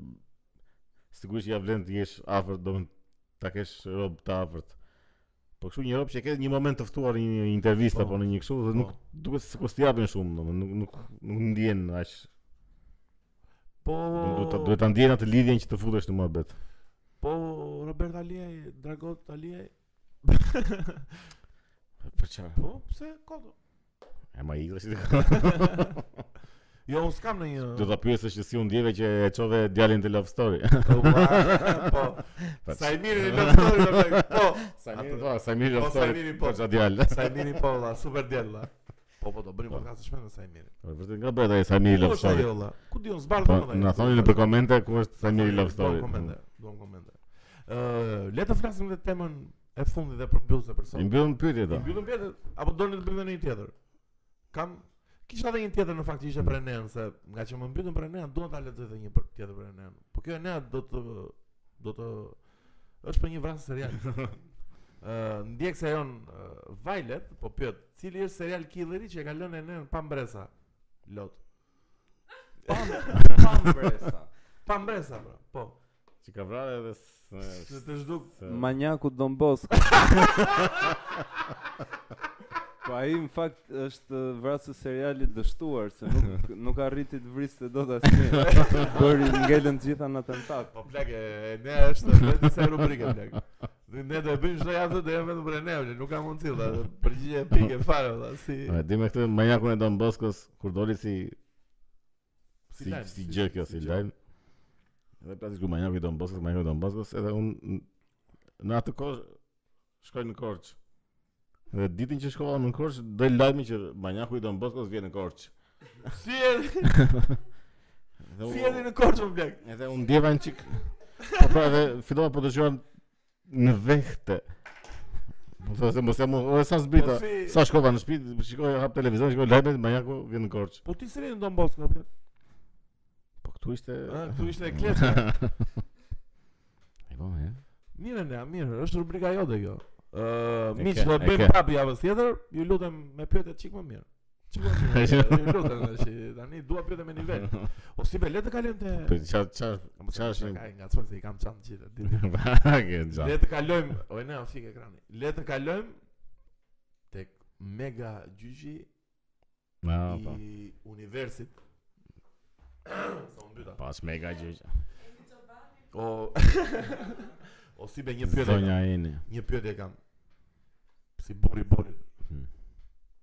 [SPEAKER 1] sigurisht ja vlen të jesh afërt domethënë ta kesh rob të afërt. Po kështu një rob që e ke një moment të ftuar në një intervistë
[SPEAKER 2] Po.
[SPEAKER 1] apo në një kështu dhe
[SPEAKER 2] Po.
[SPEAKER 1] nuk duket sikur të japin shumë, domethënë nuk nuk nuk ndjen aq.
[SPEAKER 2] Po.
[SPEAKER 1] Duhet ta duhet ta ndjen atë lidhjen që të futesh në muhabet.
[SPEAKER 2] Po Robert Aliaj, Dragot Aliaj.
[SPEAKER 1] Për çfarë?
[SPEAKER 2] Po, pse kodo?
[SPEAKER 1] E ma ikra si
[SPEAKER 2] Jo, unë s'kam në një...
[SPEAKER 1] do ta pyesësh që si u ndjeve që e çove djalin te Love Story.
[SPEAKER 2] Po,
[SPEAKER 1] Pa-
[SPEAKER 2] sa i mirë në love story, do me... Po,
[SPEAKER 1] Sajmiri, po, Sajmiri Love Story.
[SPEAKER 2] Po, Sajmiri, po.
[SPEAKER 1] Po, çfarë djalë?
[SPEAKER 2] sa i mirë po, la, super djel, la. Po, po, do bërim
[SPEAKER 1] Po.
[SPEAKER 2] podcast të shmenë në sa i mirë.
[SPEAKER 1] Po, Vërtet nga bëhet ai Sajmiri
[SPEAKER 2] Ku
[SPEAKER 1] Love
[SPEAKER 2] Po, është
[SPEAKER 1] Story.
[SPEAKER 2] ajo, la? Ku di unë, zbarë
[SPEAKER 1] Po,
[SPEAKER 2] dhe më
[SPEAKER 1] na thoni nëpër komente ku është Sajmiri Love Story.
[SPEAKER 2] Duam komente, duam komente. Ë, Le të flasim dhe temën e fundit dhe përmbyllëse për
[SPEAKER 1] po. I
[SPEAKER 2] sot.
[SPEAKER 1] mbyllën pyetje
[SPEAKER 2] I
[SPEAKER 1] do.
[SPEAKER 2] mbyllëm pjetët, apo doni të bëjmë edhe një tjetër? Kam kisha edhe një tjetër në fakt që ishte për Enean, se nga që më mbytën për Enean, duhet ta lexoj edhe një për tjetër për Enean. Po kjo Enea do të do të është për një vrasë serial. Ë ndjekse jon uh, Violet po pyet, cili është serial killeri që e ka lënë Enean pa mbresa? Lot.
[SPEAKER 3] Pam bresa.
[SPEAKER 2] Pa mbresa pra. Po.
[SPEAKER 1] Që ka vrarë edhe s-
[SPEAKER 2] Se të zhduk.
[SPEAKER 1] se-
[SPEAKER 3] Manjaku Don Bosco. Po ai në fakt është vrasë serialit dështuar se nuk nuk arriti të vriste dot asnjë. Bëri ngelën të gjitha në tentak.
[SPEAKER 2] Po plak e Enea është vetë se rubrikë plak. Dhe ne do e bëjmë çdo javë do jemi vetëm për Enea, ble, nuk ka mundësi, valla. Përgjigje pikë fare, valla, si
[SPEAKER 1] E di me këtë manjakun e Don Boskos kur doli si
[SPEAKER 2] Si
[SPEAKER 1] si
[SPEAKER 2] lajm,
[SPEAKER 1] si
[SPEAKER 2] si-
[SPEAKER 1] gjë kjo
[SPEAKER 2] si
[SPEAKER 1] si
[SPEAKER 2] gjë.
[SPEAKER 1] lajm. Edhe plasë ku manjaku i Don Boskos, manjaku i Don Boskos, edhe un n- në atë kohë shkoj në Korçë. Dhe ditën që shkova në Korçë, doli lajmi që manjaku i Don Boskos vjen në Korçë.
[SPEAKER 2] Si erdhi,
[SPEAKER 1] Dhe u-
[SPEAKER 2] si erdhi në Korçë më blek.
[SPEAKER 1] Edhe unë ndjeva një qik Po pra edhe fillova po të gjuan Në vehte Po thua se mos jam unë, "O, sa zbrita
[SPEAKER 2] Po si-
[SPEAKER 1] Sa shkova në shtëpi, shikoj hap televizion, shikoj lajmet, manjaku vjen në Korçë.
[SPEAKER 2] Po ti si erdhi në Don Bosco blek?
[SPEAKER 1] Po këtu ishte
[SPEAKER 2] Ë, këtu ishte e kletë.
[SPEAKER 1] E po më.
[SPEAKER 2] Mirë ne, mirë, është rubrika jote kjo. Ë,
[SPEAKER 1] E
[SPEAKER 2] miq
[SPEAKER 1] ke,
[SPEAKER 2] do
[SPEAKER 1] e
[SPEAKER 2] të bëjmë
[SPEAKER 1] ke.
[SPEAKER 2] prapë javës tjetër, ju lutem me pyetje çik më mirë. Çik më mirë. Ju lutem tash, tani dua pyetje me nivel. O si be le të kalojmë te
[SPEAKER 1] Po ça ça çfarë është një-
[SPEAKER 2] Ai nga çfarë se i kam çantë gjithë. ditën.
[SPEAKER 1] Ke
[SPEAKER 2] Le
[SPEAKER 1] gjatë.
[SPEAKER 2] të kalojmë, o ne o fik ekrani. Le të kalojmë mega gjyqi
[SPEAKER 1] Na, po.
[SPEAKER 2] i universit. Sa më mbyta.
[SPEAKER 1] Pas mega gjyq.
[SPEAKER 2] O O si be një pyetje. kam.
[SPEAKER 1] Zonja jeni.
[SPEAKER 2] Një pyetje kam. Si burri burri.
[SPEAKER 1] Hmm.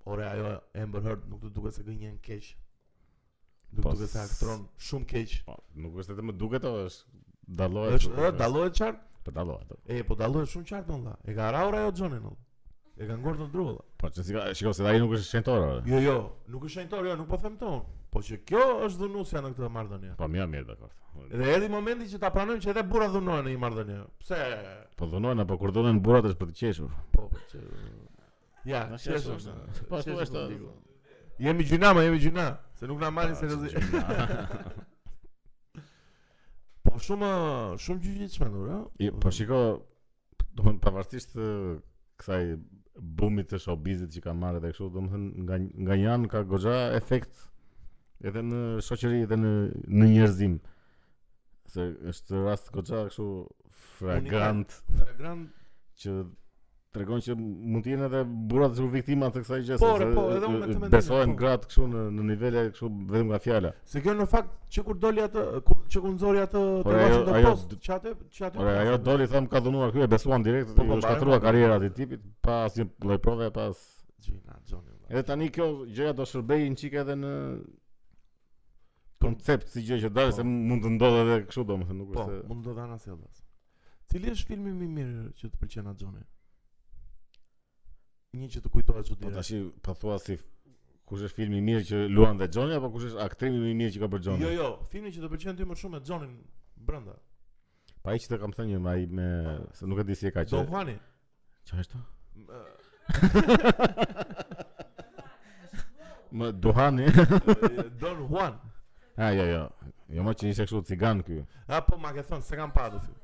[SPEAKER 2] Ore ajo Amber Heard nuk të duket se gënjen keq. Nuk
[SPEAKER 1] Po,
[SPEAKER 2] duket se aktron shumë keq.
[SPEAKER 1] Po, nuk është të më duket o është dallohet.
[SPEAKER 2] Është ë, dallohet qartë?
[SPEAKER 1] Po dallohet. o.
[SPEAKER 2] E po dallohet shumë qartë më valla. E ka raur ajo Johnny në. E ka ngordhur në dru valla.
[SPEAKER 1] Po që si ka, shiko se ai nuk është shentor. o.
[SPEAKER 2] Jo jo, nuk është shenjtor, jo, nuk po them ton. Po që kjo është dhunusja në këtë marrëdhënie.
[SPEAKER 1] Po mirë, mirë, dakor.
[SPEAKER 2] Dhe erdhi momenti që ta pranojmë që edhe burra dhunohen në një marrëdhënie. Pse?
[SPEAKER 1] Po dhunohen apo kur dhunohen burrat është për të qeshur.
[SPEAKER 2] Po, po që Ja,
[SPEAKER 1] Na
[SPEAKER 2] çesh
[SPEAKER 1] qeshur,
[SPEAKER 2] është.
[SPEAKER 1] na. Po, ashtu
[SPEAKER 2] qeshur
[SPEAKER 1] është,
[SPEAKER 2] ndiku. Jemi gjyna, ma jemi gjyna, se nuk na marrin seriozisht. Po shumë shumë gjyqitshme ndur, ëh.
[SPEAKER 1] I, po shiko, domethënë pavarësisht të kësaj bumit të showbizit që ka marrë edhe kështu, domethënë nga nga një anë ka goxha efekt edhe në shoqëri edhe në në njerëzim. Se është rast goxha kështu fragrant
[SPEAKER 2] Fragrant.
[SPEAKER 1] që tregon që mund të jenë edhe burrat që viktima të kësaj gjë.
[SPEAKER 2] Po,
[SPEAKER 1] sepse
[SPEAKER 2] re, po, edhe unë me këtë mendim,
[SPEAKER 1] Besohen
[SPEAKER 2] po.
[SPEAKER 1] gratë kështu në në nivele kështu vetëm nga fjala.
[SPEAKER 2] Se kjo në fakt që kur doli atë kur që kur nxori atë
[SPEAKER 1] Ore,
[SPEAKER 2] te
[SPEAKER 1] ajo-
[SPEAKER 2] Washington
[SPEAKER 1] ajo
[SPEAKER 2] Post,
[SPEAKER 1] d-
[SPEAKER 2] që atë që atë.
[SPEAKER 1] Ora ajo doli thamë ka dhunuar ky e besuan direkt,
[SPEAKER 2] Po,
[SPEAKER 1] po,
[SPEAKER 2] po,
[SPEAKER 1] po,
[SPEAKER 2] bare.
[SPEAKER 1] shkatrua karriera e tipit pa asnjë lloj prove, pas
[SPEAKER 2] Gjina, Johnny. valla.
[SPEAKER 1] Edhe tani kjo gjëja do shërbejë një çik edhe në koncept si gjë që dalë
[SPEAKER 2] Po.
[SPEAKER 1] se mund të ndodhë edhe kështu domethënë, nuk
[SPEAKER 2] Po,
[SPEAKER 1] është se
[SPEAKER 2] mund do dhana sjellës. Cili është filmi më i mirë që të pëlqen atë Johnny? Një që të kujtohet çu
[SPEAKER 1] po
[SPEAKER 2] direkt.
[SPEAKER 1] tash po thua si kush është filmi i mirë që luan dhe Johnny apo kush është aktrimi më i mirë që ka bërë Johnny.
[SPEAKER 2] Jo, jo, filmi që të pëlqen ty më shumë e Johnny brenda.
[SPEAKER 1] Pa ai që të kam thënë një ai me se nuk e di si e ka
[SPEAKER 2] Don
[SPEAKER 1] që.
[SPEAKER 2] Juani.
[SPEAKER 1] Çfarë është?
[SPEAKER 2] Më-
[SPEAKER 1] Më Duhani.
[SPEAKER 2] e, Don Juan.
[SPEAKER 1] Ah, jo, jo. Jo më që ishte kështu cigan ky.
[SPEAKER 2] A po ma ke thënë se kam parë atë film.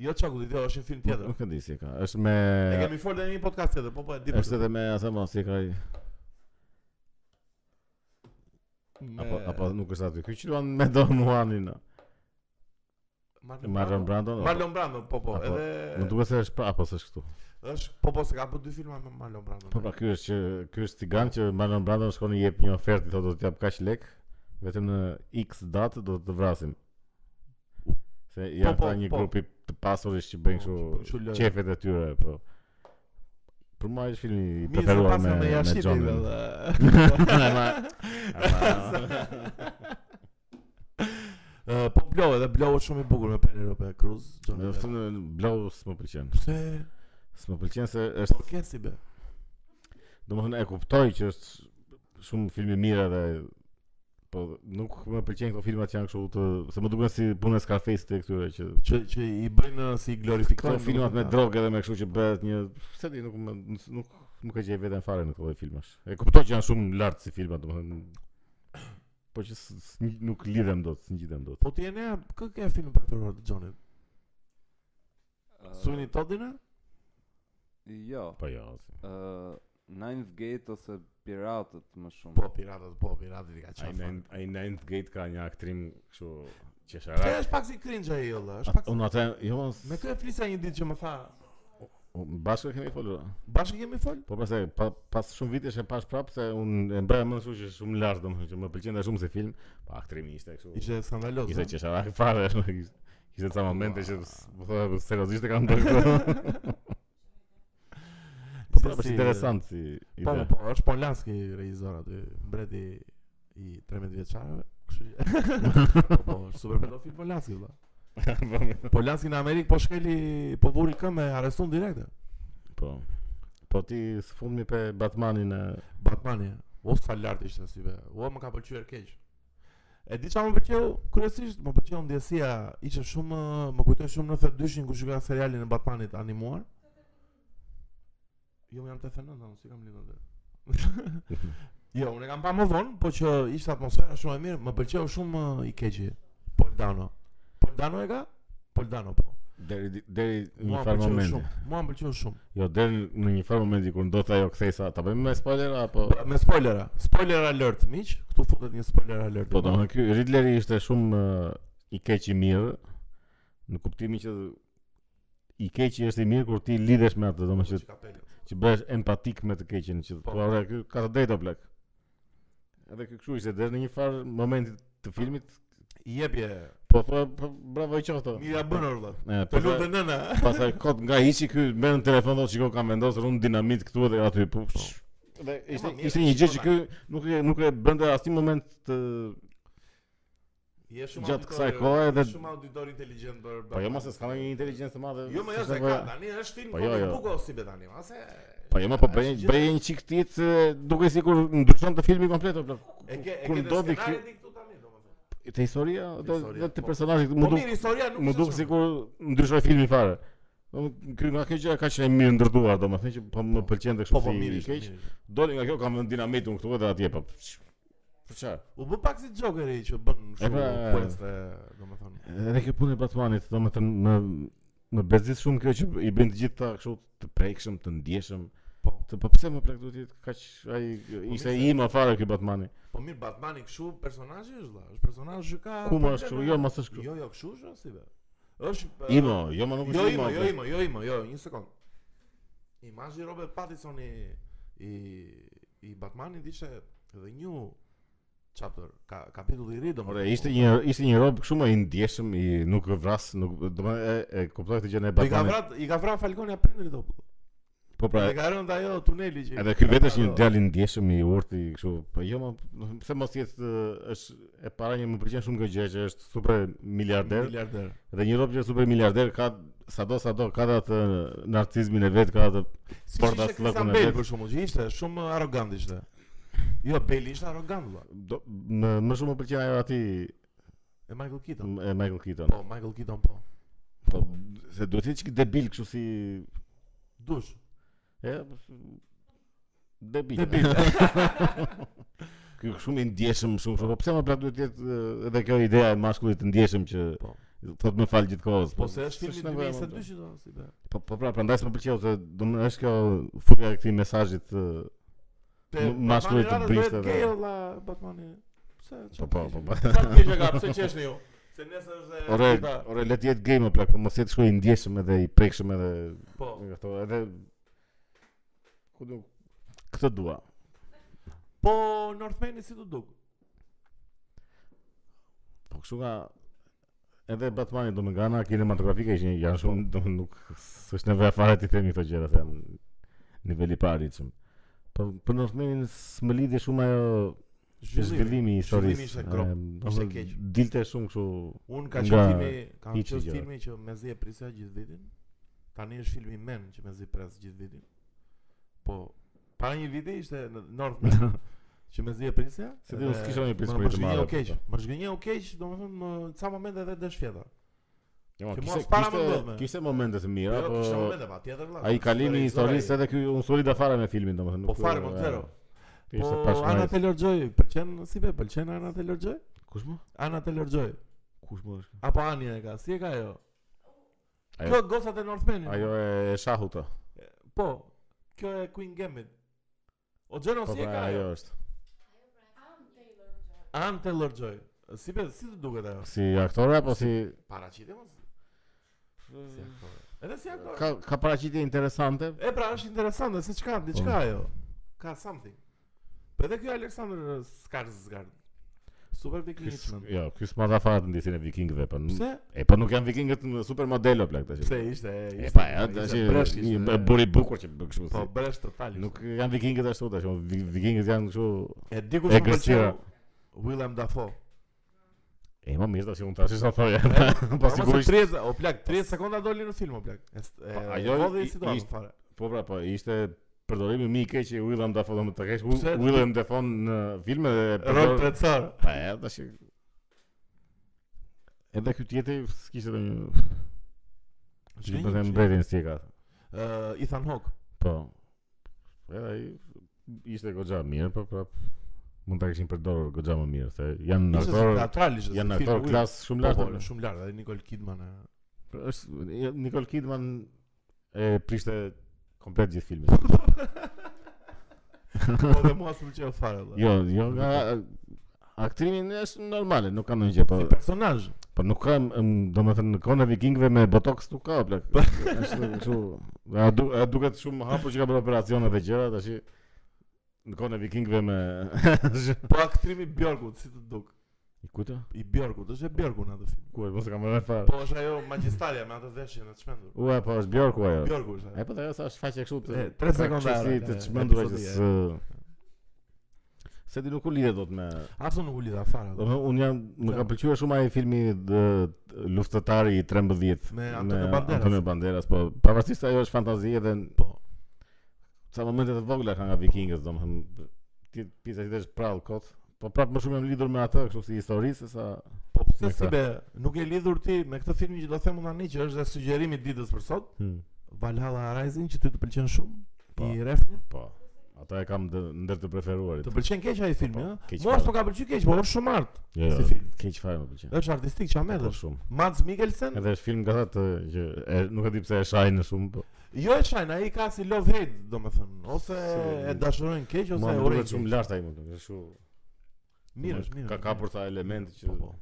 [SPEAKER 2] Jo çakulli, jo, është një film tjetër.
[SPEAKER 1] Nuk e di si e ka. Është me
[SPEAKER 2] E kemi folur në një podcast tjetër, po po e di. për
[SPEAKER 1] është edhe me asë mos si e ka ai.
[SPEAKER 2] këtë. Me-
[SPEAKER 1] Apo apo nuk është aty. Ky që luan me Don Juanin. no.
[SPEAKER 2] Marlon
[SPEAKER 1] Marlon Brando. no.
[SPEAKER 2] Marlon Brando, po po,
[SPEAKER 1] Apo- Më
[SPEAKER 2] edhe
[SPEAKER 1] duket se është pra apo s'është këtu.
[SPEAKER 2] është po po se ka bërë dy filma me Marlon Brando.
[SPEAKER 1] Po pra ky është që ky është cigan që Marlon Brando shkon i jep një ofertë, i thotë do të jap kaq lek, vetëm në X datë do të vrasim. Se janë
[SPEAKER 2] po,
[SPEAKER 1] ata një
[SPEAKER 2] po.
[SPEAKER 1] grupi të pasurish që bëjnë
[SPEAKER 2] Po, që
[SPEAKER 1] kështu
[SPEAKER 2] bëjnë kështu
[SPEAKER 1] qefet e tyre, po. Për mua është filmi i
[SPEAKER 2] Mirë se
[SPEAKER 1] preferuar me
[SPEAKER 2] pasëm në
[SPEAKER 1] me
[SPEAKER 2] jashtë
[SPEAKER 1] Johnin. Ama-
[SPEAKER 2] Ë, po Blow edhe Blow është shumë i bukur me Penelope Cruz.
[SPEAKER 1] Ama
[SPEAKER 2] Johnny
[SPEAKER 1] do të
[SPEAKER 2] Depp.
[SPEAKER 1] thonë blau s'më pëlqen.
[SPEAKER 2] Pse?
[SPEAKER 1] S'më pëlqen se
[SPEAKER 2] Po
[SPEAKER 1] është,
[SPEAKER 2] ke si be?
[SPEAKER 1] domethënë e kuptoj që është shumë film i mirë edhe po nuk më pëlqejnë këto filmat që janë kështu të se më duken si punë e Scarface-it e këtyre që
[SPEAKER 2] Që që i bëjnë ë, si i glorifikojnë
[SPEAKER 1] Këto filmat me
[SPEAKER 2] domethënë, uh,
[SPEAKER 1] drogë edhe me kështu që bëhet një pse di nuk më nuk nuk, nuk e gjej veten fare në këto lloj filmash. E kuptoj që janë shumë lart si filma, domethënë po që s- s- nuk lidhem dot, s'ngjitem dot.
[SPEAKER 2] Po ti e ne, kë ke film preferuar të Johnny? Suni Todina?
[SPEAKER 3] Jo.
[SPEAKER 1] Po jo. si.
[SPEAKER 3] Uh, Ninth Gate ose Piratët më shumë.
[SPEAKER 2] Po piratat, po piratat i ka
[SPEAKER 1] Ai
[SPEAKER 2] qenë.
[SPEAKER 1] Nin- ai Ninth Gate ka një aktrim kështu
[SPEAKER 2] Kjo
[SPEAKER 1] qesharak.
[SPEAKER 2] është pak si cringe ai olla, është
[SPEAKER 1] A-
[SPEAKER 2] pak.
[SPEAKER 1] Unë atë jo
[SPEAKER 2] Me
[SPEAKER 1] s-
[SPEAKER 2] kë e flisa një ditë që më tha,
[SPEAKER 1] u- bashkë kemi folur. a?
[SPEAKER 2] bashkë kemi fol?
[SPEAKER 1] Po pastaj pa, pas shumë vitesh e pash prapë se unë e mbaja më kështu që shumë lart domethënë që më pëlqente shumë si film, po aktrimi ishte kështu.
[SPEAKER 2] Ishte skandaloz.
[SPEAKER 1] Ishte
[SPEAKER 2] ha?
[SPEAKER 1] që sharak fare ishte- Ishte ca momente që s- Po thoya po, seriozisht e kam bërë këtë Po
[SPEAKER 2] Se
[SPEAKER 1] pra, është
[SPEAKER 2] si-
[SPEAKER 1] interesant si
[SPEAKER 2] Po,
[SPEAKER 1] ide
[SPEAKER 2] po, është Polanski regjisor aty, mbreti i 13 vjeçarëve. Kështu që po, po, është super pedofil Polanski valla. Polanski në Amerikë po shkeli, po vuri këmbë e arrestuan direkte.
[SPEAKER 1] Po Po ti së fundmi pe Batmanin e
[SPEAKER 2] Batmani. O sa lart ishte si be. O më ka pëlqyer keq. E di çfarë më pëlqeu, kryesisht më pëlqeu ndjesia, ishte shumë më kujtoi shumë në 92-shin kur shikova serialin e Batmanit animuar. Jo, unë jam 89, apo si kam lidhur atë. jo, unë e kam pa më vonë, po që ishte atmosfera shumë e mirë, më pëlqeu shumë ë, i keqi. Poldano. Poldano e ka? Poldano po.
[SPEAKER 1] Deri, deri në një
[SPEAKER 2] Mua më
[SPEAKER 1] farë
[SPEAKER 2] pëlqeu
[SPEAKER 1] momenti
[SPEAKER 2] shumë. Mua më pëlqeu shumë.
[SPEAKER 1] Jo, deri në një farë momenti Kur ndodhte ajo kthesa Ta bëjmë me spoiler apo
[SPEAKER 2] Po, Me spoilera. Spoiler alert, miq. Ktu futet një spoiler alert.
[SPEAKER 1] Po do më ky Ridleri ishte shumë ë, i keq i mirë në kuptimin që i keqi është i mirë kur ti lidhesh me atë, domethënë që
[SPEAKER 2] Që ka pelë.
[SPEAKER 1] që bëhesh empatik me të keqen që
[SPEAKER 2] Po.
[SPEAKER 1] po ora ky ka të drejtë o plak. Edhe ky kështu ishte deri në një farë momentit të filmit,
[SPEAKER 2] Jepje.
[SPEAKER 1] po thua po, bravo i qoftë.
[SPEAKER 2] Mira bën or vëlla.
[SPEAKER 1] E,
[SPEAKER 2] Të
[SPEAKER 1] pastaj-
[SPEAKER 2] lutem nëna.
[SPEAKER 1] Pastaj kot nga hiçi ky merr në telefon thotë shikoj kam vendosur un dinamit këtu edhe aty. Po. psh. Dhe ishte
[SPEAKER 2] mirë,
[SPEAKER 1] ishte një gjë që
[SPEAKER 2] shikona.
[SPEAKER 1] ky nuk e nuk e bënte asnjë moment të
[SPEAKER 2] Je shumë
[SPEAKER 1] Gjatë
[SPEAKER 2] auditor-
[SPEAKER 1] kësaj kohe
[SPEAKER 2] je
[SPEAKER 1] edhe-
[SPEAKER 2] shumë auditor inteligjent për.
[SPEAKER 1] po jo mos e s'ka ndonjë inteligjencë të madhe.
[SPEAKER 2] Jo, më jo se
[SPEAKER 1] s'ka
[SPEAKER 2] ka
[SPEAKER 1] bëja.
[SPEAKER 2] tani, është film
[SPEAKER 1] Po
[SPEAKER 2] po
[SPEAKER 1] jo, jo.
[SPEAKER 2] buko si be tani, ma se
[SPEAKER 1] Po jo, më po
[SPEAKER 2] Është
[SPEAKER 1] bëj
[SPEAKER 2] gjithë-
[SPEAKER 1] bëj një çik tit duke sikur ndryshon të filmi komplet o plak.
[SPEAKER 2] e ke e
[SPEAKER 1] kur
[SPEAKER 2] ke
[SPEAKER 1] ndodhi
[SPEAKER 2] ndodhi
[SPEAKER 1] kjo-
[SPEAKER 2] këtu tani, domethënë.
[SPEAKER 1] Te historia
[SPEAKER 2] Te
[SPEAKER 1] do
[SPEAKER 2] historia,
[SPEAKER 1] do të
[SPEAKER 2] po.
[SPEAKER 1] personazhit
[SPEAKER 2] Po
[SPEAKER 1] më duk
[SPEAKER 2] mirë, historia nuk
[SPEAKER 1] më
[SPEAKER 2] është
[SPEAKER 1] duk
[SPEAKER 2] shumë.
[SPEAKER 1] sikur ndryshoi filmi fare. Do ky nga kjo gjë ka qenë mirë ndërtuar domethënë që po më
[SPEAKER 2] Po.
[SPEAKER 1] pëlqente
[SPEAKER 2] Po
[SPEAKER 1] kështu
[SPEAKER 2] po
[SPEAKER 1] si
[SPEAKER 2] mirë, ishte,
[SPEAKER 1] keq.
[SPEAKER 2] mirë. ishte.
[SPEAKER 1] Doli nga kjo kam vënë dinamitun këtu edhe atje po. Për çfarë?
[SPEAKER 2] U bë pak si Jokeri që bën shumë
[SPEAKER 1] pra-
[SPEAKER 2] quest, domethënë.
[SPEAKER 1] Edhe kjo punë e Batmanit, do më thënë, më më bezit shumë kjo që i bën të gjithë ta kështu të prekshëm, të ndjeshëm.
[SPEAKER 2] Po.
[SPEAKER 1] Të po pse më prek duhet të jetë kaq ai ishte
[SPEAKER 2] mirë
[SPEAKER 1] i më fare ky Batmani.
[SPEAKER 2] Po mirë, Batmani kështu personazhi është vëlla, është personazh që ka
[SPEAKER 1] Ku më është kështu? Jo, mos është kështu.
[SPEAKER 2] Jo, jo, kështu është si be. Është e,
[SPEAKER 1] Imo, jo më nuk
[SPEAKER 2] Jo,
[SPEAKER 1] është imo.
[SPEAKER 2] imo, jo, imo, jo, imo, jo, një sekond. Imazhi i Robert Pattinson i i i Batmanit ishte the new chapter, ka kapitulli i ri domethënë.
[SPEAKER 1] Ore, ishte një ishte një rob shumë i ndjeshëm, i nuk vras, nuk do më e, e kuptoj këtë gjë në
[SPEAKER 2] Po i ka
[SPEAKER 1] Batmanit.
[SPEAKER 2] vrat, i ka vrat Falconi prindrit apo.
[SPEAKER 1] Po pra,
[SPEAKER 2] Pra, e ka rënë ajo tuneli që.
[SPEAKER 1] edhe ky vetë është një djalë i ndjeshëm, i urtë, i kështu. Po jo, më pse mos jetë e, është e para një më pëlqen shumë kjo gjë që është super miliarder.
[SPEAKER 2] miliarder.
[SPEAKER 1] Dhe një rob që është super miliarder ka sado sado ka dhe atë narcizmin e vet, ka atë
[SPEAKER 2] Si
[SPEAKER 1] Por
[SPEAKER 2] ishte
[SPEAKER 1] tas
[SPEAKER 2] Christian
[SPEAKER 1] llokun e
[SPEAKER 2] Bale
[SPEAKER 1] vet.
[SPEAKER 2] për shkakun, që ishte shumë arrogant ishte. Jo, Bale ishte arrogant valla.
[SPEAKER 1] do, më, më shumë më pëlqen ajo aty
[SPEAKER 2] E Michael Keaton.
[SPEAKER 1] e Michael Keaton.
[SPEAKER 2] Po, Michael Keaton po.
[SPEAKER 1] Po, se duhet të jetë çik debil kështu si
[SPEAKER 2] Dush.
[SPEAKER 1] e debil.
[SPEAKER 2] Debil.
[SPEAKER 1] Ky shumë i ndjeshëm shumë shumë. Po pse më plot duhet të jetë e, edhe kjo ideja e mashkullit të ndjeshëm që
[SPEAKER 2] Po.
[SPEAKER 1] thotë më fal gjithkohës.
[SPEAKER 2] Po se është
[SPEAKER 1] s'është
[SPEAKER 2] filmi
[SPEAKER 1] nevoja, më
[SPEAKER 2] 2022 që do si be.
[SPEAKER 1] plot. Po po pra, prandaj s'më pëlqeu se domethënë është kjo futja e këtij mesazhit ë,
[SPEAKER 2] Te-
[SPEAKER 1] Ma shkruaj të
[SPEAKER 2] Batmani
[SPEAKER 1] brishte
[SPEAKER 2] Radës
[SPEAKER 1] dhe-
[SPEAKER 2] gay, valla, Batmani. Pse?
[SPEAKER 1] Po po po. po.
[SPEAKER 2] Sa të keq e ka, pse qeshni ju? Se nesër është e-
[SPEAKER 1] Ore,
[SPEAKER 2] dita-
[SPEAKER 1] ore le të jetë game o plak, po mos jetë kështu i ndjeshëm edhe i prekshëm edhe
[SPEAKER 2] po.
[SPEAKER 1] nga këto, edhe ku do këtë dua.
[SPEAKER 2] Po Northmani si të duk?
[SPEAKER 1] Po kështu nga edhe Batmani do më nga ana kinematografike ishin janë shumë do më nuk s'është nevoja fare ti themi këto gjëra se janë niveli i paritshëm. Po për Northmanin s'më lidhi shumë ajo zhvillimi i historisë.
[SPEAKER 2] zhvillimi ishte grop,
[SPEAKER 1] Em,
[SPEAKER 2] ishte
[SPEAKER 1] domethënë,
[SPEAKER 2] keq.
[SPEAKER 1] Dilte shumë kështu.
[SPEAKER 2] Un ka
[SPEAKER 1] nga
[SPEAKER 2] qenë filmi, ka
[SPEAKER 1] hiçi
[SPEAKER 2] qenë
[SPEAKER 1] gjëra.
[SPEAKER 2] filmi që mezi e prisja gjithë vitin. Tani është filmi men që mezi pres gjithë vitin. Po para një viti ishte në Northman që mezi e prisja.
[SPEAKER 1] Se ti unë
[SPEAKER 2] edhe
[SPEAKER 1] s'kisha një prisë për i
[SPEAKER 2] më- Më
[SPEAKER 1] të
[SPEAKER 2] zhgënjeu
[SPEAKER 1] marrë,
[SPEAKER 2] keq.
[SPEAKER 1] po.
[SPEAKER 2] Më zhgënjeu keq, domethënë më ca momente edhe dëshfjeta.
[SPEAKER 1] Jo,
[SPEAKER 2] Që mua
[SPEAKER 1] kishte
[SPEAKER 2] s'para më ndodhme.
[SPEAKER 1] kishte kishte momente të mira,
[SPEAKER 2] Jo, kishte
[SPEAKER 1] po
[SPEAKER 2] momente patjetër vëlla.
[SPEAKER 1] Ai kalimi i
[SPEAKER 2] Historia,
[SPEAKER 1] historisë edhe ky unë soli da fare me filmin domethënë.
[SPEAKER 2] Po
[SPEAKER 1] nuk-
[SPEAKER 2] fare mund zero.
[SPEAKER 1] e, Ishte
[SPEAKER 2] Po Ana
[SPEAKER 1] pashmëri.
[SPEAKER 2] Taylor-Joy, pëlqen si be, pëlqen Ana Taylor-Joy?
[SPEAKER 1] Kush më?
[SPEAKER 2] Ana Taylor-Joy.
[SPEAKER 1] Kush më është?
[SPEAKER 2] Apo Anja e ka, si e ka ajo?
[SPEAKER 1] Ajo-
[SPEAKER 2] Kjo gocat e Northmanit.
[SPEAKER 1] Ajo e shahut. o.
[SPEAKER 2] Po, kjo e Queen Gambit. O Gjeno
[SPEAKER 1] Po
[SPEAKER 2] si e
[SPEAKER 1] pra
[SPEAKER 2] ka
[SPEAKER 1] ajo
[SPEAKER 2] ajo?
[SPEAKER 1] është.
[SPEAKER 2] Ann Taylor-Joy. Si be, si të duket ajo?
[SPEAKER 1] Si aktore
[SPEAKER 2] Po
[SPEAKER 1] apo si
[SPEAKER 2] Paraqitje mos? Si aktore. Edhe si aktore.
[SPEAKER 1] ka ka paraqitje interesante?
[SPEAKER 2] E pra është interesante se çka,
[SPEAKER 1] Po.
[SPEAKER 2] diçka ajo. Ka something. Po edhe ky Aleksandr Skarsgård. Super Dick
[SPEAKER 1] Ky s-
[SPEAKER 2] Lynchman.
[SPEAKER 1] Jo, ky s'ma dha fare të ndjesin e vikingëve, po. n-
[SPEAKER 2] Pse?
[SPEAKER 1] E po nuk janë vikingët në supermodelo plak tash.
[SPEAKER 2] Pse ishte?
[SPEAKER 1] E
[SPEAKER 2] ishte-
[SPEAKER 1] pa, ja,
[SPEAKER 2] ishte
[SPEAKER 1] tash
[SPEAKER 2] bresh, ishte-
[SPEAKER 1] një buri i bukur që bë kështu.
[SPEAKER 2] Po
[SPEAKER 1] si.
[SPEAKER 2] bresh total.
[SPEAKER 1] Nuk janë vikingët ashtu tash, o, vi- vikingët janë kështu.
[SPEAKER 2] e di kush
[SPEAKER 1] e Po,
[SPEAKER 2] më
[SPEAKER 1] gërcira.
[SPEAKER 2] pëlqeu. Willem Dafoe.
[SPEAKER 1] E më mirë tash unë tash sa thoya. Po
[SPEAKER 2] Po
[SPEAKER 1] sigurisht.
[SPEAKER 2] 30, o plak 30 sekonda doli në film o plak. E, s- e,
[SPEAKER 1] Pa, ajo
[SPEAKER 2] hodhi
[SPEAKER 1] i-
[SPEAKER 2] si do
[SPEAKER 1] ishte-
[SPEAKER 2] fare.
[SPEAKER 1] Po pra, po ishte përdorimi më i keq i Willem Dafoe do më të kesh
[SPEAKER 2] Pse?
[SPEAKER 1] Will- Willem Dafoe në filme dhe
[SPEAKER 2] Rol
[SPEAKER 1] përdor-
[SPEAKER 2] tretësor.
[SPEAKER 1] Pa e, tash e- Edhe ky tjetër s'kishte ndonjë që
[SPEAKER 2] Shkënjim,
[SPEAKER 1] bëhet
[SPEAKER 2] shkënjim.
[SPEAKER 1] mbretin si e ka.
[SPEAKER 2] Ë, Ethan Hawke.
[SPEAKER 1] Po. Po, Edhe ai ishte goxha mirë, po prap mund ta kishin përdorur goxha më mirë, se janë
[SPEAKER 2] Ishte si
[SPEAKER 1] aktor
[SPEAKER 2] teatral ishte.
[SPEAKER 1] janë
[SPEAKER 2] si
[SPEAKER 1] aktor
[SPEAKER 2] film,
[SPEAKER 1] klas shumë
[SPEAKER 2] ujë. Po,
[SPEAKER 1] lart.
[SPEAKER 2] po, shumë lart, edhe Nicole Kidman. e.
[SPEAKER 1] Po, Është Nicole Kidman e prishte komplet gjithë filmin.
[SPEAKER 2] Po dhe mua s'm pëlqeu fare valla.
[SPEAKER 1] Jo, jo nga aktrimin është normale, nuk ka ndonjë gjë, po
[SPEAKER 2] Si personazh.
[SPEAKER 1] po Po nuk kam, em, domethënë në kohën e vikingëve me botox nuk ka plak. Është kështu. A, du, a duket shumë hapur që ka bërë operacione dhe gjëra tash i- në kohën e vikingëve me
[SPEAKER 2] Po aktrimi Bjorkut, si të duk?
[SPEAKER 1] I kuta?
[SPEAKER 2] I Bjorkut, është e Bjorku në atë film.
[SPEAKER 1] Ku e mos e kam marrë fare.
[SPEAKER 2] Po është ajo magjistaria me atë veshje në të shmendur.
[SPEAKER 1] Ua, po është Bjorku ajo.
[SPEAKER 2] Bjorku është
[SPEAKER 1] E
[SPEAKER 2] ajo.
[SPEAKER 1] po ajo sa është faqe kështu
[SPEAKER 2] E,
[SPEAKER 1] të
[SPEAKER 2] tre sekonda
[SPEAKER 1] kështu si
[SPEAKER 2] era,
[SPEAKER 1] të
[SPEAKER 2] e,
[SPEAKER 1] çmendura që s
[SPEAKER 2] episodi,
[SPEAKER 1] se ti nuk u lidhe dot me.
[SPEAKER 2] Absolut nuk u lidha fare.
[SPEAKER 1] Do të thonë, un jam më ka
[SPEAKER 2] Po.
[SPEAKER 1] pëlqyer shumë ai filmi dë- Luftëtari i 13
[SPEAKER 2] Me Antonio Banderas.
[SPEAKER 1] Antonio Banderas, po pavarësisht se ajo është fantazi edhe n-
[SPEAKER 2] Po.
[SPEAKER 1] ca momente të vogla ka nga vikingët, domethënë ti pjesa që është prall kot, po prapë më shumë jam lidhur me atë, kështu si histori se sa
[SPEAKER 2] Po
[SPEAKER 1] Me
[SPEAKER 2] pse si
[SPEAKER 1] këtë.
[SPEAKER 2] be, nuk e lidhur ti me këtë film që do të them unë tani që është dhe sugjerimi i ditës për sot, Valhalla Rising që ty të pëlqen shumë.
[SPEAKER 1] Po.
[SPEAKER 2] I refni.
[SPEAKER 1] po. Ata e kam dë- ndër të preferuarit.
[SPEAKER 2] Të pëlqen keq ai filmi,
[SPEAKER 1] Po,
[SPEAKER 2] ëh?
[SPEAKER 1] keq
[SPEAKER 2] Mua s'po
[SPEAKER 1] fare.
[SPEAKER 2] ka pëlqyer keq, po është shumë art.
[SPEAKER 1] Jo,
[SPEAKER 2] si
[SPEAKER 1] jo,
[SPEAKER 2] film.
[SPEAKER 1] keq fare më pëlqen.
[SPEAKER 2] Është artistik çamë
[SPEAKER 1] Po,
[SPEAKER 2] edhe.
[SPEAKER 1] shumë.
[SPEAKER 2] Mads Mikkelsen,
[SPEAKER 1] Edhe është film nga ata të që e, nuk e di pse e shajnë shumë, po.
[SPEAKER 2] jo e shajnë, ai ka si love hate, domethënë, ose
[SPEAKER 1] Se-
[SPEAKER 2] e dashurojnë keq ose
[SPEAKER 1] Mua
[SPEAKER 2] Jo, e
[SPEAKER 1] më
[SPEAKER 2] urrejnë.
[SPEAKER 1] duket shumë
[SPEAKER 2] keq.
[SPEAKER 1] lart ai më duket, është shumë
[SPEAKER 2] Mirë, është mirë.
[SPEAKER 1] Ka
[SPEAKER 2] është mirë.
[SPEAKER 1] kapur sa elemente që
[SPEAKER 2] Po, po.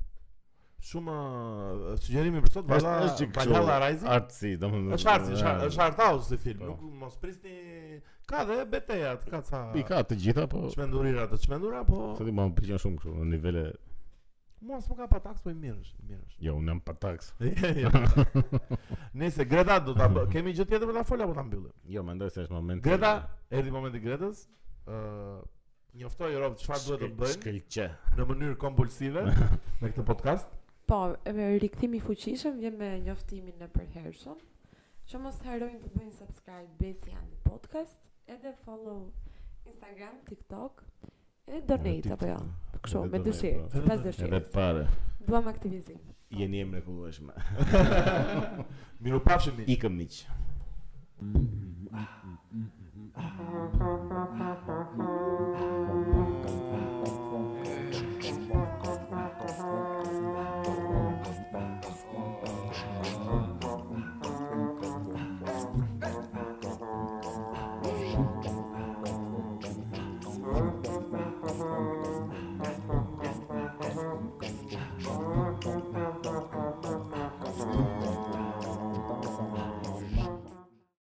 [SPEAKER 2] Shumë uh, sugjerimi për sot
[SPEAKER 1] Është-
[SPEAKER 2] Valhalla
[SPEAKER 1] është gjë kështu,
[SPEAKER 2] Valhalla Rising.
[SPEAKER 1] Artësi, domethënë.
[SPEAKER 2] Është art, është art-
[SPEAKER 1] e,
[SPEAKER 2] është art house si film,
[SPEAKER 1] Po.
[SPEAKER 2] nuk mos prisni. Ka dhe betejat, ka ca
[SPEAKER 1] I ka të gjitha, po.
[SPEAKER 2] çmendurira të çmendura, po
[SPEAKER 1] Sa ti më pëlqen shumë kështu në nivele.
[SPEAKER 2] mua s'm ka pa taks, po i mirë është, i mirë është.
[SPEAKER 1] Jo, unë jam pa taks.
[SPEAKER 2] Jo, Nëse Greta do ta bë- kemi gjë tjetër për ta fol apo ta mbyllim?
[SPEAKER 1] Jo, mendoj se është momenti.
[SPEAKER 2] Greta, erdhi momenti i Gretës. ë njoftoi Rob çfarë duhet të bëjnë
[SPEAKER 1] Shkëlqe.
[SPEAKER 2] në mënyrë kompulsive me këtë podcast.
[SPEAKER 4] Po, e, rikthimi i fuqishëm vjen me njoftimin e përhershëm. Që mos harrojnë të bëjnë subscribe Besi Andi Podcast, edhe follow Instagram, TikTok, edhe donate apo jo. Kështu
[SPEAKER 1] Edhe
[SPEAKER 4] me
[SPEAKER 1] donate,
[SPEAKER 4] dëshirë,
[SPEAKER 1] po.
[SPEAKER 4] sipas
[SPEAKER 1] Edhe
[SPEAKER 4] dëshirës.
[SPEAKER 1] pare.
[SPEAKER 4] Duam aktivizim.
[SPEAKER 1] Jeni e mrekullueshme.
[SPEAKER 2] Miru pafshim miq.
[SPEAKER 1] Ikëm miq.